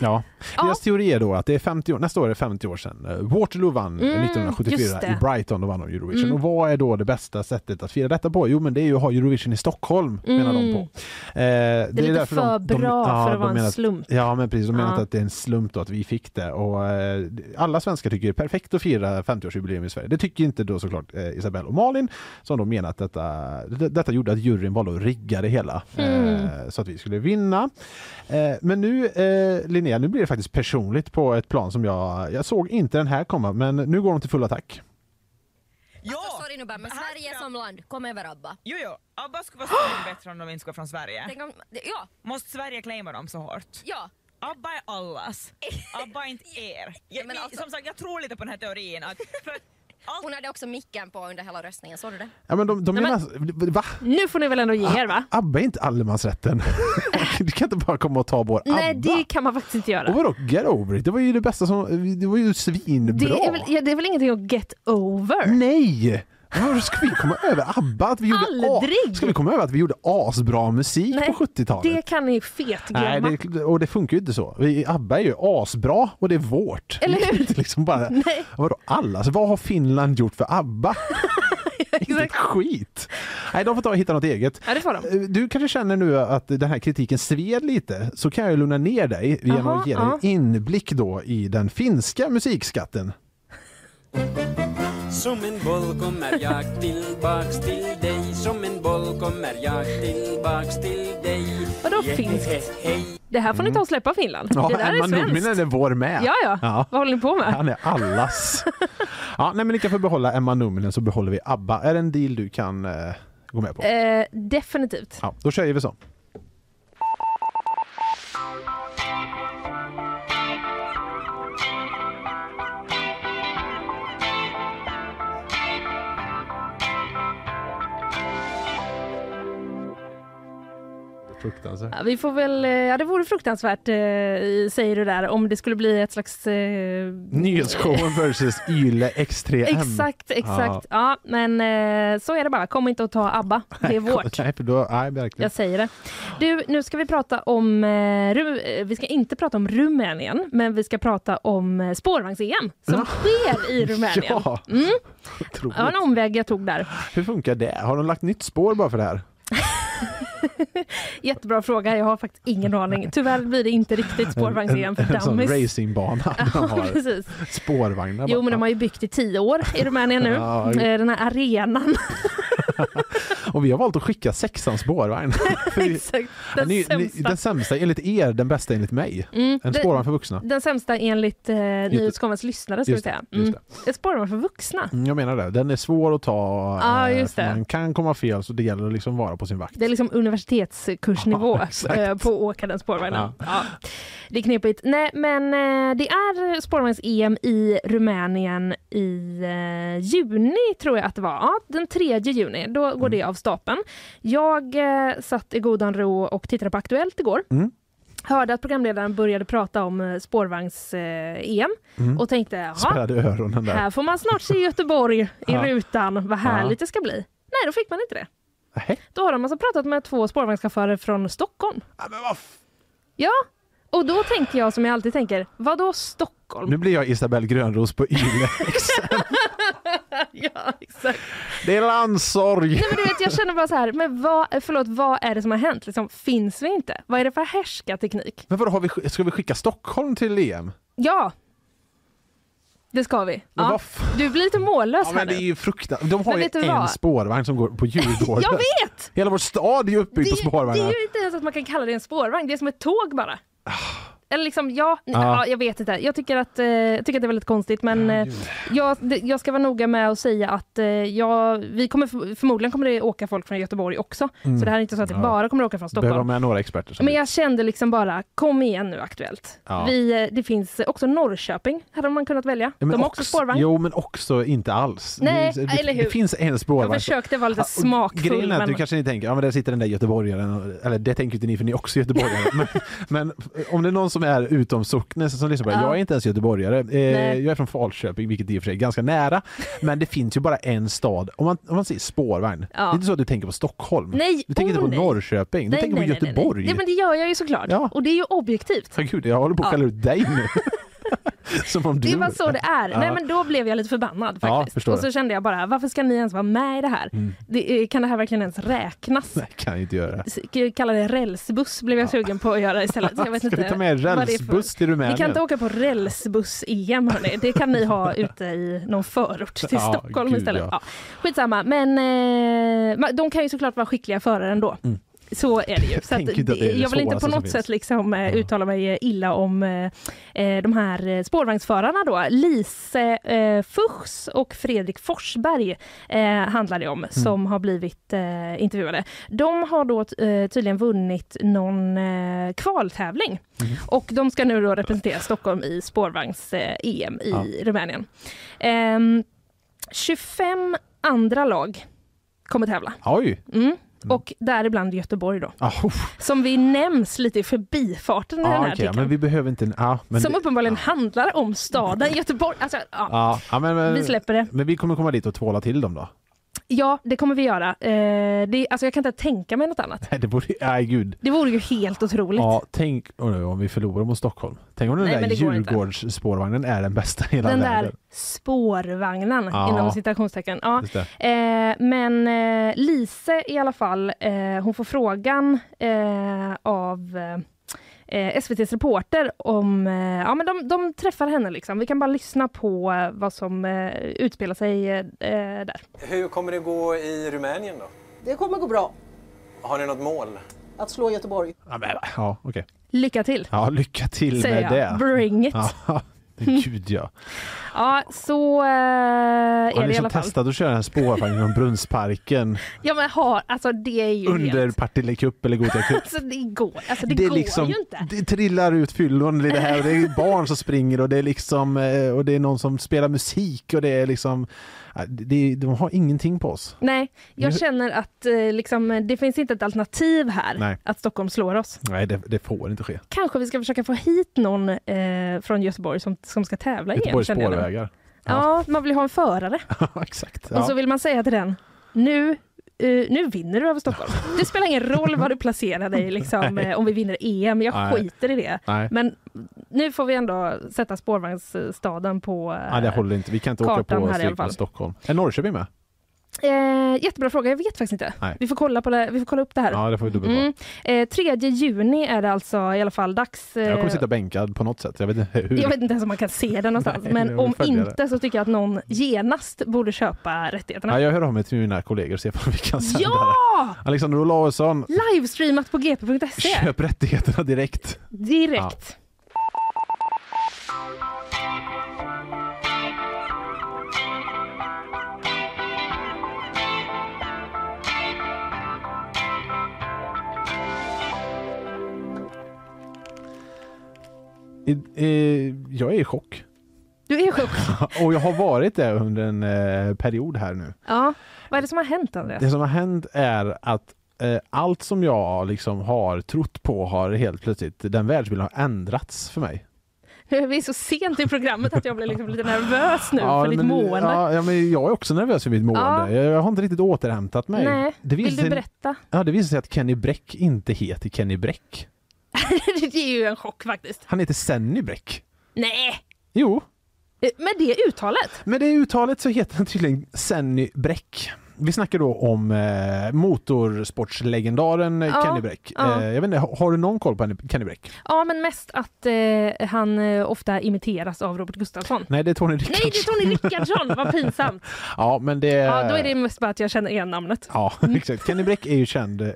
Speaker 3: Ja.
Speaker 2: Ja.
Speaker 3: Deras teori är då att det är 50 år, nästa år är det 50 år sedan eh, Waterloo vann eh,
Speaker 2: Mm,
Speaker 3: 1974
Speaker 2: just det. Mm.
Speaker 3: i Brighton, då vann de Eurovision. Och vad är då det bästa sättet att fira detta på? Jo men det är ju att ha Eurovision i Stockholm, menar de på. Eh, det, är
Speaker 2: Mm. lite för bra för att vara en
Speaker 3: menar,
Speaker 2: slump.
Speaker 3: Ja men precis, de menar
Speaker 2: Ja.
Speaker 3: inte att det är en slump då att vi fick det. Och, eh, alla svenskar tycker det är perfekt att fira 50-årsjubileum i Sverige. Det tycker inte då såklart eh, Isabelle och Malin som då menar att detta, det- detta gjorde att juryn valde att rigga det hela
Speaker 2: Mm.
Speaker 3: eh, så att vi skulle vinna. Eh, men nu eh, Linnea, nu blir det faktiskt personligt på ett plan som jag, jag såg inte den här komma men nu går de till full attack.
Speaker 9: Alltså,
Speaker 10: ja!
Speaker 9: sorry nu bara, men
Speaker 10: Här
Speaker 9: Sverige
Speaker 10: ska-
Speaker 9: som land, kom över ABBA.
Speaker 10: Jo, jo. ABBA skulle vara så mycket [gasps] bättre om de inte skulle vara från Sverige.
Speaker 9: Tänk om, ja,
Speaker 10: Måste Sverige claima dem så hårt?
Speaker 9: [laughs] ja.
Speaker 10: ABBA är allas. ABBA är inte er. Jag,
Speaker 9: men
Speaker 10: vi-
Speaker 9: alltså-
Speaker 10: Som sagt, jag tror lite på den här teorin. Att, för att allt,
Speaker 9: Hon hade också micken på under hela röstningen, såg du det?
Speaker 3: Ja, men de, de
Speaker 2: Nej,
Speaker 3: menar, alltså, va?
Speaker 2: nu får ni väl ändå ge er va?
Speaker 3: ABBA är inte allemansrätten. [laughs] du kan inte bara komma och ta vår ABBA.
Speaker 2: Nej, det kan man faktiskt inte
Speaker 3: Och
Speaker 2: göra.
Speaker 3: vadå get over it? Det var ju det bästa som, det var ju svinbra.
Speaker 2: Det är, väl, ja, det är väl ingenting att get over?
Speaker 3: Mm. Nej! Hur ska vi komma över ABBA? Att vi gjorde
Speaker 2: Aldrig!
Speaker 3: Ska vi komma över att vi gjorde asbra musik
Speaker 2: Nej,
Speaker 3: på 70-talet?
Speaker 2: Det kan ni fetglömma.
Speaker 3: Nej, det, och det funkar ju inte så. Vi, ABBA är ju asbra och det är vårt.
Speaker 2: Eller
Speaker 3: Vi kan
Speaker 2: hur?
Speaker 3: inte liksom bara,
Speaker 2: Nej.
Speaker 3: vadå alla? Så vad har Finland gjort för
Speaker 2: [laughs]
Speaker 3: ABBA? Inte ett skit! Nej, de får ta och hitta något eget.
Speaker 2: Ja, det får de.
Speaker 3: Eh, Du kanske känner nu att den här kritiken sved lite, så kan jag ju lugna ner dig genom
Speaker 2: Jaha,
Speaker 3: att ge dig
Speaker 2: ja.
Speaker 3: en inblick då i den finska musikskatten.
Speaker 11: Som en boll kommer jag tillbaks till dig Som en boll kommer jag tillbaks till dig
Speaker 2: Vadå finskt? Det här får ni ta och släppa Finland.
Speaker 3: Mm. Ja,
Speaker 2: det där
Speaker 3: Emma
Speaker 2: är
Speaker 3: Nurminen
Speaker 2: svenskt.
Speaker 3: är vår med.
Speaker 2: Ja, ja, Vad håller ni på med?
Speaker 3: Han är
Speaker 2: [laughs]
Speaker 3: allas. ja, nej, men ni kan få behålla Emma Numminen så behåller vi ABBA. Är det en deal du kan eh, gå med på?
Speaker 2: Eh, definitivt.
Speaker 3: Ja, då kör vi så. Fruktansvärt.
Speaker 2: Ja, vi får väl, eh, ja det vore fruktansvärt eh, säger du där om det skulle bli ett slags... Eh,
Speaker 3: Nyhetsshowen versus Yle X3M.
Speaker 2: [laughs] Exakt, exakt. Ja. men eh, så är det bara. Kom inte och ta ABBA. Det är vårt.
Speaker 3: Nej, för då, nej, verkligen.
Speaker 2: Jag säger det. Du, nu ska vi prata om... Eh, Ru- eh, vi ska inte prata om Rumänien, men vi ska prata om eh, spårvagns-EM som sker i Rumänien.
Speaker 3: Mm. [laughs] Ja,
Speaker 2: Mm,
Speaker 3: otroligt.
Speaker 2: ja, en omväg jag tog där.
Speaker 3: Hur funkar det? Har de lagt nytt spår bara för det här?
Speaker 2: Jättebra fråga. Jag har faktiskt ingen aning. Tyvärr blir det inte riktigt spårvagns-EM för
Speaker 3: en
Speaker 2: [laughs]
Speaker 3: sån
Speaker 2: dummies.
Speaker 3: racingbana. De
Speaker 2: [laughs] Ja,
Speaker 3: har [laughs]
Speaker 2: precis.
Speaker 3: spårvagnar.
Speaker 2: Jo,
Speaker 3: bara.
Speaker 2: men de har ju byggt i tio år i Rumänien nu.
Speaker 3: Ja, jo.
Speaker 2: Eh, Den här arenan. [laughs]
Speaker 3: Och vi har valt att skicka
Speaker 2: [laughs]
Speaker 3: sexans spårvagn. För vi-
Speaker 2: Eh. Exakt.
Speaker 3: Ja,
Speaker 2: Den
Speaker 3: ni, ni,
Speaker 2: sämsta.
Speaker 3: den sämsta enligt er, den bästa enligt mig.
Speaker 2: Mm,
Speaker 3: En
Speaker 2: det-
Speaker 3: spårvagn för vuxna.
Speaker 2: Den sämsta enligt eh, Nyhetskommas lyssnare, ska vi
Speaker 3: Just
Speaker 2: säga.
Speaker 3: det, just
Speaker 2: Mm. Ett spårvagn för vuxna.
Speaker 3: Mm, Jag menar det, den är svår att ta.
Speaker 2: Ja,
Speaker 3: eh,
Speaker 2: just
Speaker 3: för
Speaker 2: det.
Speaker 3: Man kan komma fel så det gäller att liksom vara på sin vakt.
Speaker 2: Det är liksom universitetskursnivå
Speaker 3: Ja, exakt.
Speaker 2: eh, på att åka den spårvagnen.
Speaker 3: Ja.
Speaker 2: Ja. Det är knepigt. Nej, men eh, det är spårvagns-EM i Rumänien i eh, juni, tror jag att det var. Ja, den 3 juni. Då
Speaker 3: Mm.
Speaker 2: går det av stapeln. Jag eh, satt i godan ro och tittade på Aktuellt igår.
Speaker 3: Mm.
Speaker 2: Hörde att programledaren började prata om eh, spårvagns-EM
Speaker 3: Mm.
Speaker 2: och tänkte jaha,
Speaker 3: Spärrade öronen där.
Speaker 2: här får man snart se Göteborg i
Speaker 3: Ja.
Speaker 2: rutan. Vad härligt det ska bli. Nej, då fick man inte det.
Speaker 3: Nähä.
Speaker 2: Då har de alltså pratat med två spårvagnschaufförer från Stockholm.
Speaker 3: Ja, men vad f-
Speaker 2: Ja, och då tänker jag som jag alltid tänker, vad då Stockholm?
Speaker 3: Nu blir jag Isabelle Grönros på Ylex.
Speaker 2: [laughs] ja, exakt.
Speaker 3: det är landsorg!
Speaker 2: Nej, men du vet, jag känner bara så här, men vad, förlåt, vad är det som har hänt? Liksom, finns vi inte? Vad är det för härskarteknik?
Speaker 3: Men vadå, har vi, ska vi skicka Stockholm till E EM?
Speaker 2: Ja, det ska vi.
Speaker 3: Men
Speaker 2: Ja.
Speaker 3: vad f-
Speaker 2: Du blir lite mållös
Speaker 3: Ja,
Speaker 2: här
Speaker 3: men det är
Speaker 2: nu.
Speaker 3: ju fruktansvärt. De har
Speaker 2: Men
Speaker 3: ju
Speaker 2: vet du
Speaker 3: en
Speaker 2: vad?
Speaker 3: spårvagn som går
Speaker 2: [laughs]
Speaker 3: på Djurgården.
Speaker 2: Jag vet!
Speaker 3: Hela vår stad är ju
Speaker 2: Det,
Speaker 3: uppbyggd på
Speaker 2: det
Speaker 3: spårvagnar.
Speaker 2: är ju inte ens att man kan kalla det en spårvagn, det är som ett tåg bara. Eller liksom, ja, n-
Speaker 3: Ah.
Speaker 2: ja, jag vet inte. Jag tycker att, eh, jag tycker att det är väldigt konstigt, men eh, jag, det- jag ska vara noga med att säga att eh, jag, vi kommer, f- förmodligen kommer det åka folk från Göteborg också. Så det här är inte så att det
Speaker 3: Mm. Ja.
Speaker 2: bara kommer åka från
Speaker 3: Mm. Behöver de
Speaker 2: Stockholm.
Speaker 3: med några experter? som
Speaker 2: Men jag kände liksom bara, kom igen nu Aktuellt.
Speaker 3: Ja.
Speaker 2: Vi, eh, det finns också Norrköping, hade man kunnat välja.
Speaker 3: Ja, men
Speaker 2: de har också
Speaker 3: ox-
Speaker 2: spårvagn.
Speaker 3: Jo, men också inte alls.
Speaker 2: Nej,
Speaker 3: det, det,
Speaker 2: eller hur?
Speaker 3: det finns en
Speaker 2: jag
Speaker 3: spårvagn.
Speaker 2: försökte vara lite
Speaker 3: Ja, och
Speaker 2: smakfull.
Speaker 3: Grejen är att
Speaker 2: Men,
Speaker 3: du kanske inte tänker, ja men där sitter den där göteborgaren, och- eller det tänker inte ni för ni är
Speaker 2: [laughs]
Speaker 3: också göteborgare. men, men eh, om det är någon som är utom socknes som liksom bara,
Speaker 2: Ja.
Speaker 3: jag är inte ens göteborgare, eh,
Speaker 2: Nej.
Speaker 3: jag är från Falköping, vilket i och för sig är ganska nära, men det finns ju bara en stad. Om man, om man säger spårvagn,
Speaker 2: Ja.
Speaker 3: det är inte så att du tänker på Stockholm.
Speaker 2: Nej,
Speaker 3: du tänker
Speaker 2: oh,
Speaker 3: inte på
Speaker 2: nej.
Speaker 3: Norrköping, du tänker på Göteborg.
Speaker 2: Nej, nej. Nej, men det gör jag ju såklart.
Speaker 3: Ja.
Speaker 2: Och det är ju objektivt.
Speaker 3: Åh, Gud, jag håller på att
Speaker 2: Ja.
Speaker 3: kalla ut dig
Speaker 2: [laughs]
Speaker 3: nu. som om du...
Speaker 2: Det var så det är.
Speaker 3: Ja.
Speaker 2: Nej, men då blev jag lite förbannad
Speaker 3: Ja,
Speaker 2: faktiskt.
Speaker 3: förstår
Speaker 2: och så
Speaker 3: det.
Speaker 2: kände jag bara, varför ska ni ens vara med i det här? Det, eh, kan det här verkligen ens räknas?
Speaker 3: Mm. Nej, kan jag inte göra.
Speaker 2: S- k- Kalla det rälsbuss blev jag sugen på att göra istället. Så Jag vet
Speaker 3: Ska
Speaker 2: inte
Speaker 3: vi ta med
Speaker 2: vad det är för-
Speaker 3: rälsbuss till Rumänien?
Speaker 2: Ni kan inte åka på rälsbuss-EM hörni. Det kan ni ha ute i någon förort till
Speaker 3: [laughs] Ja,
Speaker 2: Stockholm
Speaker 3: gud,
Speaker 2: istället.
Speaker 3: ja.
Speaker 2: Ja. Skitsamma, men eh, ma- de kan ju såklart vara skickliga förare ändå. Så är det ju. Så
Speaker 3: tänker inte att Mm. det är det
Speaker 2: jag vill inte på
Speaker 3: svåraste som
Speaker 2: något
Speaker 3: finns.
Speaker 2: sätt liksom, eh, uttala mig illa om eh, eh, de här eh, spårvagnsförarna då. Lise eh, Fuchs och Fredrik Forsberg eh, handlar det om, som har blivit eh, intervjuade. De har då t- eh, tydligen vunnit någon eh, kvaltävling och de ska nu då representera Stockholm i spårvagns-EM i
Speaker 3: Ja.
Speaker 2: Rumänien. Ehm, 25 andra lag kommer tävla.
Speaker 3: Oj!
Speaker 2: Mm. Och däribland Göteborg då,
Speaker 3: Ah, oh.
Speaker 2: som vi nämns lite i förbifarten i den
Speaker 3: Ja,
Speaker 2: här
Speaker 3: okej,
Speaker 2: artikeln.
Speaker 3: men vi behöver inte... Ja, men
Speaker 2: som uppenbarligen handlar om staden Göteborg. Alltså, ja.
Speaker 3: ja, ja, eh, men, men,
Speaker 2: Vi släpper det.
Speaker 3: Men vi kommer komma dit och tvåla till dem då?
Speaker 2: ja, det kommer vi göra. Eh, det, alltså, jag kan inte tänka mig något annat.
Speaker 3: Nej, det borde, nej gud.
Speaker 2: Det vore ju helt otroligt.
Speaker 3: Ja, tänk oh, nu, om vi förlorar mot Stockholm. Tänk om den
Speaker 2: Nej,
Speaker 3: där
Speaker 2: men det går inte.
Speaker 3: Djurgårdsspårvagnen är den bästa i hela
Speaker 2: Den där
Speaker 3: världen.
Speaker 2: spårvagnen,
Speaker 3: Ja.
Speaker 2: inom citationstecken. Ja.
Speaker 3: Just det.
Speaker 2: Eh, men eh, Lise i alla fall, eh, hon får frågan eh, av eh, SVTs reporter om... Eh, ja, men de, de träffar henne. Liksom. Vi kan bara lyssna på eh, vad som eh, utspelar sig eh, där.
Speaker 11: Hur kommer det gå i Rumänien då?
Speaker 7: Det kommer gå bra
Speaker 11: Har ni något mål?
Speaker 7: att slå Göteborg.
Speaker 3: Ja, men, ja okej.
Speaker 2: Lycka till,
Speaker 3: Ja, lycka till
Speaker 2: säger
Speaker 3: med
Speaker 2: jag.
Speaker 3: det.
Speaker 2: Bring it. Ja,
Speaker 3: Ja, [laughs] gud ja.
Speaker 2: så eh, är det
Speaker 3: Har ni
Speaker 2: i alla
Speaker 3: liksom
Speaker 2: fall.
Speaker 3: testat att köra en spårvagn genom
Speaker 2: [laughs]
Speaker 3: Brunnsparken
Speaker 2: Ja, men har, alltså, det är ju
Speaker 3: under
Speaker 2: helt...
Speaker 3: Partille Cup eller Gothia Cup?
Speaker 2: Alltså, det går, alltså, [laughs] det
Speaker 3: är liksom-
Speaker 2: går ju inte.
Speaker 3: Det trillar ut fyllon i det här och det är barn som springer och det är liksom eh, och det är någon som spelar musik och det är liksom eh, det, de har ingenting på oss.
Speaker 2: Nej, jag
Speaker 3: Nu-
Speaker 2: känner att eh, liksom, eh, det finns inte ett alternativ här
Speaker 3: Nej.
Speaker 2: att Stockholm slår oss.
Speaker 3: Nej, det, det får inte ske.
Speaker 2: Kanske vi ska försöka få hit någon eh, från Göteborg som, som ska tävla igen.
Speaker 3: Göteborgs
Speaker 2: känner jag nu.
Speaker 3: spårvägar.
Speaker 2: Ja, man vill ju ha en förare.
Speaker 3: [laughs] Exakt.
Speaker 2: Och så vill man säga till den, nu, eh, nu vinner du över Stockholm. Det spelar ingen roll var du placerar dig liksom,
Speaker 3: [laughs] Nej.
Speaker 2: eh, om vi vinner EM, jag
Speaker 3: Nej.
Speaker 2: skiter i det.
Speaker 3: Nej.
Speaker 2: Men nu får vi ändå sätta spårvagnsstaden på... eh,
Speaker 3: Nej, det håller inte. Vi kan inte åka
Speaker 2: kartan här
Speaker 3: på
Speaker 2: i alla
Speaker 3: Cirkeln
Speaker 2: fall.
Speaker 3: Stockholm. Är Norrköping med?
Speaker 2: eh, jättebra fråga, jag vet faktiskt inte.
Speaker 3: Nej.
Speaker 2: Vi får, kolla på det, vi får kolla upp det här.
Speaker 3: Ja, det får vi dubbelkolla.
Speaker 2: Mm. Eh, 3 juni är det alltså i alla fall dags. eh,
Speaker 3: Jag kommer sitta bänkad på något sätt. Jag vet inte hur.
Speaker 2: jag vet inte ens om man kan se den någonstans,
Speaker 3: Nej, det
Speaker 2: men
Speaker 3: får
Speaker 2: om
Speaker 3: följa det.
Speaker 2: inte så tycker jag att någon genast borde köpa rättigheterna.
Speaker 3: Ja, jag hör av mig till mina kollegor och ser om vi kan sända
Speaker 2: Ja!
Speaker 3: det. Alexander Olausson,
Speaker 2: Livestreamat på gp.se
Speaker 3: köp rättigheterna direkt.
Speaker 2: direkt.
Speaker 3: I, eh, jag är i chock.
Speaker 2: Du är i chock.
Speaker 3: och jag har varit det under en eh, period här nu.
Speaker 2: Ja. Vad är det som har hänt Andreas?
Speaker 3: Det som har hänt är att eh, allt som jag liksom har trott på har helt plötsligt, den världsbilden har ändrats för mig.
Speaker 2: Vi är så sent i programmet att jag blir liksom lite nervös nu för ditt
Speaker 3: men,
Speaker 2: mående.
Speaker 3: Ja, ja, men jag är också nervös för mitt mående. Jag, jag har inte riktigt återhämtat mig.
Speaker 2: Nej,
Speaker 3: Det visar
Speaker 2: vill du
Speaker 3: sig-
Speaker 2: berätta? [laughs]
Speaker 3: Ja, det visar sig att Kenny Bräck inte heter Kenny Bräck.
Speaker 2: det är ju en chock faktiskt.
Speaker 3: Han heter Senny Bräck.
Speaker 2: Nej,
Speaker 3: Jo,
Speaker 2: eh, med det uttalet?
Speaker 3: med det uttalet så heter han tydligen Senny Bräck. Vi snackar då om eh, motorsportslegendaren eh,
Speaker 2: Ja,
Speaker 3: Kenny Bräck.
Speaker 2: ja.
Speaker 3: Eh, jag vet inte, har har du någon koll på Kenny- Kenny Bräck?
Speaker 2: Ja, men mest att eh, han eh, ofta imiteras av Robert Gustafsson.
Speaker 3: Nej, det är Tony
Speaker 2: Nej, det är
Speaker 3: Rickardsson.
Speaker 2: Tony Rickardsson! Vad pinsamt.
Speaker 3: [laughs] Ja, men det...
Speaker 2: Ja, då är det Mm. mest bara att jag känner igen namnet.
Speaker 3: Ja, [laughs] exakt. Kenny Bräck är ju känd, eh,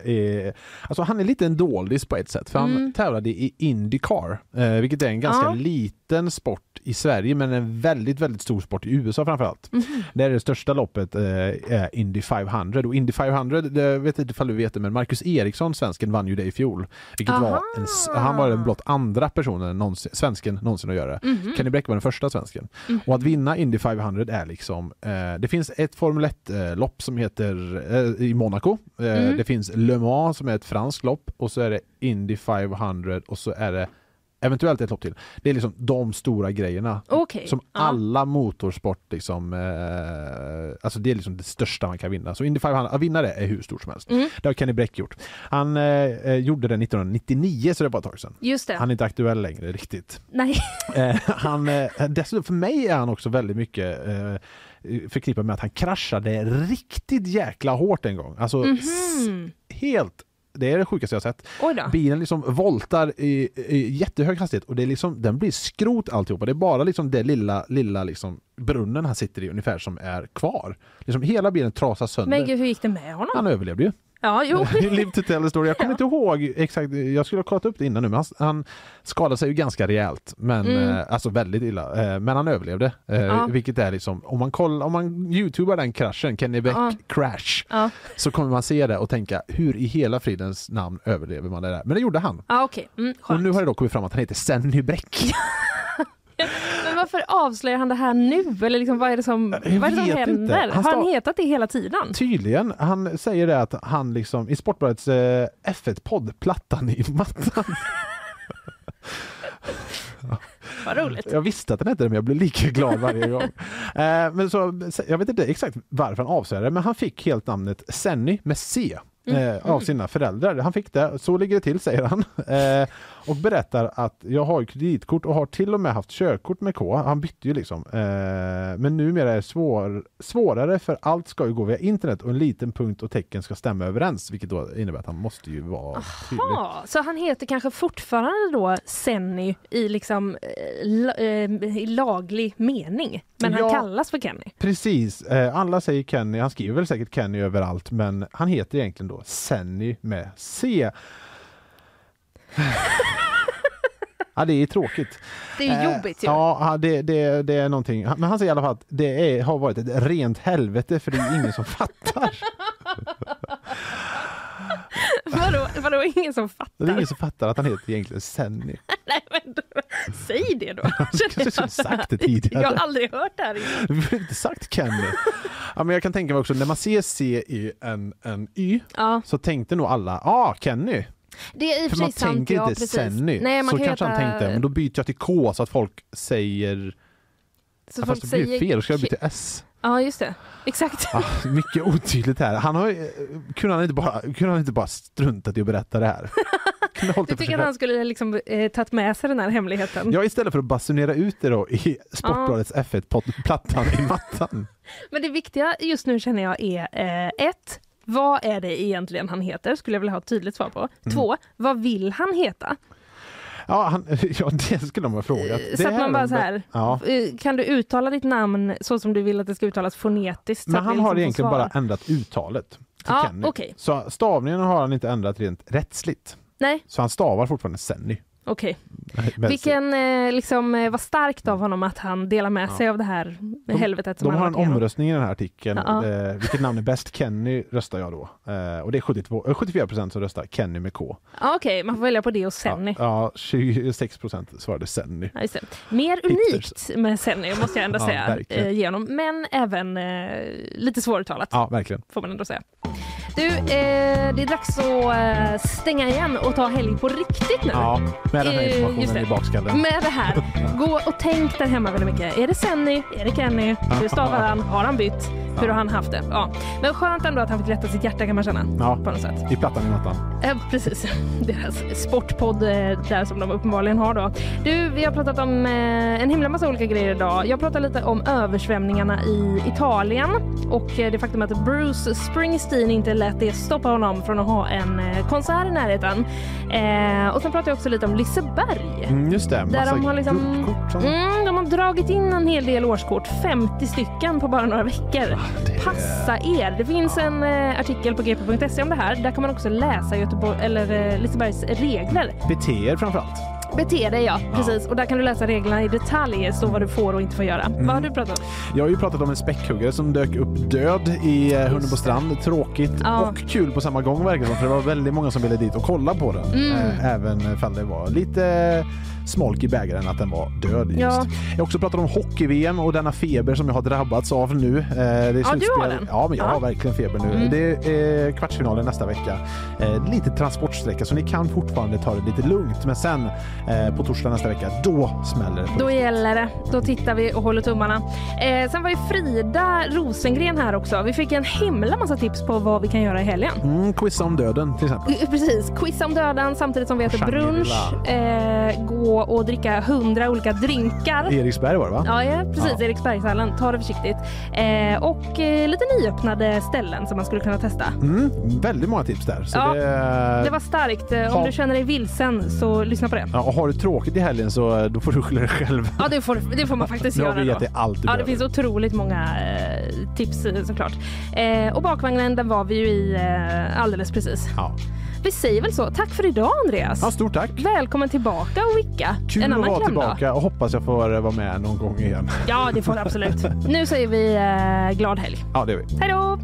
Speaker 3: alltså han är lite en doldis på ett sätt för han
Speaker 2: Mm.
Speaker 3: tävlade i Indycar, eh, vilket är en ganska
Speaker 2: Ja.
Speaker 3: liten sport i Sverige men en väldigt, väldigt stor sport i USA framförallt.
Speaker 2: Mhm.
Speaker 3: Där är det största loppet eh, är Indy 500 och Indy 500, det, jag vet inte ifall du vet det men Marcus Eriksson, svensken, vann ju det i fjol. Vilket var en, s- han var den blott andra personen, någonsin, svensken, någonsin att göra
Speaker 2: Mm.
Speaker 3: det.
Speaker 2: Mm-hmm.
Speaker 12: Mhm.
Speaker 3: Kenny Bräck var den första svensken. Och att vinna Indy 500 är liksom, eh, det finns ett Formel 1-lopp som heter eh, i Monaco. Eh,
Speaker 12: Mm.
Speaker 3: Det finns Le Mans som är ett franskt lopp och så är det Indy 500 och så är det eventuellt ett lopp till. Det är liksom de stora grejerna
Speaker 2: Okej,
Speaker 3: som
Speaker 2: ja.
Speaker 3: alla motorsport liksom, eh, alltså det är liksom det största man kan vinna. Så Indy 500, att vinna det är hur stort som helst.
Speaker 2: Mm.
Speaker 3: Det har Kenny Bräck gjort. Han eh, eh, gjorde det 1999 så det var ett tag sedan.
Speaker 2: Just det.
Speaker 3: Han är inte aktuell längre riktigt. [laughs]
Speaker 2: Nej.
Speaker 3: Eh, han, eh, dessutom för mig är han också väldigt mycket eh, förknippad med att han kraschade riktigt jäkla hårt en gång. Alltså s-
Speaker 2: Mhm.
Speaker 3: helt, det är det sjukaste jag har sett.
Speaker 2: Oj då.
Speaker 3: Bilen liksom voltar i, i jättehög hastighet och det är liksom, den blir skrot alltihopa. Det är bara liksom det lilla, lilla liksom brunnen han sitter i ungefär som är kvar. Liksom hela bilen trasas sönder.
Speaker 2: Men gud, hur gick det med honom?
Speaker 3: Han överlevde
Speaker 2: [laughs]
Speaker 3: ju.
Speaker 2: Ja,
Speaker 3: [laughs]
Speaker 2: jo.
Speaker 3: Live to tell the story. Jag kommer inte ihåg exakt, jag skulle ha kollat upp det innan nu, men han, han skadade sig ju ganska rejält. Men,
Speaker 2: Mm.
Speaker 3: eh, alltså väldigt illa. Eh, men han överlevde. Eh,
Speaker 2: Ja.
Speaker 3: Vilket är liksom, om man, kollar, om man youtubar den kraschen, Kenny Beck
Speaker 2: Ja.
Speaker 3: crash,
Speaker 2: Ja,
Speaker 3: så kommer man se det och tänka hur i hela fridens namn överlever man det där? Men det gjorde han.
Speaker 2: ja okej. Mm,
Speaker 3: Och nu har det då kommit fram att han heter Senny Bräck.
Speaker 2: Men varför avslöjar han det här nu? Eller liksom, vad är det som, vad är det som
Speaker 3: vet inte.
Speaker 2: händer?
Speaker 3: Han Typ.
Speaker 2: Har han
Speaker 3: sta-
Speaker 2: hetat det hela tiden?
Speaker 3: [laughs] Tydligen, han säger det att han liksom i Sportbladets eh, F1-podd, plattan i [laughs] mattan.
Speaker 2: Vad roligt.
Speaker 3: Jag visste att den hette det, men jag blev lika glad varje [laughs] gång. Eh, men så, jag vet inte exakt varför han avslöjade det, men han fick helt namnet Senny med C. eh,
Speaker 12: Mm.
Speaker 3: av sina föräldrar. Han fick det, så ligger det till säger han. [laughs] Eh, och berättar att jag har kreditkort och har till och med haft körkort med K. Han bytte ju liksom. Eh, men numera är det svår, svårare för allt ska ju gå via internet och en liten punkt och tecken ska stämma överens. Vilket då innebär att han måste ju vara tydlig.
Speaker 2: Ja, så han heter kanske fortfarande då Senny i liksom eh, la, eh, i laglig mening, men han
Speaker 3: Ja.
Speaker 2: kallas för Kenny. [laughs]
Speaker 3: Precis, Eh, alla säger Kenny, han skriver väl säkert Kenny överallt men han heter egentligen då Senny med C. ja det är tråkigt.
Speaker 2: Det är ju
Speaker 3: Eh,
Speaker 2: jobbigt ju.
Speaker 3: Ja, ja, det, det, det är någonting. Men han säger i alla fall att det är, har varit ett rent helvete för det är ingen som [laughs] fattar.
Speaker 2: vadå, vadå, ingen som fattar?
Speaker 3: Det är ingen som fattar att han heter egentligen Senny.
Speaker 2: [laughs] Nej, men, Säg det
Speaker 3: [laughs]
Speaker 2: då.
Speaker 3: Du kanske skulle sagt det tidigare.
Speaker 2: Jag har aldrig hört det här innan.
Speaker 3: Vi har inte sagt Ken. Ja, men jag kan tänka mig också, när man ser C-E-N-N-Y
Speaker 2: Ja.
Speaker 3: så tänkte nog alla, ja ah, Kenny.
Speaker 2: Det är i och
Speaker 3: För
Speaker 2: för
Speaker 3: man
Speaker 2: sig sant.
Speaker 3: tänker
Speaker 2: Ja,
Speaker 3: inte
Speaker 2: precis.
Speaker 3: Senny.
Speaker 2: Nej, man
Speaker 3: så
Speaker 2: kan ju
Speaker 3: kanske han
Speaker 2: heta-
Speaker 3: tänkte, men då byter jag till K så att folk säger,
Speaker 2: Så
Speaker 3: ja,
Speaker 2: folk
Speaker 3: fast det blir
Speaker 2: säger-
Speaker 3: ju fel, då ska jag byta till S.
Speaker 2: Ja, just det.
Speaker 3: [laughs]
Speaker 2: Exakt.
Speaker 3: Ah, mycket otydligt här. Han har, ju- eh, kunde, han inte bara, kunde han inte bara struntat i att berätta
Speaker 2: [laughs]
Speaker 3: det här? Kunde hållit
Speaker 2: Du
Speaker 3: det
Speaker 2: tycker
Speaker 3: för sig
Speaker 2: att han
Speaker 3: själv.
Speaker 2: skulle liksom, eh, tagit med sig den här hemligheten.
Speaker 3: Ja, istället för att basunera ut det då i Sportbladets F1-plattan i mattan.
Speaker 2: Men det viktiga just nu känner jag är eh, ett, vad är det egentligen han heter? Skulle jag vilja ha ett tydligt svar på.
Speaker 3: Mm.
Speaker 2: Två, vad vill han heta?
Speaker 3: Ja, han, [laughs] ja det skulle de ha frågat. Det
Speaker 2: så att
Speaker 3: här är
Speaker 2: Eh, man bara
Speaker 3: de-
Speaker 2: så här,
Speaker 3: Ja.
Speaker 2: eh, kan du uttala ditt namn så som du vill att det ska uttalas fonetiskt? så
Speaker 3: Men
Speaker 2: att vi
Speaker 3: han
Speaker 2: liksom
Speaker 3: har
Speaker 2: får
Speaker 3: egentligen
Speaker 2: svar?
Speaker 3: bara ändrat uttalet till
Speaker 2: Ja,
Speaker 3: Kenny.
Speaker 2: okej.
Speaker 3: Så stavningen har han inte ändrat rent rättsligt.
Speaker 2: Nej,
Speaker 3: Så han stavar fortfarande Senny.
Speaker 2: okej.
Speaker 3: Men-
Speaker 2: Vilken, eh, liksom, eh, vad starkt av honom att han delar med
Speaker 3: Ja.
Speaker 2: sig av det här helvetet som
Speaker 3: De
Speaker 2: han
Speaker 3: har en
Speaker 2: varit igenom.
Speaker 3: omröstning i den här artikeln.
Speaker 2: Ja.
Speaker 3: Eh, vilket namn är bäst? Kenny röstar jag då. Eh, och det är 72, eh, 74 procent som röstar Kenny med K.
Speaker 2: Ja, Ah, okej, man får välja på det och Senny.
Speaker 3: Ja, 26 procent svarade Senny.
Speaker 2: Ja, just det. Mer unikt med Senny måste jag ändå
Speaker 3: Ja,
Speaker 2: säga
Speaker 3: verkligen.
Speaker 2: eh, genom, men även eh, lite svåruttalat
Speaker 3: Ja, verkligen.
Speaker 2: får man ändå säga. Du, eh, det är dags att eh, stänga igen och ta helg på riktigt nu.
Speaker 3: Ja, med den här
Speaker 2: Eh, just det.
Speaker 3: informationen i bakskallen.
Speaker 2: Med det här. Gå och tänk där hemma väldigt mycket. Är det Senny? Är det Kenny? Hur stavar han? Har han bytt? Hur har han haft det? Ja. Men skönt ändå att han fick lätta sitt hjärta kan man känna.
Speaker 3: Ja,
Speaker 2: På något sätt.
Speaker 3: i plattan i mattan.
Speaker 2: Eh, precis, [laughs] deras sportpodd eh, där som de uppenbarligen har då. Du, vi har pratat om eh, en himla massa olika grejer idag. Jag pratar lite om översvämningarna i Italien och eh, det faktum att Bruce Springsteen inte lät det stoppa honom från att ha en eh, konsert i närheten. Eh, och sen pratar jag också lite om Liseberg.
Speaker 3: Mm, just det,
Speaker 2: Där
Speaker 3: massa
Speaker 2: de har liksom,
Speaker 3: guldkort som-
Speaker 2: mm, de har dragit in en hel del årskort, 50 stycken på bara några veckor. Passa er! Det finns en eh, artikel på gp.se om det här. Där kan man också läsa Göteborg, eller, eh, Lisebergs regler.
Speaker 3: Beter framförallt.
Speaker 2: Bete dig ja, precis. Och där kan du läsa reglerna i detalj, eh, så vad du får och inte får göra. Vad har du pratat om?
Speaker 3: Jag har ju pratat om en späckhuggare som dök upp död i eh, Hunnebostrand. Tråkigt
Speaker 2: Ja.
Speaker 3: och kul på samma gång verkar det som, för det var väldigt många som ville dit och kolla på den.
Speaker 2: Mm.
Speaker 3: Eh, Även fall det var lite eh, smolk i bägaren att den var död just.
Speaker 2: Ja.
Speaker 3: Jag har också pratat om hockey-VM och denna feber som jag har drabbats av nu. Eh, Det är
Speaker 2: Ja,
Speaker 3: slutspel.
Speaker 2: du har den.
Speaker 3: Ja, men jag
Speaker 2: Ja.
Speaker 3: har verkligen feber nu.
Speaker 2: Mm.
Speaker 3: Det är eh, kvartsfinalen nästa vecka. Eh, Lite transportsträcka, så ni kan fortfarande ta det lite lugnt. Men sen eh, på torsdag nästa vecka, då smäller det.
Speaker 2: Då gäller det. Då tittar vi och håller tummarna. Eh, sen var ju Frida Rosengren här också. Vi fick en himla massa tips på vad vi kan göra i helgen.
Speaker 3: Mm, quizza om döden till exempel.
Speaker 2: Eh, Precis, quiz om döden samtidigt som vi äter
Speaker 3: Shangri-La.
Speaker 2: brunch, eh, gå och dricka hundra olika drinkar.
Speaker 3: Eriksberg var det va?
Speaker 2: Ja, ja, precis.
Speaker 3: Ja.
Speaker 2: Eriksbergshallen. Ta det försiktigt. Eh, och eh, lite nyöppnade ställen som man skulle kunna testa.
Speaker 3: Mm, väldigt många tips där. Så
Speaker 2: Ja,
Speaker 3: det,
Speaker 2: Det var starkt. Eh, Om
Speaker 3: Ja.
Speaker 2: du känner dig vilsen så lyssna på det.
Speaker 3: ja, och har du tråkigt i helgen så eh, då får du skylla dig själv.
Speaker 2: Ja, det får, det får man faktiskt
Speaker 3: Nu har
Speaker 2: göra.
Speaker 3: vi gett
Speaker 2: då.
Speaker 3: dig allt du
Speaker 2: ja, det
Speaker 3: behöver.
Speaker 2: finns otroligt många eh, tips eh, såklart. Eh, och bakvagnen, den var vi ju i eh, alldeles precis.
Speaker 3: Ja.
Speaker 2: Vi säger väl så. Tack för idag, Andreas.
Speaker 3: Ja, stort tack.
Speaker 2: Välkommen tillbaka och vicka.
Speaker 3: Kul
Speaker 2: en
Speaker 3: att
Speaker 2: annan
Speaker 3: vara
Speaker 2: klämdag.
Speaker 3: tillbaka och hoppas jag får eh, vara med någon gång igen.
Speaker 2: Ja, det får du absolut. nu säger vi eh, glad helg.
Speaker 3: Ja, det gör vi.
Speaker 2: Hej då!